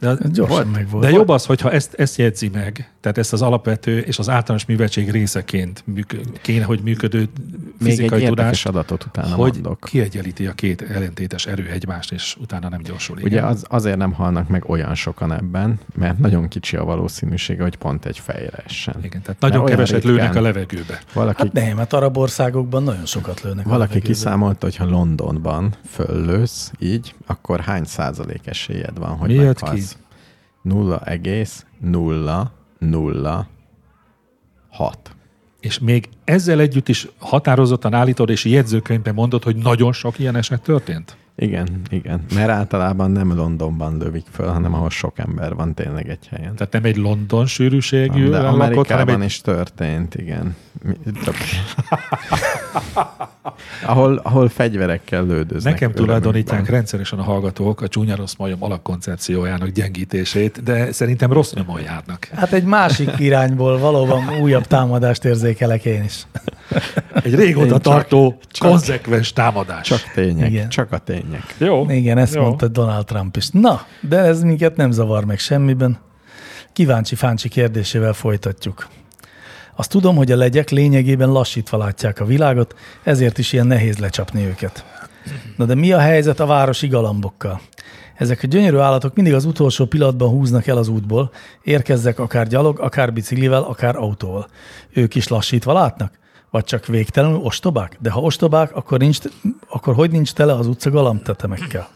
Speaker 4: De,
Speaker 2: Gyorsan meg volt.
Speaker 4: de jobb az, hogyha ezt, ezt jegyzi meg, tehát ezt az alapvető és az általános műveltség részeként műk, kéne, hogy működő
Speaker 3: még egy
Speaker 4: fizikai
Speaker 3: érdekes
Speaker 4: tudást,
Speaker 3: adatot utána
Speaker 4: hogy
Speaker 3: mondok.
Speaker 4: kiegyenlíti a két ellentétes erő egymást, és utána nem gyorsul. igen.
Speaker 3: Ugye az, azért nem halnak meg olyan sokan ebben, mert nagyon kicsi a valószínűsége, hogy pont egy fejre essen.
Speaker 4: Igen, tehát
Speaker 3: Mert
Speaker 4: nagyon
Speaker 3: olyan
Speaker 4: keveset
Speaker 3: ritkán
Speaker 4: lőnek a levegőbe.
Speaker 3: Valaki,
Speaker 2: Hát nem, hát arab országokban nagyon sokat lőnek. a
Speaker 3: valaki
Speaker 2: levegőbe.
Speaker 3: kiszámolta, hogy ha Londonban föllősz így, akkor hány százalék esélyed van, hogy
Speaker 4: Mi jött ki?
Speaker 3: meghalsz? 0,006.
Speaker 4: És még ezzel együtt is határozottan állítod, és jegyzőkönyvben mondod, hogy nagyon sok ilyen eset történt?
Speaker 3: Igen, igen. Mert általában nem Londonban lövik föl, hanem ahol sok ember van tényleg egy helyen.
Speaker 4: Tehát nem egy London sűrűségű
Speaker 3: de
Speaker 4: lakott, hanem
Speaker 3: Amerikában
Speaker 4: egy...
Speaker 3: is történt, igen. Mi- Több. ahol, ahol fegyverekkel lődöznek.
Speaker 4: Nekem tulajdonítják
Speaker 3: örömükben.
Speaker 4: rendszeresen a hallgatók a csúnya rossz majom alapkoncepciójának gyengítését, de szerintem rossz nyomon járnak.
Speaker 2: Hát egy másik irányból valóban újabb támadást érzékelek én is.
Speaker 4: Egy régóta
Speaker 3: Én csak-
Speaker 4: tartó, konzekvens támadás.
Speaker 3: Csak tények,
Speaker 2: Igen.
Speaker 3: igen. csak a tények.
Speaker 4: Jó.
Speaker 2: Igen, ezt
Speaker 4: jó.
Speaker 2: mondta Donald Trump is. Na, de ez minket nem zavar meg semmiben. Kíváncsi Fáncsi kérdésével folytatjuk. Azt tudom, hogy a legyek lényegében lassítva látják a világot, ezért is ilyen nehéz lecsapni őket. Na de mi a helyzet a városi galambokkal? Ezek a gyönyörű állatok mindig az utolsó pillanatban húznak el az útból, érkezzek akár gyalog, akár biciklivel, akár autóval. Ők is lassítva látnak? Vagy csak végtelenül ostobák? De ha ostobák, akkor, nincs, akkor hogy nincs tele az utca galambtetemekkel?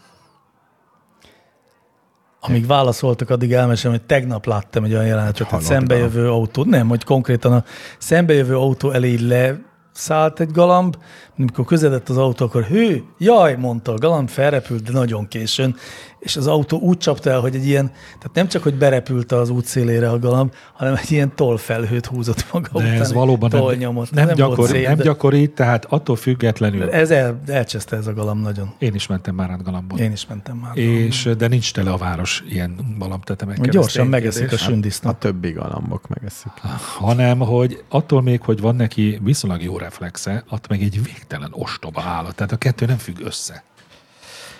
Speaker 2: Amíg válaszoltak, addig elmesem, hogy tegnap láttam egy olyan jelenetet, hogy
Speaker 3: halott
Speaker 2: szembejövő autó, nem, hogy konkrétan a szembejövő autó elé így leszállt egy galamb, amikor közeledett az autó, akkor hű, jaj, mondta a galamb, felrepült, de nagyon későn, és az autó úgy csapta el, hogy egy ilyen, tehát nem csak, hogy berepült az útszélére a galamb, hanem egy ilyen tollfelhőt húzott maga
Speaker 4: De
Speaker 2: után,
Speaker 4: ez
Speaker 2: egy
Speaker 4: valóban nem,
Speaker 2: tollnyomot.
Speaker 4: nem,
Speaker 2: volt
Speaker 4: gyakori,
Speaker 2: szép,
Speaker 4: nem
Speaker 2: de-
Speaker 4: gyakori, tehát attól függetlenül.
Speaker 2: Ez el, elcseszte ez a galamb nagyon.
Speaker 4: Én is mentem már át galambot.
Speaker 2: Én is mentem már.
Speaker 4: És, de nincs tele a város ilyen galambtetemekkel. ez
Speaker 2: Gyorsan
Speaker 4: tény
Speaker 2: megeszik a
Speaker 4: kérdés. Hát,
Speaker 2: sündisznot.
Speaker 3: A többi galambok megeszik.
Speaker 4: Hanem, hogy attól még, hogy van neki viszonylag jó reflexe, ott meg egy végtelen ostoba állat. Tehát a kettő nem függ össze.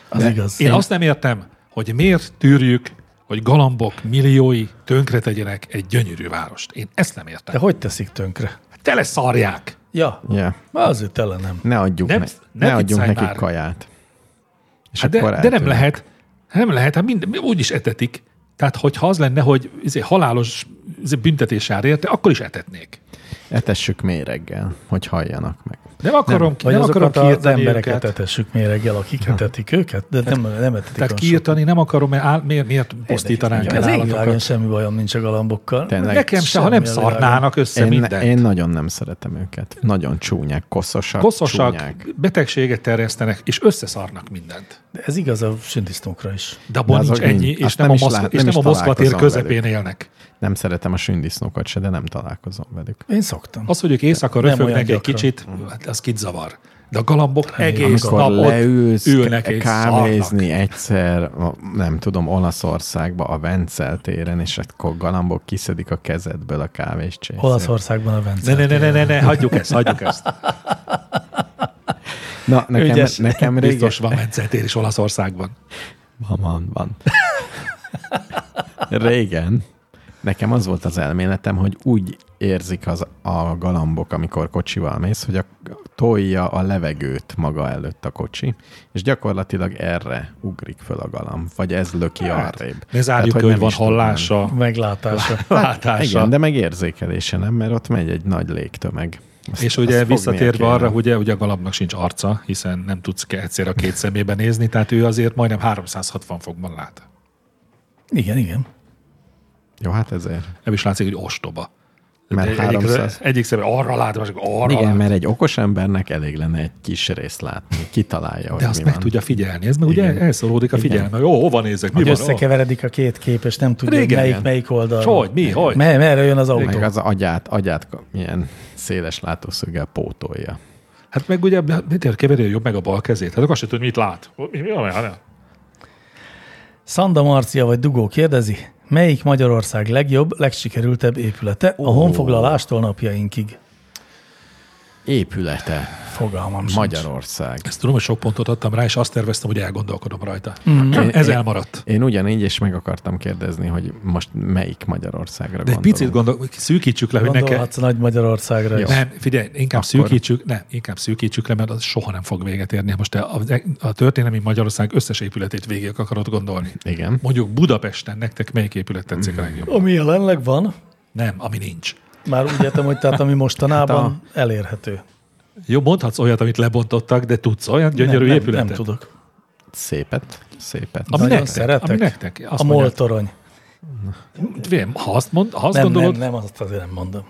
Speaker 2: Az igaz.
Speaker 4: Én azt nem értem, hogy miért tűrjük, hogy galambok milliói tönkre tegyenek egy gyönyörű várost. Én ezt nem
Speaker 2: De
Speaker 4: értem.
Speaker 2: hogy teszik tönkre?
Speaker 4: Tele szarják!
Speaker 2: Ja,
Speaker 3: Yeah.
Speaker 2: azért tele nem.
Speaker 3: Ne adjuk,
Speaker 4: Nem-
Speaker 3: ne,
Speaker 4: ne
Speaker 3: ne adjunk
Speaker 4: viccelj
Speaker 3: nekik
Speaker 4: már.
Speaker 3: kaját. És
Speaker 4: Hát de,
Speaker 3: akkor
Speaker 4: de nem
Speaker 3: eltűnnek.
Speaker 4: lehet. Nem lehet, hát mind, úgy is etetik. Tehát, hogyha az lenne, hogy izé, halálos izé, büntetés jár érte, akkor is etetnék.
Speaker 3: Etessük méreggel, hogy halljanak meg.
Speaker 4: Nem akarom, nem, ki,
Speaker 2: Vagy
Speaker 4: nem akarom
Speaker 2: azokat az
Speaker 4: kiirtani
Speaker 2: embereket
Speaker 4: őket.
Speaker 2: etessük méreggel, akik etetik őket, de nem, nem etetik
Speaker 4: Hát- Tehát
Speaker 2: olyan
Speaker 4: kiirtani nem akarom, mert áll, miért, miért pusztítanánk
Speaker 2: sokat.
Speaker 4: el
Speaker 2: Az én világon
Speaker 4: állatokat.
Speaker 2: semmi bajom nincs a galambokkal.
Speaker 3: Tényleg.
Speaker 4: Nekem se, ha
Speaker 2: Semmi
Speaker 4: nem
Speaker 2: a világon.
Speaker 4: szarnának össze
Speaker 3: Én,
Speaker 4: mindent.
Speaker 3: én nagyon nem szeretem őket. Nagyon csúnyák, koszosak,
Speaker 4: Koszosak,
Speaker 3: csúnyák.
Speaker 4: betegséget terjesztenek, és összeszarnak mindent.
Speaker 2: De ez igaz a sündisznókra is.
Speaker 4: De abban
Speaker 3: De
Speaker 4: nincs
Speaker 3: azok
Speaker 4: ennyi,
Speaker 3: nincs.
Speaker 4: és
Speaker 3: Azt
Speaker 4: nem,
Speaker 3: nem
Speaker 4: a
Speaker 3: is
Speaker 4: Moszkva,
Speaker 3: lát-
Speaker 4: és
Speaker 3: nem
Speaker 4: nem
Speaker 3: is
Speaker 4: a Moszkva tér
Speaker 3: találkozom
Speaker 4: közepén élnek.
Speaker 3: Nem szeretem a sündisznókat se, de nem találkozom velük.
Speaker 2: Én szoktam.
Speaker 4: Az, hogy ők éjszaka
Speaker 2: Nem olyan
Speaker 4: röfögnek egy
Speaker 2: gyakran.
Speaker 4: kicsit, hát az kit zavar. De a galambok egész
Speaker 3: Amikor
Speaker 4: nap ott
Speaker 3: leülsz
Speaker 4: ülnek és szarnak.
Speaker 3: kávézni egyszer, a- nem tudom, Olaszországba, a Vencel téren, és akkor galambok kiszedik a kezedből a kávés csészét.
Speaker 2: Olaszországban a Vence.
Speaker 4: Ne, ne, ne, ne, ne, ne, hagyjuk ezt, hagyjuk ezt.
Speaker 3: Na, nekem,
Speaker 2: Ügyes.
Speaker 3: nekem régen,
Speaker 4: Biztos van mencetér is Olaszországban.
Speaker 3: Van, van, van. Régen nekem az volt az elméletem, hogy úgy érzik az, a galambok, amikor kocsival mész, hogy a, tolja a levegőt maga előtt a kocsi, és gyakorlatilag erre ugrik föl a galamb, vagy ez löki hát, arrébb.
Speaker 4: Ne
Speaker 3: Tehát,
Speaker 4: zárjuk, hogy, hogy
Speaker 3: nem
Speaker 4: van
Speaker 3: is tudnám.
Speaker 4: hallása,
Speaker 2: Meglátása.
Speaker 4: látása.
Speaker 3: Igen, de meg érzékelése nem, mert ott megy egy nagy légtömeg. Azt-
Speaker 4: És
Speaker 3: azt
Speaker 4: ugye
Speaker 3: fognia
Speaker 4: visszatérve
Speaker 3: kéne.
Speaker 4: arra, ugye, ugye a galambnak sincs arca, hiszen nem tudsz ke- egyszer a két szemébe nézni, tehát ő azért majdnem 360 fokban lát.
Speaker 2: Igen, igen.
Speaker 3: Jó, hát ezért.
Speaker 4: Nem is látszik, hogy ostoba.
Speaker 3: Mert
Speaker 4: Egy-
Speaker 3: 300
Speaker 4: egyik, egyik szemben arra lát, másik arra
Speaker 3: Igen,
Speaker 4: lát.
Speaker 3: mert egy okos embernek elég lenne egy kis részt látni, kitalálja, hogy
Speaker 4: De azt
Speaker 3: mi
Speaker 4: meg
Speaker 3: van.
Speaker 4: tudja figyelni. Ez meg ugye
Speaker 3: Igen.
Speaker 4: elszólódik a figyelme. Jó, hova nézek? Mi
Speaker 2: Hogy
Speaker 4: van? Ó,
Speaker 2: összekeveredik a két kép, és nem tudja, hogy
Speaker 4: Régen
Speaker 2: melyik,
Speaker 3: ilyen.
Speaker 2: melyik oldal.
Speaker 4: Hogy? Mi? Hogy? hát-
Speaker 2: Mer- merre jön az autó?
Speaker 3: Meg az agyát, agyát milyen széles látószöggel pótolja.
Speaker 4: Hát meg ugye, miért keveri a jobb meg a bal kezét? Hát akkor azt sem tudod, mit lát. Mi, mi van? Hát,
Speaker 2: Szanda Marcia vagy Dugó kérdezi, melyik Magyarország legjobb, legsikerültebb épülete a honfoglalástól napjainkig?
Speaker 3: épülete
Speaker 2: Fogalmam sincs.
Speaker 3: Magyarország.
Speaker 4: Ezt tudom, hogy sok pontot adtam rá, és azt terveztem, hogy elgondolkodom rajta. Mm. Ez elmaradt.
Speaker 3: Én ugyanígy, és meg akartam kérdezni, hogy most melyik Magyarországra
Speaker 4: De egy picit gondol, szűkítsük le, hogy ne kell,
Speaker 2: Gondolhatsz Nagy Magyarországra is.
Speaker 4: Nem, figyelj, inkább
Speaker 3: Akkor-
Speaker 4: Akkor... szűkítsük, nem, inkább szűkítsük le, mert az soha nem fog véget érni. Most te a, a történelmi Magyarország összes épületét végig akarod gondolni.
Speaker 3: Igen.
Speaker 4: Mondjuk Budapesten nektek melyik épület tetszik a legjobban?
Speaker 2: Ami jelenleg van,
Speaker 4: Nem, ami nincs.
Speaker 2: már úgy értem, hogy tehát ami mostanában
Speaker 4: Hát
Speaker 2: elérhető.
Speaker 4: Jó, mondhatsz olyat, amit lebontottak, de tudsz olyan gyönyörű
Speaker 2: nem, nem,
Speaker 4: épületet?
Speaker 2: nem tudok.
Speaker 3: Szépet, szépet.
Speaker 4: Ami
Speaker 2: Nagyon
Speaker 4: nektek,
Speaker 2: szeretek.
Speaker 4: Ami nektek.
Speaker 2: Azt a
Speaker 4: mondják-
Speaker 2: MOL torony.
Speaker 4: Figyelj, ha azt, mond, ha azt
Speaker 2: Nem,
Speaker 4: gondolod,
Speaker 2: nem, nem, azt azért nem mondom.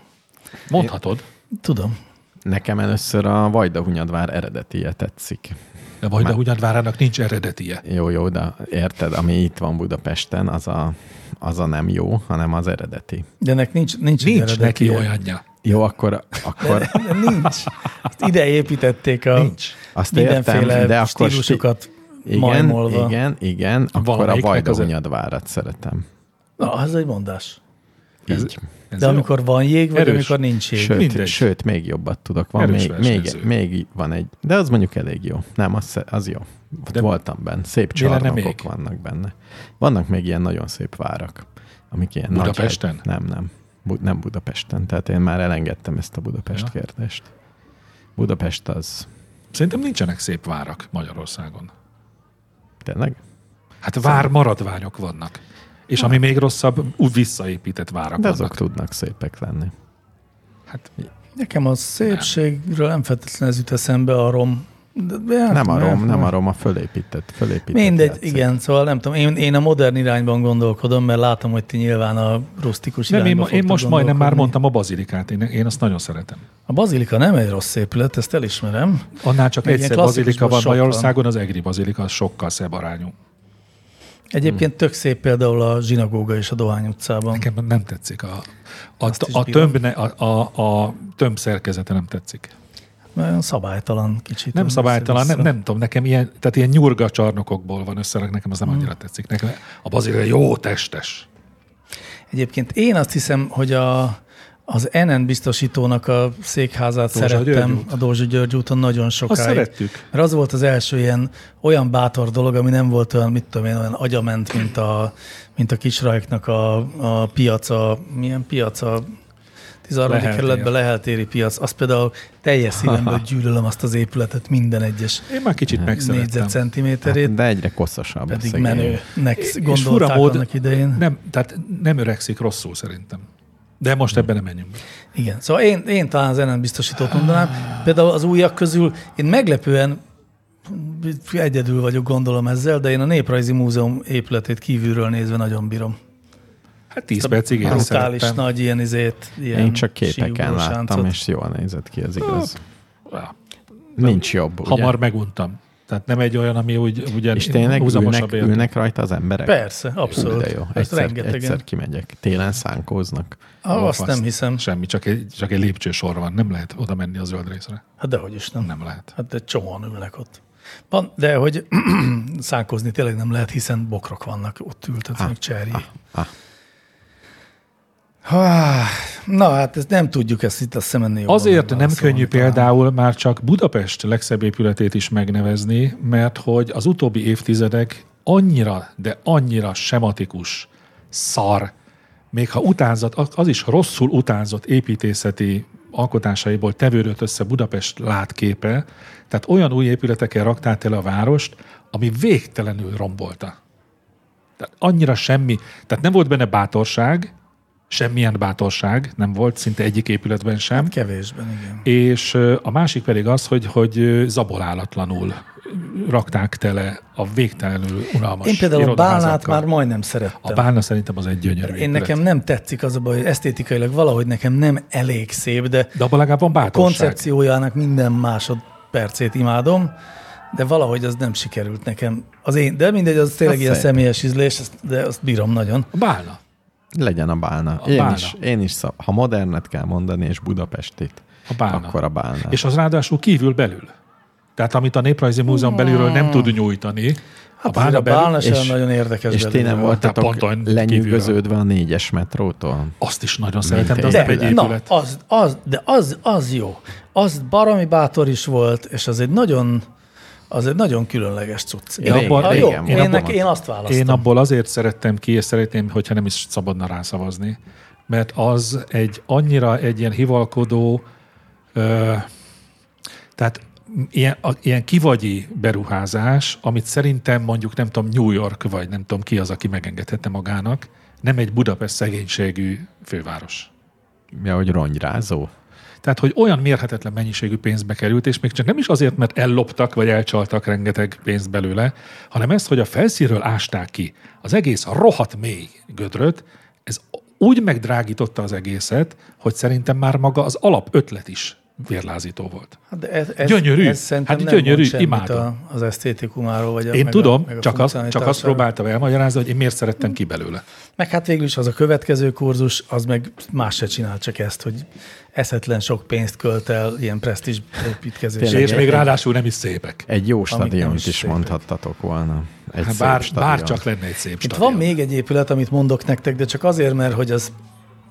Speaker 4: mondhatod.
Speaker 2: Tudom.
Speaker 3: Nekem először a Vajdahunyadvár eredetie tetszik.
Speaker 4: De majd a Hunyadvárának nincs eredetie.
Speaker 3: Jó, jó, de érted, ami itt van Budapesten, az a, az a nem jó, hanem az eredeti.
Speaker 2: De ennek nincs, nincs, egy
Speaker 4: Nincs
Speaker 2: eredeti-
Speaker 4: neki olyanja.
Speaker 3: Jó, akkor, akkor
Speaker 2: Nincs. Azt ide építették a
Speaker 4: Nincs.
Speaker 3: azt
Speaker 2: mindenféle
Speaker 3: értem, de akkor
Speaker 2: stílusokat
Speaker 3: igen,
Speaker 2: majmolva.
Speaker 3: igen, igen, akkor a
Speaker 4: Valamelyiknek az- e-
Speaker 3: Vajdahunyadvárat szeretem.
Speaker 2: Na, ez egy mondás.
Speaker 3: Így.
Speaker 4: Ez
Speaker 2: De
Speaker 4: jó.
Speaker 2: amikor van jég, vagy
Speaker 4: Erős.
Speaker 2: amikor nincs jég.
Speaker 3: Sőt,
Speaker 4: Mindegy.
Speaker 3: sőt, még jobbat tudok. Van
Speaker 4: Erős
Speaker 3: még, még,
Speaker 4: versenyző.
Speaker 3: még, van egy, de az mondjuk elég jó. Nem, az, az jó. Ott
Speaker 4: De-
Speaker 3: voltam benne. Szép
Speaker 4: Mi lenne
Speaker 3: csarnokok
Speaker 4: még?
Speaker 3: vannak benne. Vannak még ilyen nagyon szép várak, amik ilyen
Speaker 4: Budapesten?
Speaker 3: Nagy, nem, nem. Bu, nem Budapesten. Tehát én már elengedtem ezt a Budapest ja. kérdést. Budapest az
Speaker 4: Szerintem nincsenek szép várak Magyarországon.
Speaker 3: tényleg?
Speaker 4: Hát vár maradványok vannak. És ami még rosszabb, úgy visszaépített várak
Speaker 3: De azok
Speaker 4: vannak.
Speaker 3: tudnak szépek lenni.
Speaker 4: Hát,
Speaker 2: Nekem a szépségről nem feltétlenül ez jut eszembe a rom. De, de, hát
Speaker 4: Hát
Speaker 3: Nem a rom, nem a rom, a fölépített, fölépített
Speaker 2: Mindegy,
Speaker 3: játszik.
Speaker 2: igen, szóval nem tudom, én, én a modern irányban gondolkodom, mert látom, hogy ti nyilván a rusztikus
Speaker 4: nem, én,
Speaker 2: irányba
Speaker 4: én
Speaker 2: fogtok
Speaker 4: most majdnem már
Speaker 2: gondolkodni.
Speaker 4: mondtam a bazilikát, én, én azt nagyon szeretem.
Speaker 2: A bazilika nem egy rossz épület, ezt elismerem.
Speaker 4: Annál csak
Speaker 2: Egy
Speaker 4: egy
Speaker 2: ilyen
Speaker 4: szebb bazilika
Speaker 2: klasszikusban
Speaker 4: van
Speaker 2: sok van.
Speaker 4: Magyarországon, az egri bazilika az sokkal szebb arányú.
Speaker 2: Egyébként tök szép például a zsinagóga és a Dohány utcában.
Speaker 4: Nekem nem tetszik a, a,
Speaker 2: is
Speaker 4: a,
Speaker 2: bírom.
Speaker 4: tömb, ne, a, a, a tömb szerkezete nem tetszik.
Speaker 2: Olyan szabálytalan kicsit.
Speaker 4: Nem
Speaker 2: Olyan
Speaker 4: szabálytalan, nem,
Speaker 2: össze-vissza.
Speaker 4: nem tudom, nekem ilyen, tehát ilyen nyurga csarnokokból van összerak, nekem az nem
Speaker 2: Hmm.
Speaker 4: annyira tetszik. Nekem a bazilika jó testes.
Speaker 2: Egyébként én azt hiszem, hogy a, az NN biztosítónak a székházát
Speaker 4: Dózsa György
Speaker 2: szerettem
Speaker 4: út.
Speaker 2: a Dózsa György úton nagyon sokáig.
Speaker 4: szerettük.
Speaker 2: Mert az volt az első ilyen olyan bátor dolog, ami nem volt olyan, mit tudom én, olyan agyament, mint a, mint a kisrajknak a, a piaca, milyen piaca, 13.
Speaker 4: Leheltér.
Speaker 2: kerületben leheltéri piac. Azt például teljes szívemből gyűlölöm azt az épületet minden egyes
Speaker 4: Én már kicsit megszerettem.
Speaker 2: négyzetcentiméterét,
Speaker 3: De egyre koszosabb.
Speaker 2: pedig
Speaker 3: szegény.
Speaker 2: menőnek
Speaker 4: Hát És
Speaker 2: gondolták
Speaker 4: fura mód-
Speaker 2: annak idején.
Speaker 4: Nem, tehát nem öregszik rosszul szerintem. De most ebben nem menjünk. bele.
Speaker 2: Igen, szóval én, én talán az ellen biztosítót mondanám. Például az újak közül én meglepően egyedül vagyok, gondolom ezzel, de én a Néprajzi Múzeum épületét kívülről nézve nagyon bírom.
Speaker 4: Hát 10 percig én
Speaker 2: Brutális
Speaker 4: szerettem.
Speaker 2: nagy ilyen izét, ilyen
Speaker 3: Én csak képeken
Speaker 2: síugró
Speaker 3: láttam,
Speaker 2: sáncot.
Speaker 3: és jól nézett ki, az igaz.
Speaker 4: Ja,
Speaker 3: Nincs jobb, ugye?
Speaker 4: Hamar meguntam. Tehát nem egy olyan, ami úgy, ugyan
Speaker 3: És tényleg
Speaker 4: húzamosabb
Speaker 3: ülnek,
Speaker 4: élet.
Speaker 3: ülnek rajta az emberek?
Speaker 2: Persze,
Speaker 3: Ú,
Speaker 2: abszolút.
Speaker 3: De jó.
Speaker 2: Ezt
Speaker 3: Egyszer,
Speaker 2: rengetegen.
Speaker 3: egyszer kimegyek. Télen szánkóznak.
Speaker 2: Ah,
Speaker 4: Ó,
Speaker 2: azt
Speaker 4: faszt.
Speaker 2: nem hiszem.
Speaker 4: Semmi, csak egy, csak egy lépcsősor van. Nem lehet oda menni a zöld részre.
Speaker 2: Hát dehogy is nem.
Speaker 4: Nem lehet.
Speaker 2: Hát de csomóan ülnek ott. Van, de hogy szánkozni tényleg nem lehet, hiszen bokrok vannak ott ültetnek cserjé.
Speaker 3: ah.
Speaker 2: Há, Na hát ezt nem tudjuk ezt itt a szemenni.
Speaker 4: Azért nem
Speaker 2: szóval
Speaker 4: könnyű például már csak Budapest legszebb épületét is megnevezni, mert hogy az utóbbi évtizedek annyira, de annyira sematikus szar, még ha utánzat, az- az is rosszul utánzott építészeti alkotásaiból tevődött össze Budapest látképe, tehát olyan új épületekkel raktát el a várost, ami végtelenül rombolta. Tehát annyira semmi, tehát nem volt benne bátorság, semmilyen bátorság nem volt, szinte egyik épületben sem.
Speaker 2: Kevésben, igen.
Speaker 4: És ö, a másik pedig az, hogy, hogy ö, zabolálatlanul rakták tele a végtelenül unalmas
Speaker 2: Én például a bálnát
Speaker 4: irodaházakkal.
Speaker 2: már majdnem
Speaker 4: A
Speaker 2: szerettem.
Speaker 4: bálna szerintem az egy gyönyörű
Speaker 2: Én nekem nem tetszik az a baj, hogy esztétikailag valahogy nekem nem elég szép, de
Speaker 4: De abban legalább van bátorság.
Speaker 2: koncepciójának minden másodpercét imádom, de valahogy az nem sikerült nekem. Az én, de mindegy, az tényleg
Speaker 3: Az
Speaker 2: ilyen
Speaker 3: szép.
Speaker 2: személyes ízlés, ezt- de azt bírom nagyon.
Speaker 4: A bálna.
Speaker 3: Legyen a bálna. én,
Speaker 4: bálna.
Speaker 3: Is, én is, szab... ha modernet kell mondani, és Budapestit,
Speaker 4: A bálna.
Speaker 3: akkor a bálna.
Speaker 4: És az ráadásul kívül belül. Tehát amit a Néprajzi Múzeum belülről nem tud nyújtani,
Speaker 2: Hát azért a
Speaker 4: belül-
Speaker 2: bálna sem
Speaker 3: és-
Speaker 2: nagyon érdekes.
Speaker 3: És ti
Speaker 2: belőle.
Speaker 3: nem voltatok
Speaker 4: pont olyan
Speaker 3: lenyűgöződve a négyes metrótól?
Speaker 4: azt is nagyon szeretem, de az
Speaker 3: egy-
Speaker 4: nem egy
Speaker 2: de, na,
Speaker 4: épület.
Speaker 2: az, az, de az, az jó. Az baromi bátor is volt, és az egy nagyon, az egy nagyon különleges cucc.
Speaker 3: Ja,
Speaker 2: Én-
Speaker 3: abban-
Speaker 2: ah, jó,
Speaker 3: régen
Speaker 2: én,
Speaker 3: volt.
Speaker 2: neki- én azt választom.
Speaker 4: Én abból azért szerettem ki, és szeretném, hogyha nem is szabadna rászavazni, mert az egy annyira egy ilyen hivalkodó, ö, tehát ilyen, a, ilyen kivagyi beruházás, amit szerintem mondjuk nem tudom New York, vagy nem tudom ki az, aki megengedhette magának, nem egy Budapest szegénységű főváros.
Speaker 3: Ja, hogy rongyrázó?
Speaker 4: Tehát, hogy olyan mérhetetlen mennyiségű pénzbe került, és még csak nem is azért, mert elloptak vagy elcsaltak rengeteg pénzt belőle, hanem ezt, hogy a felszínről ásták ki az egész rohadt mély gödröt, ez úgy megdrágította az egészet, hogy szerintem már maga az alapötlet is vérlázító volt.
Speaker 2: Hát de ez, ez,
Speaker 4: Gyönyörű.
Speaker 2: Ez szerintem
Speaker 4: Hát
Speaker 2: nem mond
Speaker 4: gyönyörű,
Speaker 2: semmit
Speaker 4: imádom.
Speaker 2: a- Az esztétikumáról. Vagy a,
Speaker 4: Én
Speaker 2: meg
Speaker 4: tudom,
Speaker 2: a, meg a
Speaker 4: csak, az, csak azt
Speaker 2: funkcionalitásáról.
Speaker 4: próbáltam elmagyarázni, hogy én miért szerettem ki belőle.
Speaker 2: Meg hát végül is az a következő kurzus, az meg más se csinál, csak ezt, hogy eszetlen sok pénzt költ el ilyen presztízs építkezésre.
Speaker 3: Tényleg,
Speaker 4: És még ráadásul nem is szépek.
Speaker 3: Egy jó
Speaker 2: nem
Speaker 3: stadiont
Speaker 2: is
Speaker 3: is,
Speaker 2: szépek.
Speaker 3: mondhattatok volna. Egy
Speaker 4: Hát
Speaker 3: szép
Speaker 4: Bár,
Speaker 3: stadion.
Speaker 4: bár csak lenne egy szép
Speaker 2: Itt
Speaker 4: stadion.
Speaker 2: van még egy épület, amit mondok nektek, de csak azért, mert hogy az,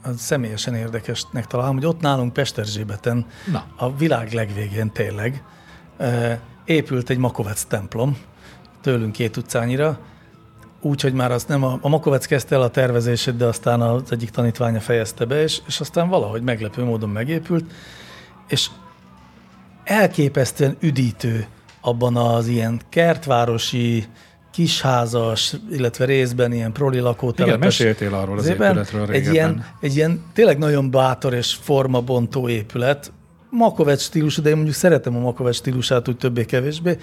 Speaker 2: az személyesen érdekesnek találom, hogy ott nálunk Pesterzsébeten,
Speaker 4: Na.
Speaker 2: a világ legvégén tényleg, eh, épült egy Makovec templom, tőlünk két utcányira, úgyhogy már azt nem, a, a Makovec kezdte el a tervezését, de aztán az egyik tanítványa fejezte be, és, és aztán valahogy meglepő módon megépült, és elképesztően üdítő abban az ilyen kertvárosi, kisházas, illetve részben ilyen proli lakótelepes.
Speaker 4: Igen, meséltél arról az
Speaker 2: részében.
Speaker 4: épületről
Speaker 2: egy
Speaker 4: régebben.
Speaker 2: ilyen, egy ilyen tényleg nagyon bátor és formabontó épület. Makovec stílusú, de én mondjuk szeretem a Makovec stílusát úgy többé-kevésbé,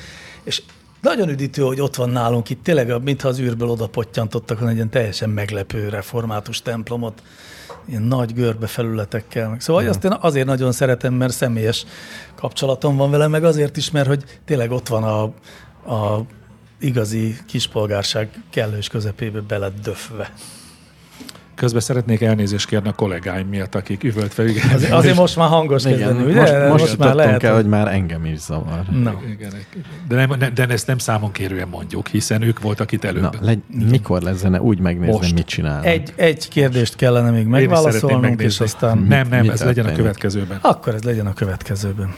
Speaker 2: és nagyon üdítő, hogy ott van nálunk itt, tényleg, a- mintha az űrből oda pottyantottak volna egy ilyen teljesen meglepő református templomot, ilyen nagy görbe felületekkel. meg. Szóval azt én azért nagyon szeretem, mert személyes kapcsolatom van vele, meg azért is, mert hogy tényleg ott van a, a igazi kispolgárság kellős közepébe beledöfve.
Speaker 4: Közben szeretnék elnézést kérni a kollégáim miatt, akik üvölt fel. Igen,
Speaker 2: Az, azért most már hangos
Speaker 3: Igen,
Speaker 2: kezdenő,
Speaker 3: most,
Speaker 2: ugye?
Speaker 3: most, most
Speaker 2: már lehet.
Speaker 3: el, hogy már engem is zavar.
Speaker 2: Na.
Speaker 4: Igen, de, nem, nem, de ezt nem számon kérően mondjuk, hiszen ők voltak itt előbb.
Speaker 3: Na, legy, mikor lesz zene? Úgy megnézem,
Speaker 4: Most.
Speaker 3: mit csinálnak.
Speaker 2: Egy, egy kérdést kellene még
Speaker 4: Én is szeretném
Speaker 2: megválaszolnunk,
Speaker 4: megnézni.
Speaker 2: és aztán...
Speaker 4: Nem, nem,
Speaker 3: mi
Speaker 4: ez legyen a
Speaker 3: történik?
Speaker 4: következőben.
Speaker 2: Akkor ez legyen a következőben.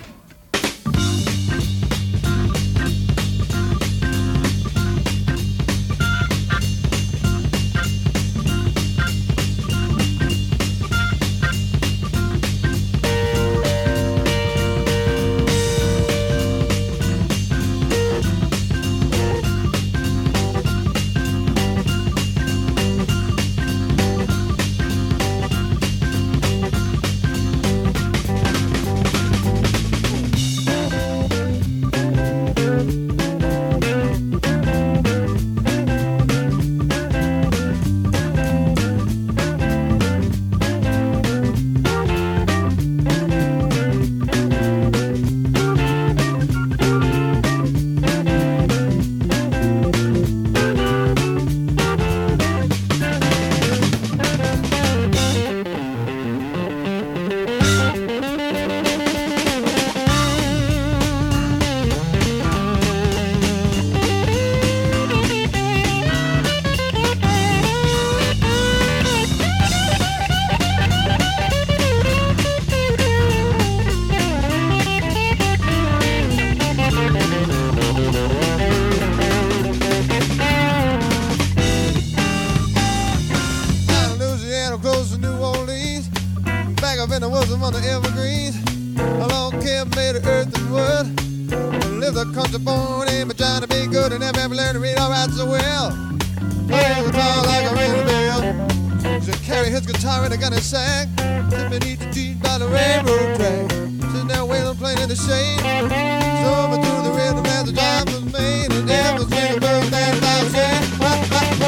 Speaker 5: Down in Louisiana, close to New Orleans. Back up in the woods among the evergreens. Along came made of earth and wood. Lived a country born in, but trying to be good and never ever learned to read all right so well. Playing guitar like a ringing bell. Used to carry his guitar in a gunny sack. Sit beneath the trees by the railroad track. Sitting there wailing, playing in the shade. Summer through the rhythm as the job was made. And there was a bird that I was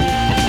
Speaker 6: Thank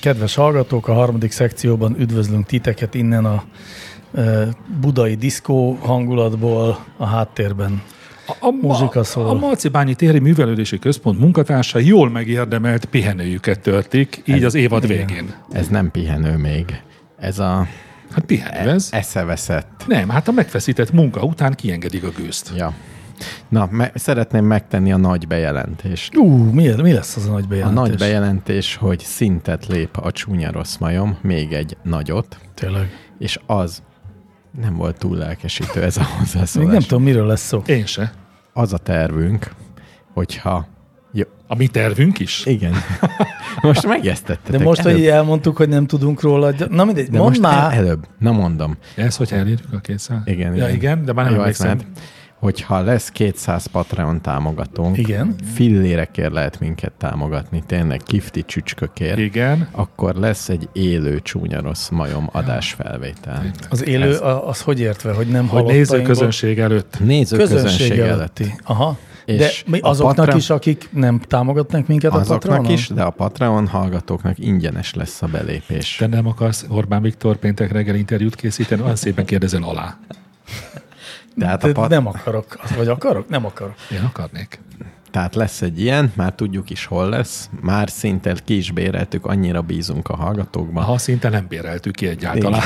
Speaker 2: Kedves hallgatók, a harmadik szekcióban üdvözlünk titeket innen a e, budai diszkó hangulatból a háttérben.
Speaker 4: A, a,
Speaker 2: Muzsika szól.
Speaker 4: a Marcibányi Téri Művelődési Központ munkatársai jól megérdemelt pihenőjüket töltik, így az évad végén.
Speaker 3: Ez nem pihenő még. Ez a
Speaker 4: Hát pihenővez.
Speaker 3: E- eszeveszett.
Speaker 4: Nem, hát a megfeszített munka után kiengedik a gőzt.
Speaker 3: Ja. Na, me- szeretném megtenni a nagy bejelentést.
Speaker 2: Ú, mi, mi lesz az a nagy
Speaker 3: A
Speaker 2: bejelentés?
Speaker 3: nagy bejelentés, hogy szintet lép a csúnya rossz majom, még egy nagyot,
Speaker 2: Tényleg.
Speaker 3: és az nem volt túl lelkesítő ez a
Speaker 2: Még
Speaker 3: hozzászólás.
Speaker 2: nem tudom, miről lesz szó.
Speaker 4: Én se.
Speaker 3: Az a tervünk, hogyha... Jó,
Speaker 4: A mi tervünk is?
Speaker 3: igen. Most megjesztettetek.
Speaker 2: De most,
Speaker 3: előbb,
Speaker 2: hogy elmondtuk, hogy nem tudunk róla, gy- na mindegy,
Speaker 3: de
Speaker 2: mondd
Speaker 3: most e- el,
Speaker 2: már.
Speaker 3: előbb. Na mondom.
Speaker 4: Ez, hogy elérjük a 200?
Speaker 3: Igen,
Speaker 4: Ja,
Speaker 3: igen.
Speaker 4: igen, de már nem
Speaker 3: Jó, hát
Speaker 4: emlékszem.
Speaker 3: Eszmed, hogyha lesz 200 Patreon támogatónk,
Speaker 2: Igen.
Speaker 3: fillérekért lehet minket támogatni, tényleg kifti csücskökért,
Speaker 4: Igen.
Speaker 3: akkor lesz egy élő csúnya rossz majom adásfelvétel.
Speaker 2: Az élő, a- az hogy értve, hogy nem
Speaker 4: Hogy
Speaker 2: hallottam.
Speaker 4: néző közönség előtt.
Speaker 3: Néző közönség előtt.
Speaker 2: előtti. Aha. De
Speaker 3: És
Speaker 2: mi
Speaker 3: a
Speaker 2: azoknak
Speaker 3: Patra-
Speaker 2: is, akik nem támogatnak minket a
Speaker 3: Azoknak
Speaker 2: Patronon?
Speaker 3: is, de a Patreon hallgatóknak ingyenes lesz a belépés.
Speaker 4: Te nem akarsz Orbán Viktor péntek reggel interjút készíteni, olyan szépen kérdezel alá.
Speaker 3: Tehát, hát a
Speaker 2: De
Speaker 3: pat-
Speaker 2: nem akarok. Az- Vagy akarok? Nem akarok.
Speaker 4: Én akarnék.
Speaker 3: tehát lesz egy ilyen, már tudjuk is, hol lesz. Már szinte ki is béreltük, annyira bízunk a hallgatókban.
Speaker 4: Ha szinte nem béreltük ki egyáltalán.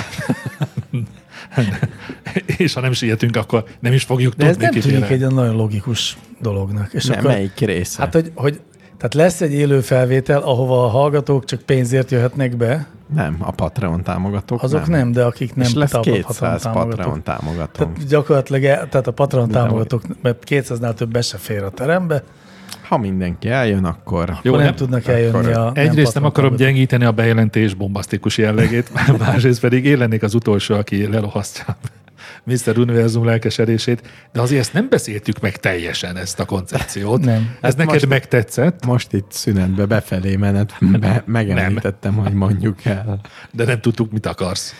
Speaker 4: És ha nem sietünk, akkor nem is fogjuk
Speaker 2: De ez
Speaker 4: tudni
Speaker 2: nem tűnik
Speaker 4: kibérelni.
Speaker 2: egy olyan nagyon logikus dolognak. És
Speaker 3: Nem,
Speaker 2: akkor,
Speaker 3: melyik része?
Speaker 2: hát, hogy, hogy tehát lesz egy élő felvétel, ahova a hallgatók csak pénzért jöhetnek be,
Speaker 3: Nem, a Patreon támogatók
Speaker 2: azok nem, nem de akik nem
Speaker 3: és lesz
Speaker 2: támogat-
Speaker 3: 200
Speaker 2: támogatók.
Speaker 3: Patreon támogatónk.
Speaker 2: Tehát gyakorlatilag, el- tehát a Patreon támogatók, mert 200-nál több be se fér a terembe,
Speaker 3: Ha mindenki eljön, akkor...
Speaker 2: Jó, nem,
Speaker 4: nem-
Speaker 2: nem tudnak eljönni a...
Speaker 4: Egyrészt nem,
Speaker 2: Patreon
Speaker 4: akarom
Speaker 2: támogatók.
Speaker 4: gyengíteni a bejelentés bombasztikus jellegét, másrészt pedig én lennék az utolsó, aki lelohasztja Mr. Univerzum lelkesedését, de azért ezt nem beszéltük meg teljesen, ezt a koncepciót.
Speaker 2: Nem. Hát
Speaker 4: Ez neked most... megtetszett,
Speaker 3: Most itt szünetbe befelé menet be, megemlítettem, hogy mondjuk el.
Speaker 4: de nem tudtuk, mit akarsz.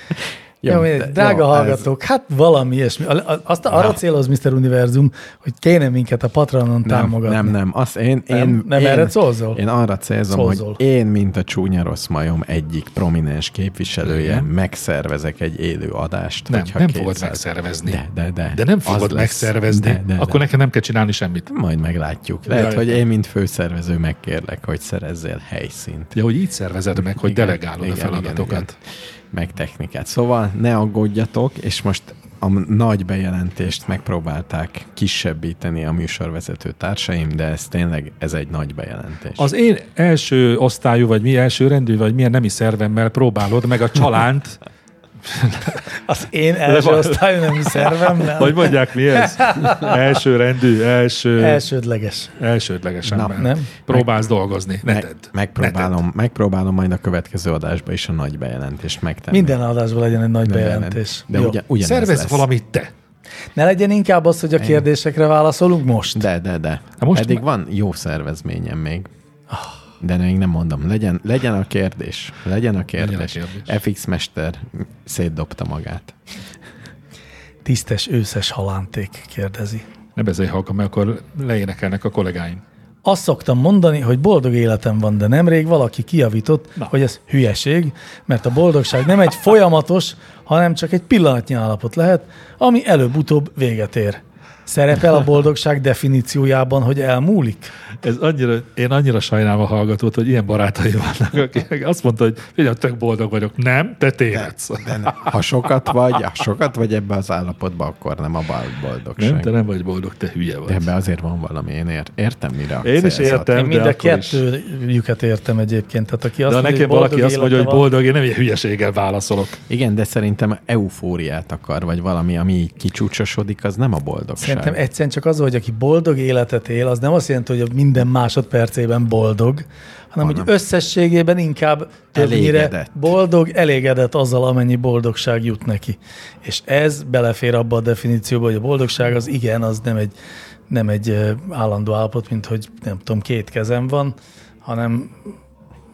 Speaker 2: Jó, mindegy.
Speaker 3: de-
Speaker 2: drága
Speaker 3: jó, ez-
Speaker 2: hallgatók, hát valami ilyesmi. A- a- Azt arra
Speaker 3: Na.
Speaker 2: céloz Mr. Univerzum, hogy kéne minket a Patronon
Speaker 3: Nem,
Speaker 2: támogatni.
Speaker 3: nem, nem. Azt én, én,
Speaker 2: Nem? Nem
Speaker 3: én,
Speaker 2: erre célzol?
Speaker 3: Én arra célzom,
Speaker 2: Célzol.
Speaker 3: hogy én, mint a csúnya rossz majom egyik prominens képviselője, megszervezek egy élő adást.
Speaker 4: Nem,
Speaker 3: hogyha
Speaker 4: nem fogod
Speaker 3: 200
Speaker 4: megszervezni.
Speaker 3: De, de, de.
Speaker 4: De nem
Speaker 3: Az
Speaker 4: fogod
Speaker 3: lesz.
Speaker 4: megszervezni,
Speaker 3: De, de,
Speaker 4: akkor
Speaker 3: de.
Speaker 4: neked nem kell csinálni semmit.
Speaker 3: Majd meglátjuk. Lehet,
Speaker 4: Jaj.
Speaker 3: hogy én, mint főszervező megkérlek, hogy szerezzél helyszínt.
Speaker 4: Ja, hogy így szervezed meg, hogy igen, delegálod igen, a feladatokat. Igen, igen.
Speaker 3: meg technikát. Szóval ne aggódjatok, és most a nagy bejelentést megpróbálták kisebbíteni a műsorvezető társaim, de ez tényleg, ez egy nagy bejelentés.
Speaker 4: Az én első osztályú, vagy mi első rendű, vagy milyen nemi szervemmel próbálod meg a csalánt,
Speaker 2: Az én első
Speaker 4: Le-
Speaker 2: osztályú nem szervem, nem.
Speaker 4: Hogy mondják mi ez? Első rendű, első, első.
Speaker 2: Elsődleges.
Speaker 4: elsődleges ember.
Speaker 2: nem.
Speaker 4: Próbálsz dolgozni, ne
Speaker 3: meg,
Speaker 4: tedd. Ne
Speaker 3: megpróbálom, megpróbálom majd a következő adásban is a nagy bejelentést megtenni.
Speaker 2: Minden adásban legyen egy nagy
Speaker 3: Minden
Speaker 2: bejelentés.
Speaker 3: De
Speaker 2: Jó.
Speaker 3: ugyan,
Speaker 4: tedd.
Speaker 3: ugyanez
Speaker 4: Szervezz
Speaker 3: lesz.
Speaker 4: valamit te.
Speaker 2: Ne legyen inkább az, hogy a kérdésekre válaszolunk most.
Speaker 3: De, de, de.
Speaker 4: Na
Speaker 3: most
Speaker 4: most
Speaker 3: Eddig
Speaker 4: ma- Ah.
Speaker 3: van jó szervezményem még. De még nem mondom. Legyen, legyen a kérdés. Legyen a kérdés.
Speaker 4: kérdés.
Speaker 3: FX Mester szétdobta magát.
Speaker 2: Tisztes őszes halánték kérdezi.
Speaker 4: Ne beszélj halka, mert akkor leénekelnek a kollégáim.
Speaker 2: Azt szoktam mondani, hogy boldog életem van, de nemrég valaki kiavított, Na. hogy ez hülyeség, mert a boldogság nem egy folyamatos, hanem csak egy pillanatnyi állapot lehet, ami előbb-utóbb véget ér. Szerepel a boldogság definíciójában, hogy elmúlik?
Speaker 4: Ez annyira, én annyira sajnálom a hallgatót, hogy ilyen barátai vannak, akik azt mondta, hogy figyelj, tök boldog vagyok. Nem, te tévedsz.
Speaker 3: Ha sokat vagy, ha sokat vagy ebbe az állapotba, akkor nem a bal-
Speaker 4: Nem,
Speaker 3: boldogság.
Speaker 4: te nem vagy boldog, te hülye vagy.
Speaker 3: De ebbe azért van valami, én ér, értem, mire
Speaker 4: Én is
Speaker 3: célzod.
Speaker 4: értem,
Speaker 2: Én
Speaker 4: de
Speaker 2: mind a
Speaker 4: akkor is.
Speaker 2: kettőjüket értem egyébként. Tehát aki azt
Speaker 4: De ha
Speaker 2: mondja,
Speaker 4: nekem
Speaker 2: hogy
Speaker 4: valaki
Speaker 2: boldog
Speaker 4: azt mondja,
Speaker 2: élete
Speaker 4: hogy
Speaker 2: van-
Speaker 4: boldog, én nem ilyen hülyeséggel válaszolok.
Speaker 3: Igen, de szerintem eufóriát akar, vagy valami, ami így kicsúcsosodik, az nem a boldogság.
Speaker 2: Szerintem
Speaker 4: e-
Speaker 2: egyszerűen csak az, hogy aki boldog életet él, az nem azt jelenti, hogy minden másodpercében boldog, hanem hogy összességében inkább többnyire
Speaker 3: Elégedett.
Speaker 2: boldog, elégedett azzal, amennyi boldogság jut neki. És ez belefér abba a definícióba, hogy a boldogság az igen, az nem egy, nem egy ö, állandó állapot, mint hogy nem tudom, két kezem van, hanem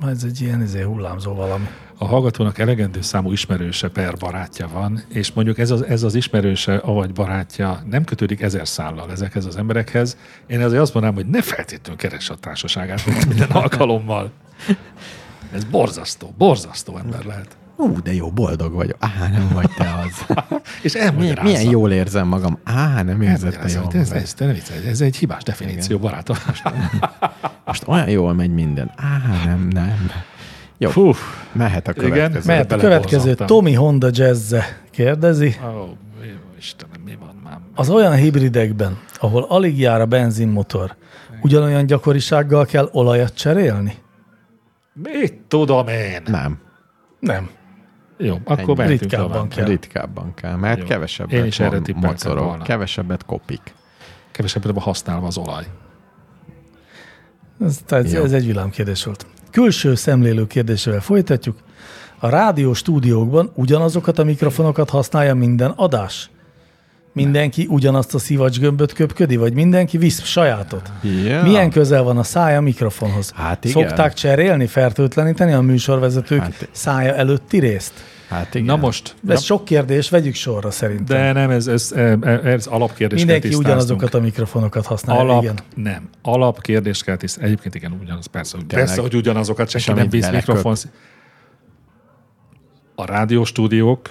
Speaker 2: ez egy ilyen izé, hullámzó valami.
Speaker 4: a hallgatónak elegendő számú ismerőse per barátja van, és mondjuk ez az, ez az ismerőse, avagy barátja nem kötődik ezer szállal ezekhez az emberekhez. Én azért azt mondanám, hogy ne feltétlenül keres a társaságát mint minden alkalommal. Ez borzasztó, borzasztó ember lehet.
Speaker 3: Ú, de jó, boldog vagyok. Á, nem vagy te az.
Speaker 4: És
Speaker 3: Milyen,
Speaker 4: elmagyarázza.
Speaker 3: milyen jól érzem magam. Á, nem érzed te
Speaker 4: ez,
Speaker 3: jól.
Speaker 4: ez, ez, ez, te ne viccelj, ez egy hibás definíció, barátom.
Speaker 3: Most olyan jól megy minden. Á, nem, nem. Jó,
Speaker 4: Fú,
Speaker 3: mehet a
Speaker 4: Igen,
Speaker 3: következő.
Speaker 2: Mert a következő
Speaker 4: beleborzottam.
Speaker 2: Tommy Honda Jazze kérdezi.
Speaker 4: ó, Istenem, mi van már?
Speaker 2: Az olyan hibridekben, ahol alig jár a benzinmotor, ugyanolyan gyakorisággal kell olajat cserélni?
Speaker 4: Mit tudom én?
Speaker 3: Nem,
Speaker 2: Nem.
Speaker 4: Jó, akkor
Speaker 3: Ennyi.
Speaker 4: mehetünk
Speaker 2: Ritkábban
Speaker 4: tovább.
Speaker 2: Kell.
Speaker 3: ritkábban kell, mert
Speaker 4: Jó.
Speaker 3: kevesebbet
Speaker 4: Én is erre
Speaker 3: mo-
Speaker 4: tippeltem
Speaker 3: mocorog,
Speaker 4: volna.
Speaker 3: kevesebbet kopik.
Speaker 4: Kevesebbet van használva az olaj.
Speaker 2: Ez, tehát ez,
Speaker 3: Jó.
Speaker 2: ez egy villámkérdés volt. Külső szemlélő kérdésével folytatjuk. A rádió stúdiókban ugyanazokat a mikrofonokat használja minden adás? Mindenki ugyanazt a szivacsgömböt köpködi, vagy mindenki visz sajátot?
Speaker 3: Ja.
Speaker 2: Milyen közel van a szája a mikrofonhoz?
Speaker 3: Hát igen.
Speaker 2: Szokták cserélni, fertőtleníteni a műsorvezetők
Speaker 3: Hát-
Speaker 2: szája előtti részt?
Speaker 3: Hát igen.
Speaker 4: Na most,
Speaker 2: Ez sok kérdés, vegyük sorra szerintem.
Speaker 4: de nem, ez, ez, ez, ez alapkérdés.
Speaker 2: Mindenki ugyanazokat a mikrofonokat használja.
Speaker 4: Alap,
Speaker 2: Igen.
Speaker 4: nem. Alapkérdés kell tisztán. Egyébként igen, ugyanaz, persze, hogy
Speaker 3: Tényleg.
Speaker 4: persze, hogy ugyanazokat, senki nem
Speaker 3: amit
Speaker 4: bíz
Speaker 3: beleköp.
Speaker 4: mikrofon. A rádióstúdiók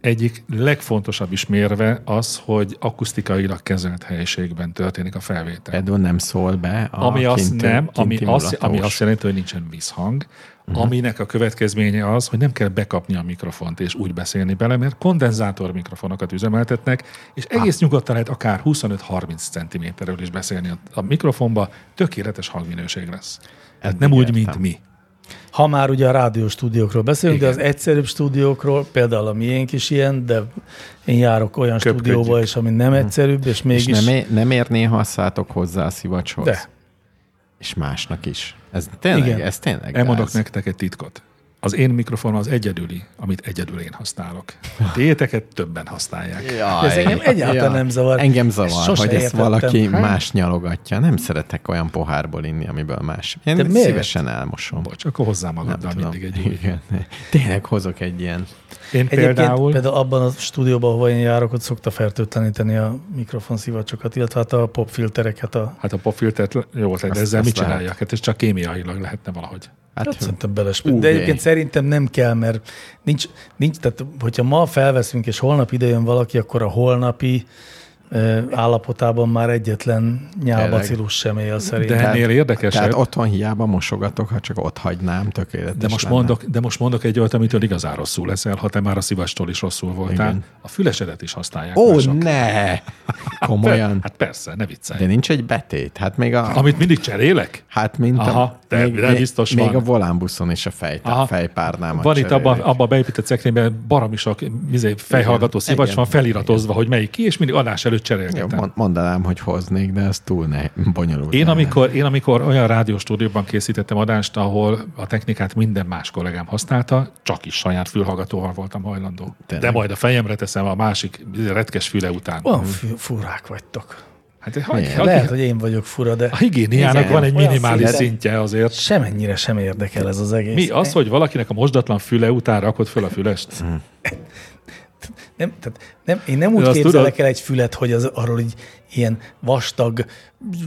Speaker 4: egyik legfontosabb is mérve az, hogy akusztikailag kezelt helyiségben történik a felvétel.
Speaker 3: Edo nem szól be a
Speaker 4: ami azt
Speaker 3: kinti-
Speaker 4: nem, ami
Speaker 3: kinti
Speaker 4: azt, ami
Speaker 3: mulatós. Mhm.
Speaker 4: azt jelenti, hogy nincsen visszhang, uh-huh. aminek a következménye az, hogy nem kell bekapni a mikrofont és úgy beszélni bele, mert kondenzátor mikrofonokat üzemeltetnek, és egész nyugodtan lehet akár 25-30 centiméterről is beszélni a, a mikrofonba, tökéletes hangminőség lesz. Hát nem úgy, mint
Speaker 3: értem.
Speaker 4: mi.
Speaker 2: Ha már ugye a rádió stúdiókról beszélünk,
Speaker 4: Igen.
Speaker 2: de az egyszerűbb stúdiókról, például a miénk is ilyen, de én járok olyan
Speaker 4: Köpködjük.
Speaker 2: stúdióba is, ami nem egyszerűbb, és
Speaker 3: Mhm. És
Speaker 2: mégis...
Speaker 3: nem, é- nem ér néha szálltok hozzá a szivacshoz.
Speaker 2: de.
Speaker 3: És másnak is. Ez tényleg,
Speaker 2: Igen.
Speaker 3: igen. ez tényleg
Speaker 4: Elmondok
Speaker 3: gáz.
Speaker 4: nektek egy titkot. Az én mikrofonom az egyedüli, amit egyedül én használok. A Téteket többen használják.
Speaker 3: Jaj,
Speaker 2: Ez engem egyáltalán nem zavar.
Speaker 3: Engem
Speaker 2: Ezt
Speaker 3: zavar,
Speaker 2: sose
Speaker 3: hogy ezt
Speaker 2: értettem.
Speaker 3: valaki
Speaker 2: Hát.
Speaker 3: más nyalogatja. Nem szeretek olyan pohárból inni, amiből más. Én
Speaker 2: De miért?
Speaker 3: szívesen elmosom.
Speaker 4: Bocs, akkor hozzá magaddal
Speaker 3: Tudom.
Speaker 4: mindig egy új.
Speaker 3: Igen. Tényleg hozok egy ilyen.
Speaker 4: Én
Speaker 2: Egyébként
Speaker 4: például...
Speaker 2: például... például abban a stúdióban, ahova én járok, ott szokta fertőtleníteni a mikrofonszivacokat, illetve hát a popfiltereket. A... Hát,
Speaker 4: Hát a popfiltert le- jó, tehát
Speaker 3: Azt-
Speaker 4: ezzel
Speaker 3: azt
Speaker 4: mit
Speaker 3: lehet.
Speaker 4: csinálják? Hát ez csak kémiailag lehetne valahogy.
Speaker 2: hát
Speaker 3: Hát,
Speaker 2: szerintem belesp...
Speaker 3: UV.
Speaker 2: De egyébként szerintem nem kell, mert nincs, nincs, tehát hogyha ma felveszünk, és holnap idejön valaki, akkor a holnapi ö, állapotában már egyetlen nyálbacillus sem él szerintem.
Speaker 4: De ennél érdekesebb.
Speaker 3: tehát otthon hiába mosogatok, ha csak ott hagynám, tökéletes
Speaker 4: de most,
Speaker 3: lenne.
Speaker 4: mondok, de most mondok egy olyat, amitől igazán rosszul leszel, ha te már a szívastól is rosszul voltál. Igen. A fülesedet is használják.
Speaker 3: Ó,
Speaker 4: mások.
Speaker 3: ne! Komolyan.
Speaker 4: Hát persze, ne viccelj.
Speaker 3: De nincs egy betét. Hát még a...
Speaker 4: Amit mindig cserélek?
Speaker 3: Hát mint
Speaker 4: Aha,
Speaker 3: a,
Speaker 4: de- de biztos
Speaker 3: még,
Speaker 4: van.
Speaker 3: még a volánbuszon is a fej,
Speaker 4: Aha.
Speaker 3: fejpárnámat
Speaker 4: Van itt abban
Speaker 3: cserélik.
Speaker 4: abba a beépített szekrényben baromi sok izé, fejhallgató
Speaker 3: Igen,
Speaker 4: szivacs van
Speaker 3: igen,
Speaker 4: feliratozva, hogy melyik ki, és mindig adás előtt
Speaker 3: Jó,
Speaker 4: cserélgetem.
Speaker 3: mond- mondanám, hogy hoznék, de ez túl ne, bonyolult.
Speaker 4: Én
Speaker 3: lenne.
Speaker 4: amikor, én amikor olyan rádióstúdióban készítettem adást, ahol a technikát minden más kollégám használta, csak is saját fülhallgatóval voltam hajlandó.
Speaker 3: Tényleg?
Speaker 4: De majd a fejemre teszem a másik retkes füle után.
Speaker 2: Olyan fü- furák vagytok.
Speaker 4: Hát hagy,
Speaker 3: Miért?
Speaker 4: hagy,
Speaker 2: Lehet, hogy én vagyok fura, de
Speaker 4: a higiéniának
Speaker 3: Igen.
Speaker 4: van egy
Speaker 2: Olyan
Speaker 4: minimális
Speaker 2: szinten.
Speaker 4: szintje azért.
Speaker 2: semennyire sem érdekel ez az egész.
Speaker 4: Mi az, hogy valakinek a mosdatlan füle után rakod föl a fülest?
Speaker 2: Hm. Nem, tehát nem, én nem úgy
Speaker 4: Azt
Speaker 2: képzelek
Speaker 4: tudod?
Speaker 2: el egy fület, hogy az arról így ilyen vastag,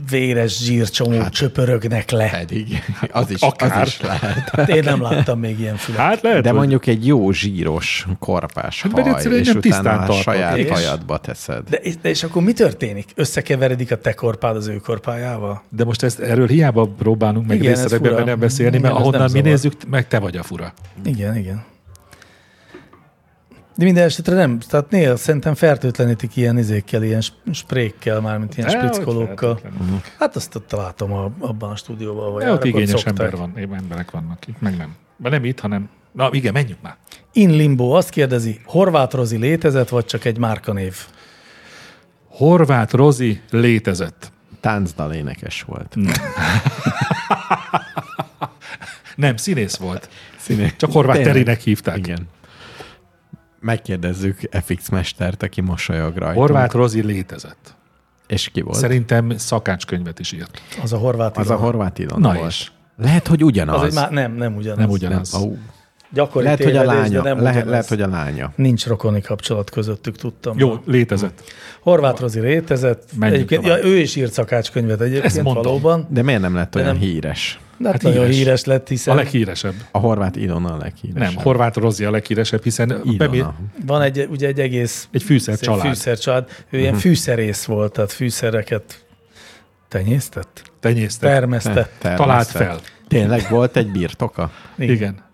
Speaker 2: véres zsírcsomó hát, csöpörögnek
Speaker 4: Hát-
Speaker 2: le.
Speaker 3: Pedig. Az is,
Speaker 4: Akár.
Speaker 3: az is lehet.
Speaker 2: Hát én nem láttam még ilyen fület.
Speaker 4: Hát lehet,
Speaker 3: De
Speaker 4: hogy-
Speaker 3: mondjuk egy jó zsíros, korpás
Speaker 4: Hát, mert
Speaker 3: haj,
Speaker 4: egyszerűen
Speaker 3: és
Speaker 4: nem tisztán
Speaker 3: utána a
Speaker 4: tartod.
Speaker 3: saját
Speaker 2: És?
Speaker 3: hajadba teszed.
Speaker 2: De, és- de és akkor mi történik? Összekeveredik a te korpád az ő korpájával?
Speaker 4: de most ezt erről hiába próbálunk meg
Speaker 2: Igen, ez
Speaker 4: részletekben
Speaker 2: fura.
Speaker 4: nem beszélni,
Speaker 2: Igen,
Speaker 4: mert
Speaker 2: ez nem
Speaker 4: ahonnan mi
Speaker 2: zavar.
Speaker 4: nézzük, meg te vagy a fura.
Speaker 2: Igen, igen. De minden esetre nem, tehát néha szerintem fertőtlenítik ilyen izékkel, ilyen sp- sprékkel, mármint ilyen
Speaker 4: Dehogy
Speaker 2: sprickolókkal.
Speaker 4: feltétlenül.
Speaker 2: Hát azt ott látom a, abban a stúdióban, ahol
Speaker 4: De ott
Speaker 2: járok,
Speaker 4: igényes
Speaker 2: szokták.
Speaker 4: ember van, emberek vannak itt, meg nem. De nem itt, hanem... Na igen, menjünk már.
Speaker 2: In Limbo azt kérdezi, horvát Rozi létezett, vagy csak egy márkanév?
Speaker 4: Horváth Rozi létezett.
Speaker 3: Táncdal énekes volt.
Speaker 4: Nem, színész volt.
Speaker 3: Színé-
Speaker 4: Csak Horváth
Speaker 3: Tényleg.
Speaker 4: Terinek hívták.
Speaker 3: Igen. Megkérdezzük FX mestert, aki mosolyog rajtunk.
Speaker 4: Horváth Rozi létezett.
Speaker 3: És ki volt?
Speaker 4: Szerintem szakácskönyvet is írt.
Speaker 2: Az a horvát
Speaker 3: Az a
Speaker 2: irodalom.
Speaker 3: horvát Ilona
Speaker 4: Na
Speaker 3: volt.
Speaker 4: és.
Speaker 3: Lehet, hogy ugyanaz.
Speaker 2: Az egy má- nem, nem ugyanaz.
Speaker 4: Nem ugyanaz.
Speaker 3: Nem, au.
Speaker 2: Gyakori
Speaker 3: Lehet, hogy a
Speaker 2: tévedés,
Speaker 3: lánya.
Speaker 2: de nem
Speaker 3: Lehet,
Speaker 2: ugyanaz.
Speaker 3: lehet, hogy a lánya.
Speaker 2: Nincs rokoni kapcsolat közöttük, tudtam.
Speaker 4: Jó, létezett.
Speaker 2: Horváth Rozi létezett.
Speaker 4: Menjünk
Speaker 2: egyébként, ja,
Speaker 4: tovább.
Speaker 2: ő is írt szakácskönyvet egyébként
Speaker 4: mondom.
Speaker 2: valóban.
Speaker 3: De miért nem lett olyan
Speaker 2: nem-
Speaker 3: híres?
Speaker 2: De hát
Speaker 4: Hát
Speaker 2: nagyon
Speaker 4: híres.
Speaker 2: híres lett,
Speaker 4: A
Speaker 2: hiszen
Speaker 4: leghíresebb.
Speaker 3: A horvát Ilona a leghíresebb.
Speaker 4: Nem, Horváth Rozi a leghíresebb, hiszen
Speaker 3: Ilona.
Speaker 4: bemé...
Speaker 2: van egy, ugye egy egész
Speaker 4: egy fűszer
Speaker 2: Egy
Speaker 4: család. Mhm.
Speaker 2: Fűszercsalád. Ő ilyen fűszerész volt, tehát fűszereket tenyésztett,
Speaker 4: Tenyésztek.
Speaker 2: termesztett.
Speaker 3: Termesztett.
Speaker 4: Talált fel.
Speaker 3: Tényleg volt egy birtoka?
Speaker 4: Igen. igen.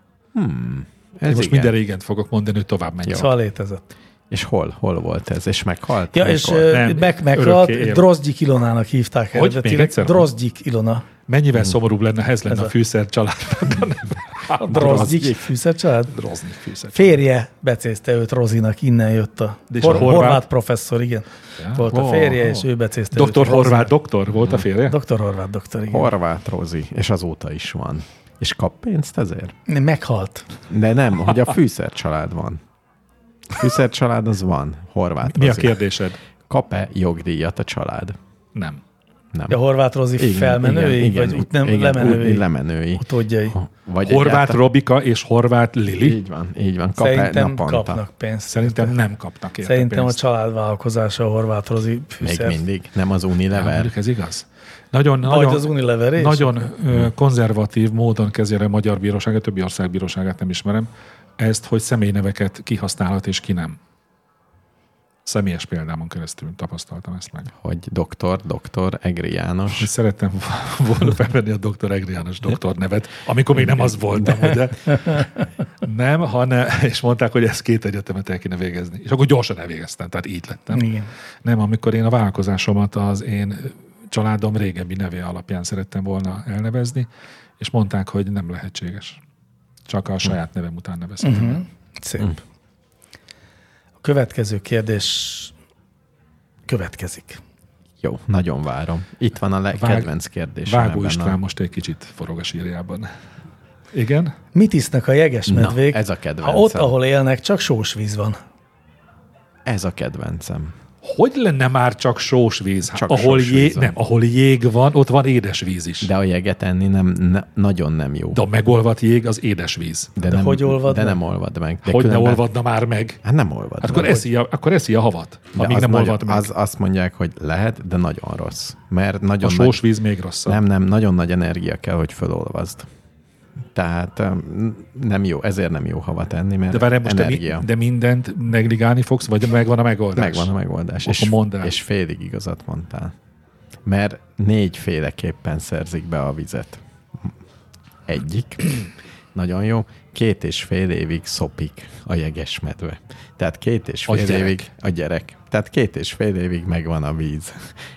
Speaker 3: Ez
Speaker 4: Most minden régen fogok mondani, hogy tovább menj.
Speaker 2: Szóval létezett.
Speaker 3: És hol? Hol volt ez? És meghalt?
Speaker 2: Ja,
Speaker 3: Mikor?
Speaker 2: és ö,
Speaker 4: Nem,
Speaker 2: meg meghalt,
Speaker 4: örökké él.
Speaker 2: Drozdik Ilonának hívták
Speaker 4: Hogy? Még
Speaker 2: eredetileg.
Speaker 4: egyszer?
Speaker 2: Drozdik Ilona.
Speaker 4: Mennyivel szomorúbb lenne, ha ez lenne
Speaker 2: Ez
Speaker 4: a
Speaker 2: a-
Speaker 4: fűszer család.
Speaker 2: A Drozdik fűszercsalád.
Speaker 4: Rozni fűszer.
Speaker 2: Férje becézte őt Rozinak, innen jött a,
Speaker 4: De és
Speaker 2: hor-
Speaker 4: a
Speaker 2: horvát?
Speaker 4: horvát?
Speaker 2: professzor, igen.
Speaker 4: Ja.
Speaker 2: Volt a
Speaker 3: Ó,
Speaker 2: férje,
Speaker 3: ó.
Speaker 2: és ő becézte
Speaker 4: Doktor
Speaker 2: őt. Rozinak.
Speaker 4: Horváth doktor volt a férje?
Speaker 2: Doktor Horváth doktor, igen.
Speaker 3: Horváth Rozi, és azóta is van. És kap pénzt ezért?
Speaker 2: Meghalt.
Speaker 3: De nem, hogy a fűszercsalád van. Fűszercsalád az van, Horváth
Speaker 4: Mi a
Speaker 3: Rozi.
Speaker 4: kérdésed?
Speaker 3: Kap-e jogdíjat a család?
Speaker 4: Nem.
Speaker 3: Nem.
Speaker 2: A Horváth Rozi felmenői, vagy út nem lemenői
Speaker 3: Úgy, lemenői.
Speaker 2: utódjai.
Speaker 3: Ha- Vagy
Speaker 4: Horváth
Speaker 3: egyáltalán-
Speaker 4: Robika és Horváth Lili?
Speaker 3: Így van, így van. Kap-e
Speaker 2: Szerintem
Speaker 3: naponta?
Speaker 2: kapnak pénzt.
Speaker 4: Szerintem nem kapnak érte
Speaker 2: Szerintem a
Speaker 4: pénzt.
Speaker 2: családvállalkozása a horvát rozi
Speaker 3: Még
Speaker 2: fűszer.
Speaker 3: mindig. Nem az Unilever.
Speaker 4: Mondjuk ez igaz. Nagyon,
Speaker 2: Vagy
Speaker 4: nagyon,
Speaker 2: az Unilever is.
Speaker 4: nagyon ö, konzervatív módon kezére a magyar bíróság, a többi ország bíróságát nem ismerem, ezt, hogy személyneveket kihasználhat és ki nem. Személyes példámon keresztül tapasztaltam ezt meg.
Speaker 3: Hogy doktor, doktor, Egri
Speaker 4: És
Speaker 3: János.
Speaker 4: szerettem volna felvenni a doktor Egri János doktor nevet, amikor még nem az voltam, ugye? Nem, hanem, és mondták, hogy ezt két egyetemet el kéne végezni. És akkor gyorsan elvégeztem, tehát így lettem.
Speaker 2: Igen.
Speaker 4: Nem, amikor én a vállalkozásomat az én családom régebbi neve alapján szerettem volna elnevezni, és mondták, hogy nem lehetséges. Csak a saját nevem után nevezhetem.
Speaker 2: Mhm.
Speaker 4: Uh-huh.
Speaker 2: Szép. A következő kérdés következik.
Speaker 3: Jó, nagyon várom. Itt van a le-
Speaker 4: Vág-
Speaker 3: kedvenc kérdésem.
Speaker 4: Vágó
Speaker 3: ebben a-
Speaker 4: István most egy kicsit forog a sírjában. Igen?
Speaker 2: Mit isznak a jeges
Speaker 3: Na,
Speaker 2: medvék?
Speaker 3: ez a
Speaker 2: ha
Speaker 3: kedvencem.
Speaker 2: ott, ahol élnek, csak sós víz van.
Speaker 3: Ez a kedvencem.
Speaker 4: Hogy lenne már csak sós víz?
Speaker 3: Csak
Speaker 4: Csak ahol,
Speaker 3: sós
Speaker 4: jé-
Speaker 3: víz van.
Speaker 4: nem, ahol jég van, ott van édes víz is. De,
Speaker 3: De a jeget enni nem, ne, nagyon nem jó.
Speaker 4: de a megolvat jég az édes víz.
Speaker 3: de,
Speaker 2: de
Speaker 3: nem,
Speaker 2: hogy olvad
Speaker 3: De
Speaker 2: meg?
Speaker 3: nem olvad meg. De
Speaker 4: hogy ne
Speaker 3: különben-
Speaker 4: olvadna már meg?
Speaker 3: Hát nem olvad
Speaker 4: Hát akkor
Speaker 3: meg.
Speaker 4: eszi, a, akkor eszi a havat,
Speaker 3: De
Speaker 4: amíg
Speaker 3: az
Speaker 4: nem
Speaker 3: nagyon,
Speaker 4: olvad meg.
Speaker 3: Az, azt mondják, hogy lehet, de nagyon rossz. Mert
Speaker 4: a
Speaker 3: nagyon
Speaker 4: sós
Speaker 3: nagy,
Speaker 4: víz még rosszabb.
Speaker 3: nem, nem, nagyon nagy energia kell, hogy fölolvazd. Tehát öm, nem jó, ezért nem jó havat enni, mert
Speaker 4: De várjál most, te
Speaker 3: energia.
Speaker 4: mi, de mindent negligálni fogsz, vagy megvan a megoldás?
Speaker 3: Megvan a megoldás.
Speaker 4: Akkor
Speaker 3: És,
Speaker 4: mondd el.
Speaker 3: és félig igazat mondtál. Mert négyféleképpen szerzik be a vizet. Egyik, nagyon jó, két és fél évig szopik a jegesmedve. Tehát két és fél
Speaker 4: A gyerek.
Speaker 3: évig a gyerek. Tehát két és fél évig megvan a víz.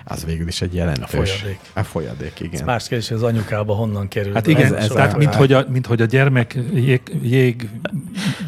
Speaker 3: Az végül is egy jelentős.
Speaker 2: folyadék.
Speaker 3: A folyadék, igen.
Speaker 2: Más kérdés, hogy az anyukába honnan kerül.
Speaker 4: Hát
Speaker 2: be.
Speaker 4: igen,
Speaker 2: Ez-
Speaker 4: ez,
Speaker 2: ez
Speaker 4: tehát
Speaker 2: a-
Speaker 4: mint hogy, a, mint hogy a gyermek jég, jég,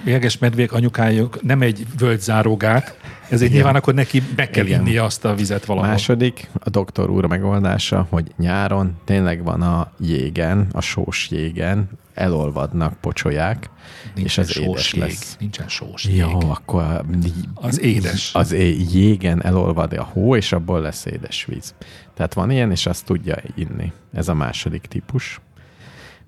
Speaker 4: jéges medvék anyukájuk nem egy völgyzárógát, ezért nyilván akkor neki meg kell
Speaker 3: Igen.
Speaker 4: inni azt a vizet valahol.
Speaker 3: Második, a doktor úr megoldása, hogy nyáron tényleg van a jégen, a sós jégen, elolvadnak pocsolyák, és
Speaker 4: Nincsen
Speaker 3: az édes
Speaker 4: sós jég.
Speaker 3: lesz.
Speaker 4: Nincsen sós jég.
Speaker 3: Jó, akkor a-
Speaker 4: Az édes.
Speaker 3: az é- jégen elolvad a hó, és abból lesz édes víz. Tehát van ilyen, és azt tudja inni. Ez a második típus.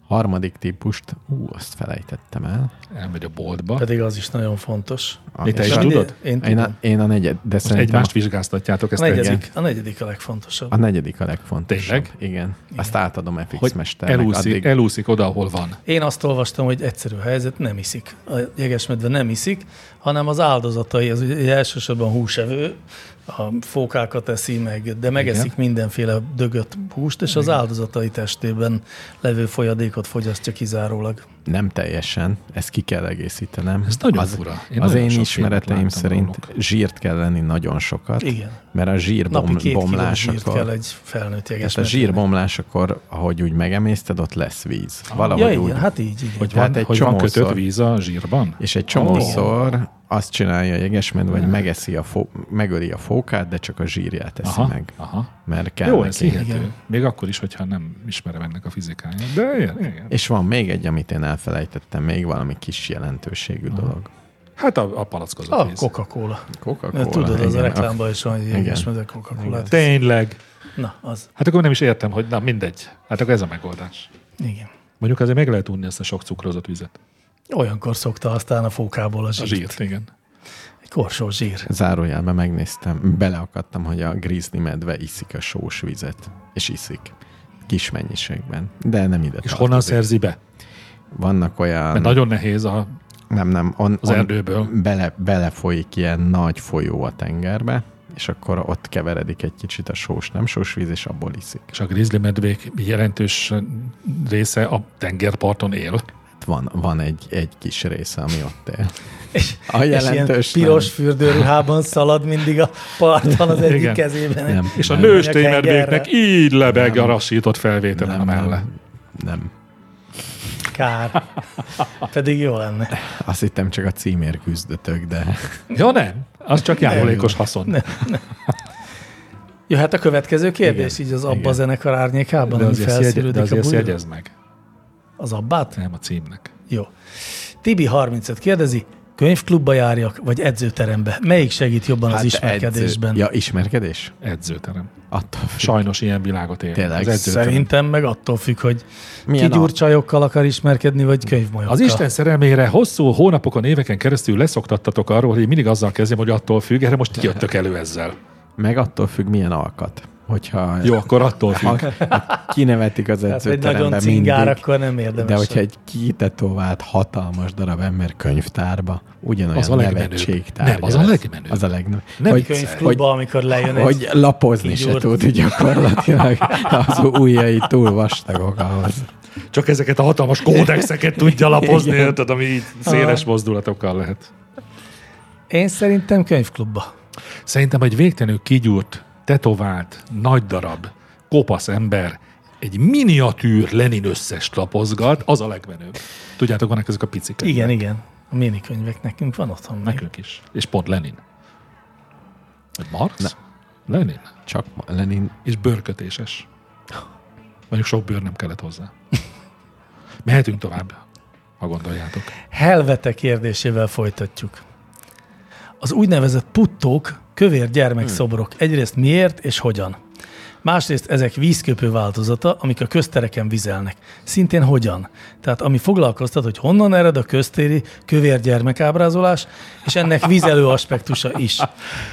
Speaker 3: Harmadik típust, ú, azt felejtettem el.
Speaker 4: Elmegy a boltba.
Speaker 2: Pedig az is nagyon fontos.
Speaker 3: A-
Speaker 4: Mi te
Speaker 3: és
Speaker 4: is
Speaker 3: a-
Speaker 4: tudod?
Speaker 2: Én
Speaker 3: Én
Speaker 2: tudom.
Speaker 3: a, én a negyed, de
Speaker 4: Most
Speaker 3: szerintem
Speaker 4: egymást vizsgáztatjátok
Speaker 2: A
Speaker 4: ezt reggel.
Speaker 2: negyedik, a negyedik a legfontosabb.
Speaker 3: a negyedik a legfontosabb.
Speaker 4: Tényleg?
Speaker 3: Igen. Azt átadom FX
Speaker 4: Hogy
Speaker 3: mesternek.
Speaker 4: elúszik,
Speaker 3: addig-
Speaker 4: elúszik oda, ahol van.
Speaker 2: Én azt olvastam, hogy egyszerű helyzet, nem iszik. A jegesmedve nem iszik, hanem az áldozatai, az ugye elsősorban húsevő, a fókákat eszi meg, de megeszik
Speaker 4: Igen.
Speaker 2: mindenféle dögött húst, és az áldozatai testében levő folyadékot fogyasztja kizárólag.
Speaker 3: Nem teljesen, ezt ki kell egészítenem.
Speaker 4: Ez nagyon
Speaker 3: az,
Speaker 4: fura. Én
Speaker 3: Én az
Speaker 4: nagyon
Speaker 3: én
Speaker 4: sok
Speaker 3: ismereteim
Speaker 4: filmet láttam
Speaker 3: szerint
Speaker 4: róluk.
Speaker 3: zsírt kell lenni nagyon sokat,
Speaker 2: Igen.
Speaker 3: mert a zsír
Speaker 2: Napi
Speaker 3: bom,
Speaker 2: két kiló zsírt
Speaker 3: bomlásakor,
Speaker 2: kell egy felnőtt
Speaker 3: tehát a
Speaker 2: jegesmedve.
Speaker 3: zsírbomlásakor, ahogy úgy megemészted, ott lesz víz.
Speaker 4: Ah.
Speaker 3: Valahogy
Speaker 2: ja,
Speaker 3: úgy.
Speaker 2: igen, hát így, igen.
Speaker 4: Hogy
Speaker 3: Tehát
Speaker 4: van,
Speaker 3: egy
Speaker 4: hogy van kötött
Speaker 3: csomószor.
Speaker 4: víz a zsírban?
Speaker 3: És egy csomószor azt csinálja a jegesmedve, hogy megeszi a fó, megöli a fókát, de csak a zsírját eszi
Speaker 4: Aha,
Speaker 3: meg.
Speaker 4: aha.
Speaker 3: Mert kell
Speaker 4: Jó, ez
Speaker 3: neki.
Speaker 4: hihető. Még akkor is, hogyha nem ismerem ennek a fizikáját. De igen, igen.
Speaker 3: És van még egy, amit én elfelejtettem, még valami kis jelentőségű dolog.
Speaker 4: Hát a, a palackozott
Speaker 2: A
Speaker 4: víz.
Speaker 2: Coca-Cola.
Speaker 3: Coca-Cola.
Speaker 2: Mert tudod, az a
Speaker 3: igen, a
Speaker 2: reklámban is van, hogy jegesmedve coca cola
Speaker 4: Tényleg.
Speaker 2: Na, az,
Speaker 4: Hát akkor nem is értem, hogy na mindegy. Hát akkor ez a megoldás.
Speaker 2: igen.
Speaker 4: Mondjuk azért meg lehet unni ezt a sok cukrozott vizet.
Speaker 2: Olyankor szokta aztán a fókából a
Speaker 4: A
Speaker 2: zsírt.
Speaker 4: zsírt, igen.
Speaker 2: Egy korsó zsír.
Speaker 3: Zárójelben megnéztem, beleakadtam, hogy a grizzly medve iszik a sós vizet, és iszik. kis mennyiségben, de nem ide
Speaker 4: És
Speaker 3: tartozik.
Speaker 4: honnan szerzi be?
Speaker 3: Vannak olyan...
Speaker 4: Mert nagyon nehéz a...
Speaker 3: Nem, nem. On,
Speaker 4: Az
Speaker 3: on-
Speaker 4: erdőből.
Speaker 3: Bele, belefolyik ilyen nagy folyó a tengerbe, és akkor ott keveredik egy kicsit a sós, nem sós víz, és abból iszik.
Speaker 4: És a grizzly medvék jelentős része a tengerparton él.
Speaker 3: Hát van, van egy, egy kis része, ami ott él.
Speaker 2: És,
Speaker 3: A
Speaker 2: és ilyen
Speaker 3: jelentős
Speaker 2: piros
Speaker 3: nem.
Speaker 2: fürdőruhában szalad mindig a parton az egyik
Speaker 4: Igen.
Speaker 2: kezében.
Speaker 3: Nem,
Speaker 4: És a
Speaker 3: nem,
Speaker 4: nőstény
Speaker 2: Menjek
Speaker 4: medvéknek
Speaker 2: tengerre.
Speaker 4: így lebeg a rassított felvételen a
Speaker 3: Nem,
Speaker 4: melle.
Speaker 3: nem. nem.
Speaker 2: Kár. Pedig jó lenne.
Speaker 3: Azt hittem csak a címér küzdötök, de
Speaker 4: Ja nem, az csak járulékos haszon.
Speaker 2: Jöhet hát a következő kérdés, így az Abba
Speaker 3: igen.
Speaker 2: zenekar árnyékában,
Speaker 4: De
Speaker 2: ami
Speaker 4: azért, jegy, de
Speaker 2: felszűrődik a
Speaker 4: azért
Speaker 2: bújra.
Speaker 4: jegyez meg.
Speaker 2: Az Abbát?
Speaker 4: Nem a címnek.
Speaker 2: Jó. Tibi 35 kérdezi, könyvklubba járjak, vagy edzőterembe? Melyik segít jobban
Speaker 4: Hát
Speaker 2: az ismerkedésben?
Speaker 3: Edző. Hát Ja, ismerkedés?
Speaker 4: Edzőterem.
Speaker 3: Attól függ.
Speaker 4: Sajnos ilyen világot él.
Speaker 3: Tényleg,
Speaker 4: Az edzőterem.
Speaker 2: Szerintem meg attól függ, hogy
Speaker 3: Milyen
Speaker 2: Milyen ki gyurcsajokkal akar ismerkedni, vagy könyvmolyokkal.
Speaker 4: Az Isten szerelmére hosszú hónapokon, éveken keresztül leszoktattatok arról, hogy én mindig azzal kezdjem, hogy attól függ, erre most ti jöttök elő ezzel.
Speaker 3: Meg attól függ, milyen alkat. Hogyha
Speaker 4: Jó, akkor attól függ.
Speaker 3: ha, ha kinevetik az
Speaker 2: Tehát, hogy
Speaker 3: edzőterembe
Speaker 2: nagyon
Speaker 3: mindig.
Speaker 2: cingár, akkor nem érdemes.
Speaker 3: De hogyha egy kitetovált hatalmas darab ember könyvtárba, ugyanolyan
Speaker 4: Az a legmenőbb.
Speaker 3: nevetségtárgya
Speaker 4: Nem, az a
Speaker 3: lesz.
Speaker 4: legmenőbb.
Speaker 3: Az a legmenőbb.
Speaker 4: Nem
Speaker 3: hogy, hogy,
Speaker 2: könyvklubba, amikor lejön egy...
Speaker 3: hogy lapozni se
Speaker 2: kigyúrt.
Speaker 3: tud gyakorlatilag. Az ujjai túl vastagok ahhoz.
Speaker 4: Csak ezeket a hatalmas kódexeket tudja lapozni, érted, ami így széles mozdulatokkal lehet.
Speaker 2: Én szerintem könyvklubba.
Speaker 4: Szerintem egy végtelenül kigyúrt, tetovált, nagy darab, kopasz ember egy miniatűr Lenin összes lapozgat, az a legmenőbb. Tudjátok, vannak ezek a picik.
Speaker 2: Igen, igen. A minikönyvek nekünk van otthon. még.
Speaker 4: Nekünk is. És pont Lenin. Vagy Marx? Lenin.
Speaker 3: Csak Lenin
Speaker 4: És bőrkötéses. Mondjuk sok bőr nem kellett hozzá. Mehetünk tovább, ha gondoljátok.
Speaker 2: Helvete kérdésével folytatjuk. Az úgynevezett puttók, kövér gyermekszobrok egyrészt miért és hogyan? Másrészt ezek vízköpő változata, amik a köztereken vizelnek. Szintén hogyan? Tehát ami foglalkoztat, hogy honnan ered a köztéri kövér gyermekábrázolás, és ennek vízelő aspektusa is.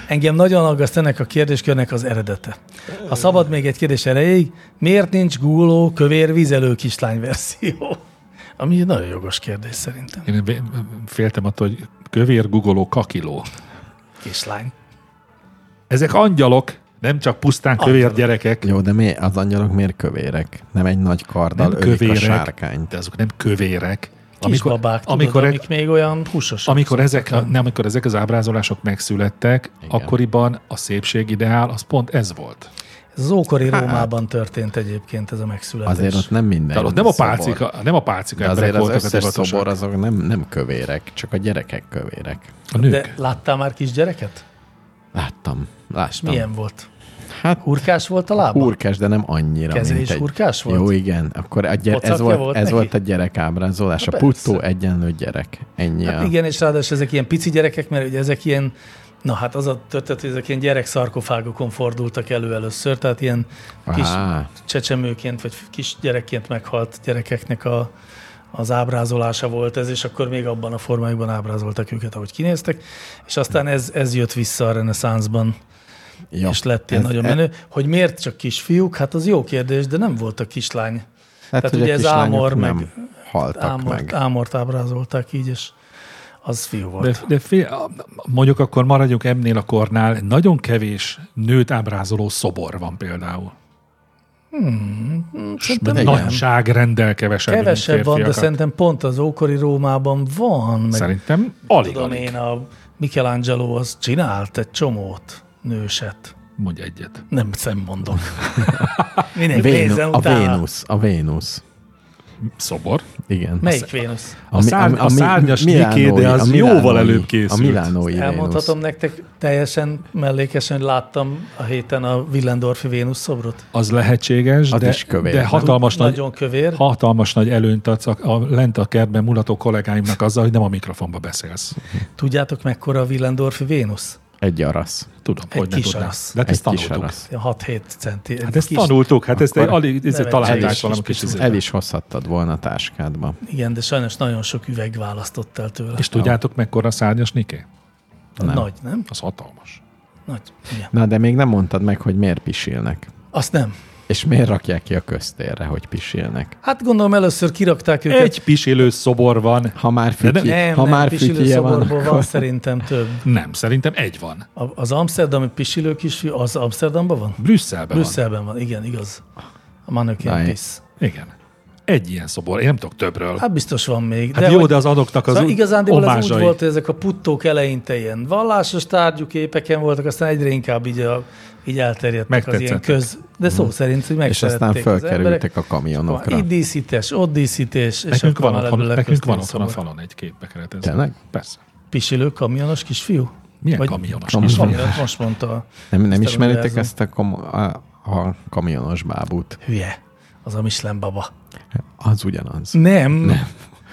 Speaker 2: Engem nagyon aggaszt ennek a kérdéskörnek az eredete. Ha szabad még egy kérdés erejéig, miért nincs gúló, kövér, vízelő kislány verzió? Ami egy nagyon jogos kérdés szerintem.
Speaker 4: Én vé- féltem attól, hogy kövér, gugoló, kakiló.
Speaker 2: Kislány.
Speaker 4: Ezek angyalok, nem csak pusztán kövér gyerekek.
Speaker 3: Jó, de mi, az angyalok miért kövérek? Nem egy nagy karddal
Speaker 4: Nem
Speaker 3: nem ölik
Speaker 4: kövérek,
Speaker 3: a sárkányt.
Speaker 4: de azok nem kövérek.
Speaker 2: Amikor, babák, tudod, amikor
Speaker 4: amikor, egy-
Speaker 2: amik még olyan húsosak.
Speaker 4: amikor, ezek, a- nem, amikor ezek az ábrázolások megszülettek, Igen. akkoriban a szépségideál az pont ez volt.
Speaker 2: Ez az ókori Rómában történt egyébként ez a megszületés.
Speaker 3: Azért ott nem minden.
Speaker 4: Tehát ott nem a
Speaker 3: szobor.
Speaker 4: pálcika, nem a pálcika
Speaker 3: De azért
Speaker 4: emberek
Speaker 3: az
Speaker 4: voltak a
Speaker 3: összes
Speaker 4: divatosak.
Speaker 3: szobor azok nem, nem kövérek, csak a gyerekek kövérek.
Speaker 4: A nők.
Speaker 2: De láttál már kisgyereket?
Speaker 3: Láttam, láttam.
Speaker 2: Milyen volt?
Speaker 3: Hát
Speaker 2: Hurkás volt a lába?
Speaker 3: hurkás, de nem annyira.
Speaker 2: Keze
Speaker 3: mint
Speaker 2: is
Speaker 3: egy...
Speaker 2: hurkás volt?
Speaker 3: Jó, igen. Akkor a gyere... ez,
Speaker 2: Pocakja
Speaker 3: volt,
Speaker 2: volt
Speaker 3: ez
Speaker 2: neki?
Speaker 3: volt a gyerek ábrázolás.
Speaker 2: Na
Speaker 3: a
Speaker 2: persze.
Speaker 3: puttó egyenlő gyerek. Ennyi
Speaker 2: Hát
Speaker 3: a...
Speaker 2: igen, és ráadásul ezek ilyen pici gyerekek, mert ugye ezek ilyen, na hát az a történet, hogy ezek ilyen gyerekszarkofágokon fordultak elő először, tehát ilyen kis
Speaker 3: Á,
Speaker 2: csecsemőként vagy kisgyerekként meghalt gyerekeknek a, az ábrázolása volt ez, és akkor még abban a formájukban ábrázoltak őket, ahogy kinéztek, és aztán ez, ez jött vissza a reneszánszban,
Speaker 3: ja.
Speaker 2: és lett ilyen
Speaker 3: Ez-
Speaker 2: nagyon
Speaker 3: e-
Speaker 2: menő. Hogy miért csak kisfiúk? Hát az jó kérdés, de nem volt a kislány.
Speaker 3: Hát,
Speaker 2: Tehát
Speaker 3: hogy
Speaker 2: ugye
Speaker 3: a
Speaker 2: ez
Speaker 3: kislányok
Speaker 2: ámor,
Speaker 3: nem
Speaker 2: meg-
Speaker 3: haltak
Speaker 2: Ámort,
Speaker 3: meg.
Speaker 2: ámort ábrázolták így, és az fiú
Speaker 4: De,
Speaker 2: volt.
Speaker 4: de fél, mondjuk akkor maradjunk emnél a kornál, nagyon kevés nőt ábrázoló szobor van például.
Speaker 2: Szerintem nem.
Speaker 3: igen.
Speaker 4: Nagyság rendel Hmm, kevesebb,
Speaker 2: Kevesebb
Speaker 4: mint
Speaker 2: van, de
Speaker 4: férfiakat.
Speaker 2: szerintem pont az ókori Rómában van, meg
Speaker 4: Szerintem alig,
Speaker 2: tudom
Speaker 4: alig.
Speaker 2: én, a Michelangelo az csinált egy csomót nőset.
Speaker 4: Mondj egyet.
Speaker 2: Nem szemmondok. Mindenki
Speaker 3: Vénu,
Speaker 2: nézzen
Speaker 3: a
Speaker 2: utána.
Speaker 3: Vénusz, a Vénusz.
Speaker 4: Szobor?
Speaker 3: Igen.
Speaker 2: Melyik Vénusz?
Speaker 4: A szárny- a szárnyas nyiké, de az jóval előbb készült.
Speaker 3: A milánói
Speaker 2: Elmondhatom
Speaker 3: Vénusz.
Speaker 2: nektek teljesen mellékesen, hogy láttam a héten a Willendorfi Vénusz szobrot.
Speaker 4: Az lehetséges,
Speaker 3: Az
Speaker 4: de,
Speaker 3: is kövér.
Speaker 4: de hatalmas, nagy,
Speaker 2: Nagyon kövér.
Speaker 4: hatalmas nagy előnyt adsz a, a lent a kertben mulató kollégáimnak azzal, hogy nem a mikrofonba beszélsz.
Speaker 2: Tudjátok mekkora a Willendorfi Vénusz?
Speaker 3: Egy arasz.
Speaker 4: Tudom,
Speaker 2: Egy
Speaker 4: hogy ne
Speaker 2: kis
Speaker 4: tudnám.
Speaker 2: arasz.
Speaker 4: De hát
Speaker 3: Egy
Speaker 4: ezt
Speaker 3: kis
Speaker 4: tanultuk.
Speaker 3: arasz.
Speaker 2: Ilyen 6-7 centi.
Speaker 4: Hát ezt tanultuk, hát ezt
Speaker 3: Akkor
Speaker 4: alig ezt
Speaker 2: nem egy
Speaker 4: találták
Speaker 2: kis-
Speaker 4: valami
Speaker 2: kis-
Speaker 4: kis
Speaker 2: kis-
Speaker 4: izével.
Speaker 3: El is hozhattad volna a táskádba.
Speaker 2: Igen, de sajnos nagyon sok üveg választott el tőle.
Speaker 4: És tudjátok, mekkora szárnyas Niké?
Speaker 2: nem. Nagy, nem?
Speaker 4: Az hatalmas.
Speaker 2: Nagy. Igen.
Speaker 3: Na, de még nem mondtad meg, hogy miért pisilnek.
Speaker 2: Azt nem.
Speaker 3: És miért rakják ki a köztérre, hogy pisilnek?
Speaker 2: Hát gondolom először kirakták őket.
Speaker 4: Egy pisilő szobor van.
Speaker 3: Ha már
Speaker 4: De nem-
Speaker 3: fütyi, ha már fütyije van,
Speaker 2: pisilőszoborból van
Speaker 3: akkor-
Speaker 2: szerintem több.
Speaker 4: Nem, szerintem egy van.
Speaker 2: A- Az amsterdami pisilő kisfiú, az Amsterdamban van?
Speaker 4: Brüsszelben
Speaker 2: Brüsszelben van, igen, igaz. A manökén
Speaker 3: Nice.
Speaker 2: pisz.
Speaker 4: van. Igen. Egy ilyen szobor. Én nem tudok többről. Hát,
Speaker 2: Hát biztos van még.
Speaker 4: hát de jó,
Speaker 2: hogy-
Speaker 4: de az adoknak az
Speaker 2: Szóval
Speaker 4: szóval
Speaker 2: igazándiból az úgy
Speaker 4: omázsai.
Speaker 2: volt, hogy ezek a puttók eleinte ilyen vallásos tárgyú képeken voltak, aztán egyre inkább így, a, így elterjedtek az ilyen
Speaker 4: Megtetszettek.
Speaker 2: köz.
Speaker 4: Mhm.
Speaker 2: De szó szerint, hogy
Speaker 3: és aztán
Speaker 2: megszerették az emberek.
Speaker 3: fölkerültek a kamionokra.
Speaker 2: Itt díszítés, ott díszítés, és
Speaker 4: Nekünk
Speaker 2: akkor
Speaker 4: van,
Speaker 2: már
Speaker 4: otthon,
Speaker 2: ebből
Speaker 4: nekünk van
Speaker 2: elkezdték
Speaker 4: otthon a
Speaker 2: szabad.
Speaker 4: falon egy képbe keretezve.
Speaker 3: Tényleg?
Speaker 4: Persze.
Speaker 2: Pisilő kamionos kisfiú?
Speaker 4: Milyen
Speaker 2: Vagy-
Speaker 3: Kam-
Speaker 4: kamionos? Kam-
Speaker 2: Most,
Speaker 3: Kamionos.
Speaker 2: mondta, most mondta.
Speaker 3: Nem, nem
Speaker 2: Ezt
Speaker 3: ismeritek
Speaker 2: elmagyarázom.
Speaker 3: ezt a, kom- a, a kamionos bábút?
Speaker 2: Hülye. Az a Michelin baba.
Speaker 3: Az ugyanaz.
Speaker 2: Nem. Nem.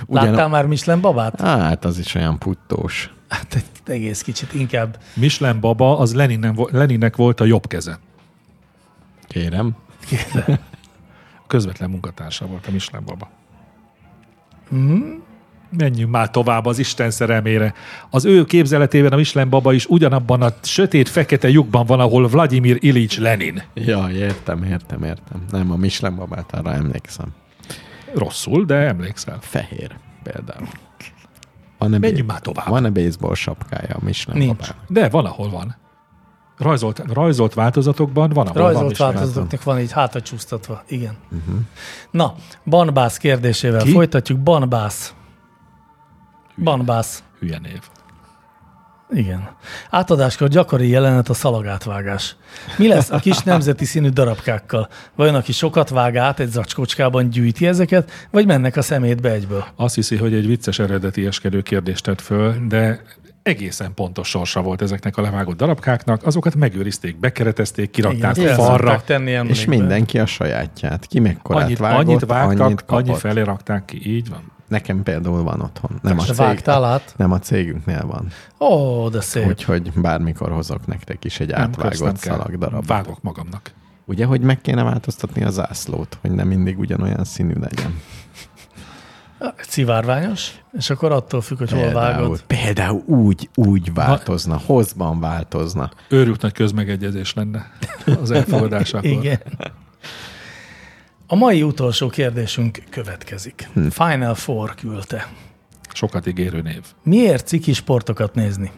Speaker 3: Ugyan-
Speaker 2: Láttál már Michelin babát?
Speaker 3: Á, Hát az is olyan puttós.
Speaker 2: Hát egy egész kicsit inkább.
Speaker 4: Michelin baba, az Leninen, vo- Leninnek volt a jobb keze.
Speaker 3: Kérem.
Speaker 4: Közvetlen munkatársa volt a Michelin baba. Menjünk már tovább az Isten szerelmére. Az ő képzeletében a Michelin baba is ugyanabban a sötét fekete lyukban van, ahol Vladimir Ilics Lenin.
Speaker 3: Ja, értem, értem, értem. Nem, a Michelin babát arra emlékszem.
Speaker 4: Rosszul, de emlékszel.
Speaker 3: Fehér például. Van-e, bé-
Speaker 4: Menjünk már tovább.
Speaker 3: van-e baseball sapkája a Michelin
Speaker 2: Nincs.
Speaker 3: babának?
Speaker 4: De van, ahol van. Rajzolt, rajzolt változatokban van, ahol van.
Speaker 2: Rajzolt
Speaker 4: Michelin.
Speaker 2: változatoknak van így hátra csúsztatva. Igen. Uh-huh. Na, Banbász kérdésével
Speaker 4: Ki?
Speaker 2: folytatjuk. Banbász. Banbász.
Speaker 4: Hülye név.
Speaker 2: Igen. Átadáskor gyakori jelenet a szalagátvágás. Mi lesz a kis nemzeti színű darabkákkal? Vajon aki sokat vág át, egy zacskócskában gyűjti ezeket, vagy mennek a szemétbe egyből?
Speaker 4: Azt hiszi, hogy egy vicces eredeti eskedő kérdést tett föl, de egészen pontos sorsa volt ezeknek a levágott darabkáknak, azokat megőrizték, bekeretezték, kirakták
Speaker 2: Igen,
Speaker 4: falra,
Speaker 2: szokták tenni
Speaker 3: És
Speaker 2: emlékbe.
Speaker 3: mindenki a sajátját. Ki mekkorát
Speaker 4: annyit,
Speaker 3: vágott,
Speaker 4: annyit vágtak,
Speaker 3: annyit
Speaker 4: annyit
Speaker 3: kapott.
Speaker 4: annyi felé rakták ki, így van.
Speaker 3: Nekem például van otthon. Nem a,
Speaker 2: És
Speaker 3: cég,
Speaker 2: vágtál át?
Speaker 3: nem a cégünknél van.
Speaker 2: Ó, de szép.
Speaker 3: Úgyhogy bármikor hozok nektek is egy
Speaker 4: Nem, kösz, nem
Speaker 3: átvágott
Speaker 4: kell.
Speaker 3: szalagdarabot.
Speaker 4: Vágok magamnak.
Speaker 3: Ugye, hogy meg kéne változtatni a zászlót, hogy nem mindig ugyanolyan színű legyen.
Speaker 2: Szivárványos, és akkor attól függ, hogy hol vágod.
Speaker 3: például úgy, úgy változna, hozban változna.
Speaker 4: Őrült nagy közmegegyezés lenne az elfogadásakor.
Speaker 2: Igen. A mai utolsó kérdésünk következik. Hm. Final Four küldte.
Speaker 4: Sokat ígérő név.
Speaker 2: Miért ciki sportokat nézni?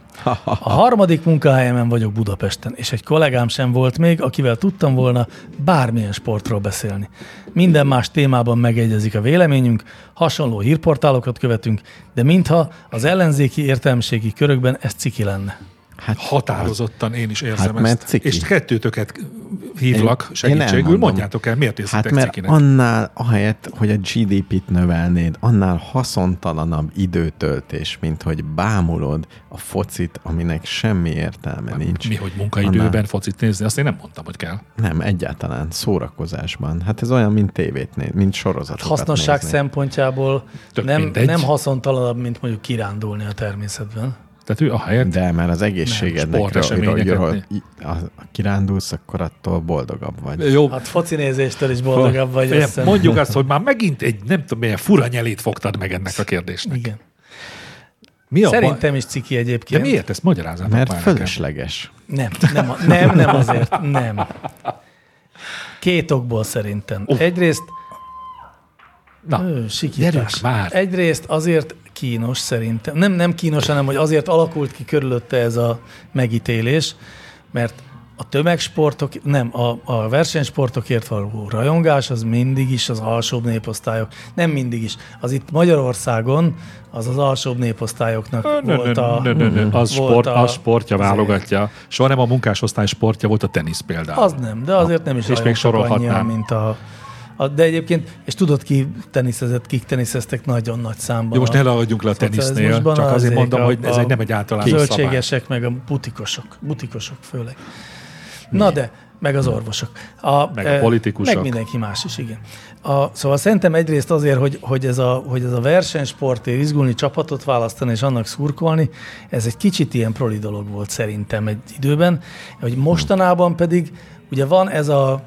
Speaker 2: A harmadik munkahelyemen vagyok Budapesten, és egy kollégám sem volt még, akivel tudtam volna bármilyen sportról beszélni. Minden más témában megegyezik a véleményünk, hasonló hírportálokat követünk, de mintha az ellenzéki értelmiségi körökben ez ciki lenne.
Speaker 3: Hát,
Speaker 4: Határozottan én is érzem
Speaker 3: Hát, mert
Speaker 4: ezt.
Speaker 3: ciki.
Speaker 4: És kettőtöket hívlak
Speaker 3: Én- én
Speaker 4: segítségül,
Speaker 3: elmondom.
Speaker 4: mondjátok el, miért érzitek
Speaker 3: hát mert
Speaker 4: cikinek?
Speaker 3: annál, ahelyett, hogy a GDP-t növelnéd, annál haszontalanabb időtöltés, mint hogy bámulod a focit, aminek semmi értelme nincs.
Speaker 4: Hát, Mi, hogy munkaidőben
Speaker 3: Annál-
Speaker 4: focit nézni, azt én nem mondtam, hogy kell.
Speaker 3: Nem, egyáltalán szórakozásban. Hát ez olyan, mint tévét néz, mint sorozatokat
Speaker 4: Hát
Speaker 2: Hasznosság
Speaker 3: nézni.
Speaker 2: szempontjából
Speaker 4: Tök
Speaker 2: nem,
Speaker 4: mindegy.
Speaker 2: nem haszontalanabb, mint mondjuk kirándulni a természetben.
Speaker 4: Tehát ő a helyet
Speaker 3: De mert az egészségednek,
Speaker 4: Nem,
Speaker 3: ről- ről-
Speaker 4: sporteseményeket
Speaker 3: ről- ha kirándulsz, akkor attól boldogabb vagy.
Speaker 4: Jó,
Speaker 2: Hát focinézéstől is boldogabb vagy.
Speaker 4: Figyelj,
Speaker 2: azt hiszem.
Speaker 4: mondjuk azt, hogy már megint egy nem tudom milyen fura nyelét fogtad meg ennek a kérdésnek.
Speaker 2: Igen.
Speaker 4: Mi a
Speaker 2: Szerintem is ciki
Speaker 4: De
Speaker 2: egyébként.
Speaker 4: miért ezt magyarázom?
Speaker 3: Mert fölösleges.
Speaker 2: Nem, nem, nem, nem azért, nem. Két okból szerintem. Egyrészt
Speaker 4: Na,
Speaker 2: Ö,
Speaker 4: gyerünk
Speaker 2: sikítás.
Speaker 4: már.
Speaker 2: Egyrészt azért kínos szerintem. Nem, nem kínos, hanem hogy azért alakult ki körülötte ez a megítélés, mert a tömegsportok, nem, a, a versenysportokért való rajongás az mindig is az alsóbb néposztályok. Nem mindig is. Az itt Magyarországon az az alsóbb néposztályoknak
Speaker 4: Nö, nö,
Speaker 2: volt a...
Speaker 4: nö, nö, nö. Az,
Speaker 2: volt
Speaker 4: sport,
Speaker 2: a-
Speaker 4: az sportja válogatja. Soha nem a munkásosztály sportja volt a tenisz például.
Speaker 2: Az nem, de azért nem is
Speaker 4: még
Speaker 2: rajongtak
Speaker 4: sorolhatnám.
Speaker 2: annyian, mint a, a... De egyébként, és tudod ki teniszezett, kik teniszeztek nagyon nagy számban.
Speaker 4: Jó, most ne
Speaker 2: a
Speaker 4: ragadjunk le a tenisznél,
Speaker 2: szocializmusban,
Speaker 4: csak azért mondom,
Speaker 2: a-
Speaker 4: hogy ez
Speaker 2: a
Speaker 4: egy nem egy általános szabály.
Speaker 2: Zöldségesek, meg a butikosok. Butikosok főleg. Na de, meg az orvosok. A,
Speaker 4: Meg a
Speaker 2: eh,
Speaker 4: politikusok.
Speaker 2: Meg mindenki más is, igen. A, szóval szerintem egyrészt azért, hogy, hogy, ez a, hogy ez a versenysportért izgulni, csapatot választani és annak szurkolni, ez egy kicsit ilyen proli dolog volt szerintem egy időben, hogy mostanában pedig ugye van ez a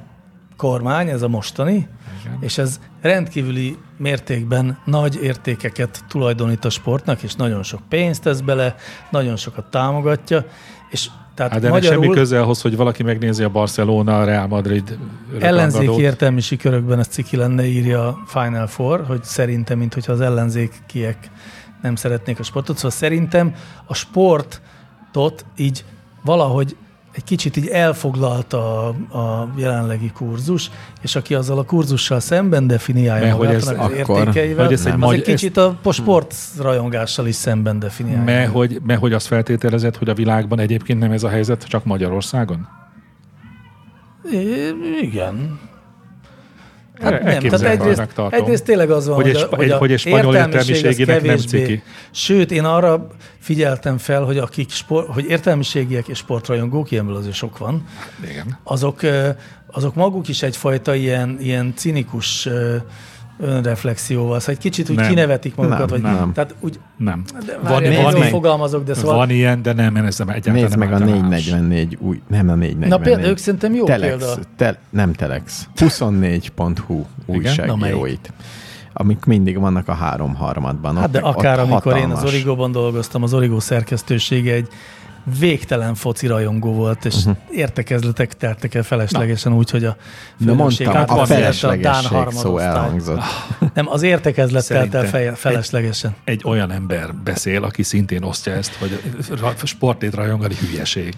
Speaker 2: kormány, ez a mostani, igen. és ez rendkívüli mértékben nagy értékeket tulajdonít a sportnak, és nagyon sok pénzt tesz bele, nagyon sokat támogatja, és Tehát
Speaker 4: Hát de ennek semmi köze ahhoz, hogy valaki megnézi a Barcelona, a Real Madrid örök rangadót.
Speaker 2: Ellenzéki értelmisi körökben ez ciki lenne, írja a Final Four, hogy szerintem, mint hogyha az ellenzékiek nem szeretnék a sportot. Szóval szerintem a sportot így valahogy egy kicsit így elfoglalta a, a jelenlegi kurzus, és aki azzal a kurzussal szemben definiálja
Speaker 4: Mert hogy
Speaker 2: magát,
Speaker 4: ez
Speaker 2: annak az
Speaker 3: akkor-
Speaker 2: értékeivel,
Speaker 4: hogy ez
Speaker 2: az
Speaker 4: egy
Speaker 2: egy,
Speaker 4: magy-
Speaker 2: kicsit a po- sportrajongással is szemben definiálja.
Speaker 4: Mert hogy, mert hogy azt feltételezed, hogy a világban egyébként nem ez a helyzet, csak Magyarországon?
Speaker 2: É, igen.
Speaker 4: Erre
Speaker 2: Hát nem, tehát
Speaker 4: elképzelhetetlennek
Speaker 2: egyrészt,
Speaker 4: E- tartom.
Speaker 2: egyrészt tényleg az van,
Speaker 4: Hogy
Speaker 2: hogy,
Speaker 4: egy
Speaker 2: a,
Speaker 4: spa-
Speaker 2: hogy, a
Speaker 4: egy- hogy egy spanyol
Speaker 2: értelmiség az
Speaker 4: értelmiséginek nem
Speaker 2: kevésbé.
Speaker 4: ciki.
Speaker 2: Sőt, én arra figyeltem fel, hogy akik sport, hogy értelmiségiek és sportrajongók, ilyenből azért sok van,
Speaker 4: Hát Igen.
Speaker 2: azok, ö, azok maguk is egyfajta ilyen, ilyen cinikus ö, önreflexióval, szóval egy kicsit úgy
Speaker 4: Nem.
Speaker 2: kinevetik magukat. vagy,
Speaker 3: Nem, nem.
Speaker 2: Tehát úgy,
Speaker 4: Nem.
Speaker 2: de
Speaker 4: Van-
Speaker 2: várj,
Speaker 4: van
Speaker 2: van, van,
Speaker 4: meg-
Speaker 2: fogalmazok, de
Speaker 4: Szóval
Speaker 2: szóval
Speaker 4: van ilyen, de nem, ez nem egyáltalán
Speaker 3: Nézd
Speaker 4: nem
Speaker 3: meg a
Speaker 4: általános.
Speaker 3: 444 új, nem a 444.
Speaker 2: Na például ők szerintem jó
Speaker 3: telex,
Speaker 2: példa.
Speaker 3: Te, nem Telex, 24.hu
Speaker 2: Na, melyik?
Speaker 3: újságíróit, amik mindig vannak a háromharmadban.
Speaker 2: Hát de
Speaker 3: Ott-
Speaker 2: akár
Speaker 3: ott
Speaker 2: amikor én
Speaker 3: hatalmas.
Speaker 2: az Origóban dolgoztam, az Origó szerkesztősége egy végtelen foci rajongó volt, és uh-huh. értekezletek teltek el feleslegesen úgy, hogy a
Speaker 3: Mhm. Na
Speaker 2: főnökség
Speaker 3: mondtam,
Speaker 2: átvette
Speaker 3: a
Speaker 2: a
Speaker 3: feleslegesség szó
Speaker 2: harmadosztályt.
Speaker 3: elhangzott.
Speaker 2: Nem, az értekezlet telt el
Speaker 4: Szerintem
Speaker 2: feje- feleslegesen.
Speaker 4: Egy olyan ember beszél, aki szintén osztja ezt, hogy ra- sportét rajongani hülyeség.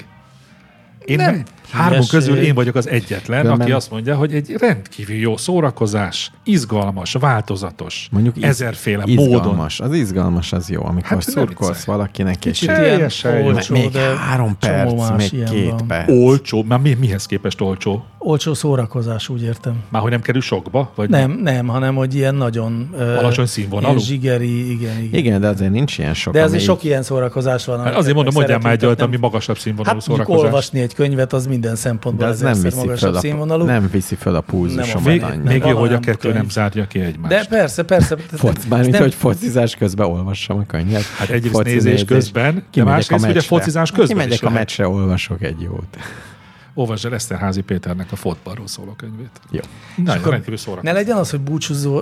Speaker 4: Én
Speaker 2: Nem
Speaker 4: nem. Hármunk
Speaker 2: hülyeség.
Speaker 4: közül én vagyok az egyetlen,
Speaker 3: De
Speaker 4: aki
Speaker 3: nem.
Speaker 4: azt mondja, hogy egy rendkívül jó szórakozás, izgalmas, változatos,
Speaker 3: Mondjuk iz-
Speaker 4: ezerféle módon.
Speaker 3: izgalmas. Az izgalmas az jó, amikor
Speaker 4: Hát
Speaker 3: hát
Speaker 4: ne
Speaker 3: szurkolsz
Speaker 4: viccelj.
Speaker 3: valakinek, és
Speaker 2: Kicsit
Speaker 3: így-
Speaker 2: ilyen
Speaker 4: teljesen jó.
Speaker 2: olcsó,
Speaker 3: még
Speaker 2: de
Speaker 3: három
Speaker 2: csomó
Speaker 3: perc,
Speaker 2: más
Speaker 3: még
Speaker 2: ilyen
Speaker 3: két
Speaker 2: van.
Speaker 3: perc.
Speaker 4: Olcsó, már mi, mihez képest olcsó?
Speaker 2: Olcsó szórakozás, úgy értem.
Speaker 4: Már hogy nem kerül sokba? Vagy
Speaker 2: Nem, nem, hanem hogy ilyen nagyon... ö,
Speaker 4: Alacsony színvonalú?
Speaker 2: ilyen Zsigeri, igen, igen.
Speaker 3: Igen, de azért nincs ilyen sok.
Speaker 2: De azért
Speaker 3: amelyik-
Speaker 2: sok ilyen szórakozás van.
Speaker 4: Hát
Speaker 2: amiket
Speaker 4: azért mondom,
Speaker 2: meg
Speaker 4: mondjál már egy
Speaker 2: szeretünk,
Speaker 4: olyat,
Speaker 2: tehát
Speaker 4: ami magasabb színvonalú
Speaker 2: Hát mondjuk
Speaker 4: szórakozás.
Speaker 2: olvasni egy könyvet, az minden
Speaker 3: de
Speaker 2: szempontból
Speaker 3: az
Speaker 2: az
Speaker 3: nem
Speaker 2: ezer
Speaker 3: viszi,
Speaker 2: magasabb
Speaker 3: föl a,
Speaker 2: színvonalú.
Speaker 3: nem viszi föl a
Speaker 2: Nem
Speaker 3: pulzusomat
Speaker 4: Még,
Speaker 2: a-
Speaker 3: annyira.
Speaker 4: még
Speaker 2: van
Speaker 4: jó, hogy a
Speaker 2: olyan
Speaker 4: kettő
Speaker 2: könyv.
Speaker 4: nem zárja ki egymást.
Speaker 2: De persze, persze. tehát
Speaker 3: Foc,
Speaker 2: ez
Speaker 3: bármint,
Speaker 2: nem-
Speaker 3: hogy focizás közben olvassam a könyvet.
Speaker 4: Hát egyrészt nézés közben, de
Speaker 3: Kimegyek
Speaker 4: másrészt ugye
Speaker 3: meccsre.
Speaker 4: focizás közben
Speaker 3: Kimegyek
Speaker 4: is
Speaker 3: a
Speaker 4: lehet.
Speaker 3: meccsre, olvasok egy jót.
Speaker 4: Olvasd el Eszterházi Péternek a fotbalról szóló könyvét.
Speaker 3: Jó.
Speaker 4: Nagyon
Speaker 2: akkor
Speaker 4: rendkívül
Speaker 2: Ne
Speaker 4: szórakozó.
Speaker 2: legyen az, hogy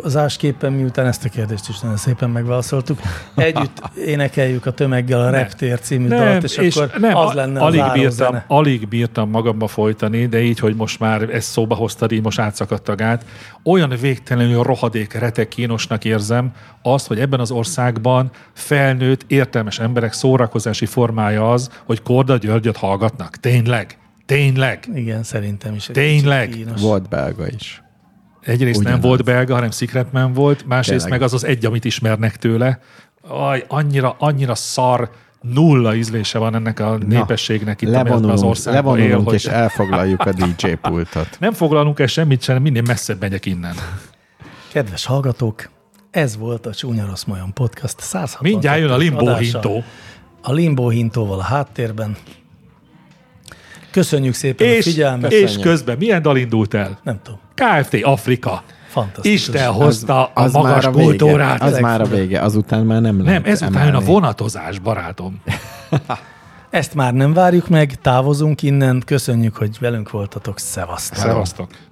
Speaker 2: búcsúzásképpen, miután ezt a kérdést is nagyon szépen megválaszoltuk, együtt énekeljük a tömeggel a Reptér című dalt, és, akkor az lenne a
Speaker 4: alig bírtam,
Speaker 2: zárózene.
Speaker 4: alig bírtam magamba folytani, de így, hogy most már ezt szóba hoztad, így most átszakadt a gát. Olyan végtelenül rohadék retek kínosnak érzem azt, hogy ebben az országban felnőtt, értelmes emberek szórakozási formája az, hogy Korda Györgyöt hallgatnak. Tényleg? Tényleg?
Speaker 2: Igen, szerintem is. egy
Speaker 4: Tényleg?
Speaker 2: kicsit kínos.
Speaker 3: Volt belga is.
Speaker 4: Egyrészt Ugyanaz.
Speaker 3: Ugyanaz.
Speaker 4: nem volt belga, hanem Secretman volt, másrészt
Speaker 3: Tényleg.
Speaker 4: meg az az egy, amit ismernek tőle. Aj, annyira, annyira szar, nulla ízlése van ennek a
Speaker 3: Na,
Speaker 4: népességnek itt, ami ebben
Speaker 3: levonulunk,
Speaker 4: az országban él,
Speaker 3: levonulunk
Speaker 4: hogy
Speaker 3: és elfoglaljuk a DJ pultot.
Speaker 4: nem foglalunk el semmit sem, minél messzebb megyek innen.
Speaker 2: Kedves hallgatók, ez volt a Csúnya Rossz Majom Podcast 160.
Speaker 4: Mindjárt jön a limbó hintó.
Speaker 2: A Limbo Hintóval a háttérben. Köszönjük szépen a
Speaker 4: És,
Speaker 2: figyelmet.
Speaker 4: és közben milyen dal indult el?
Speaker 2: Nem tudom.
Speaker 4: KFT Afrika.
Speaker 2: Fantasztikus.
Speaker 4: Isten hozta
Speaker 3: Az
Speaker 4: a magas
Speaker 3: már a vége.
Speaker 4: kultúrát.
Speaker 3: Az már a vége. Azután már nem
Speaker 4: nem,
Speaker 3: lehet
Speaker 4: ezután jön a
Speaker 3: emelni.
Speaker 4: vonatozás, barátom.
Speaker 2: Ezt már nem várjuk meg, távozunk innen, köszönjük, hogy velünk voltatok, szevasztok!
Speaker 4: Szevasztok.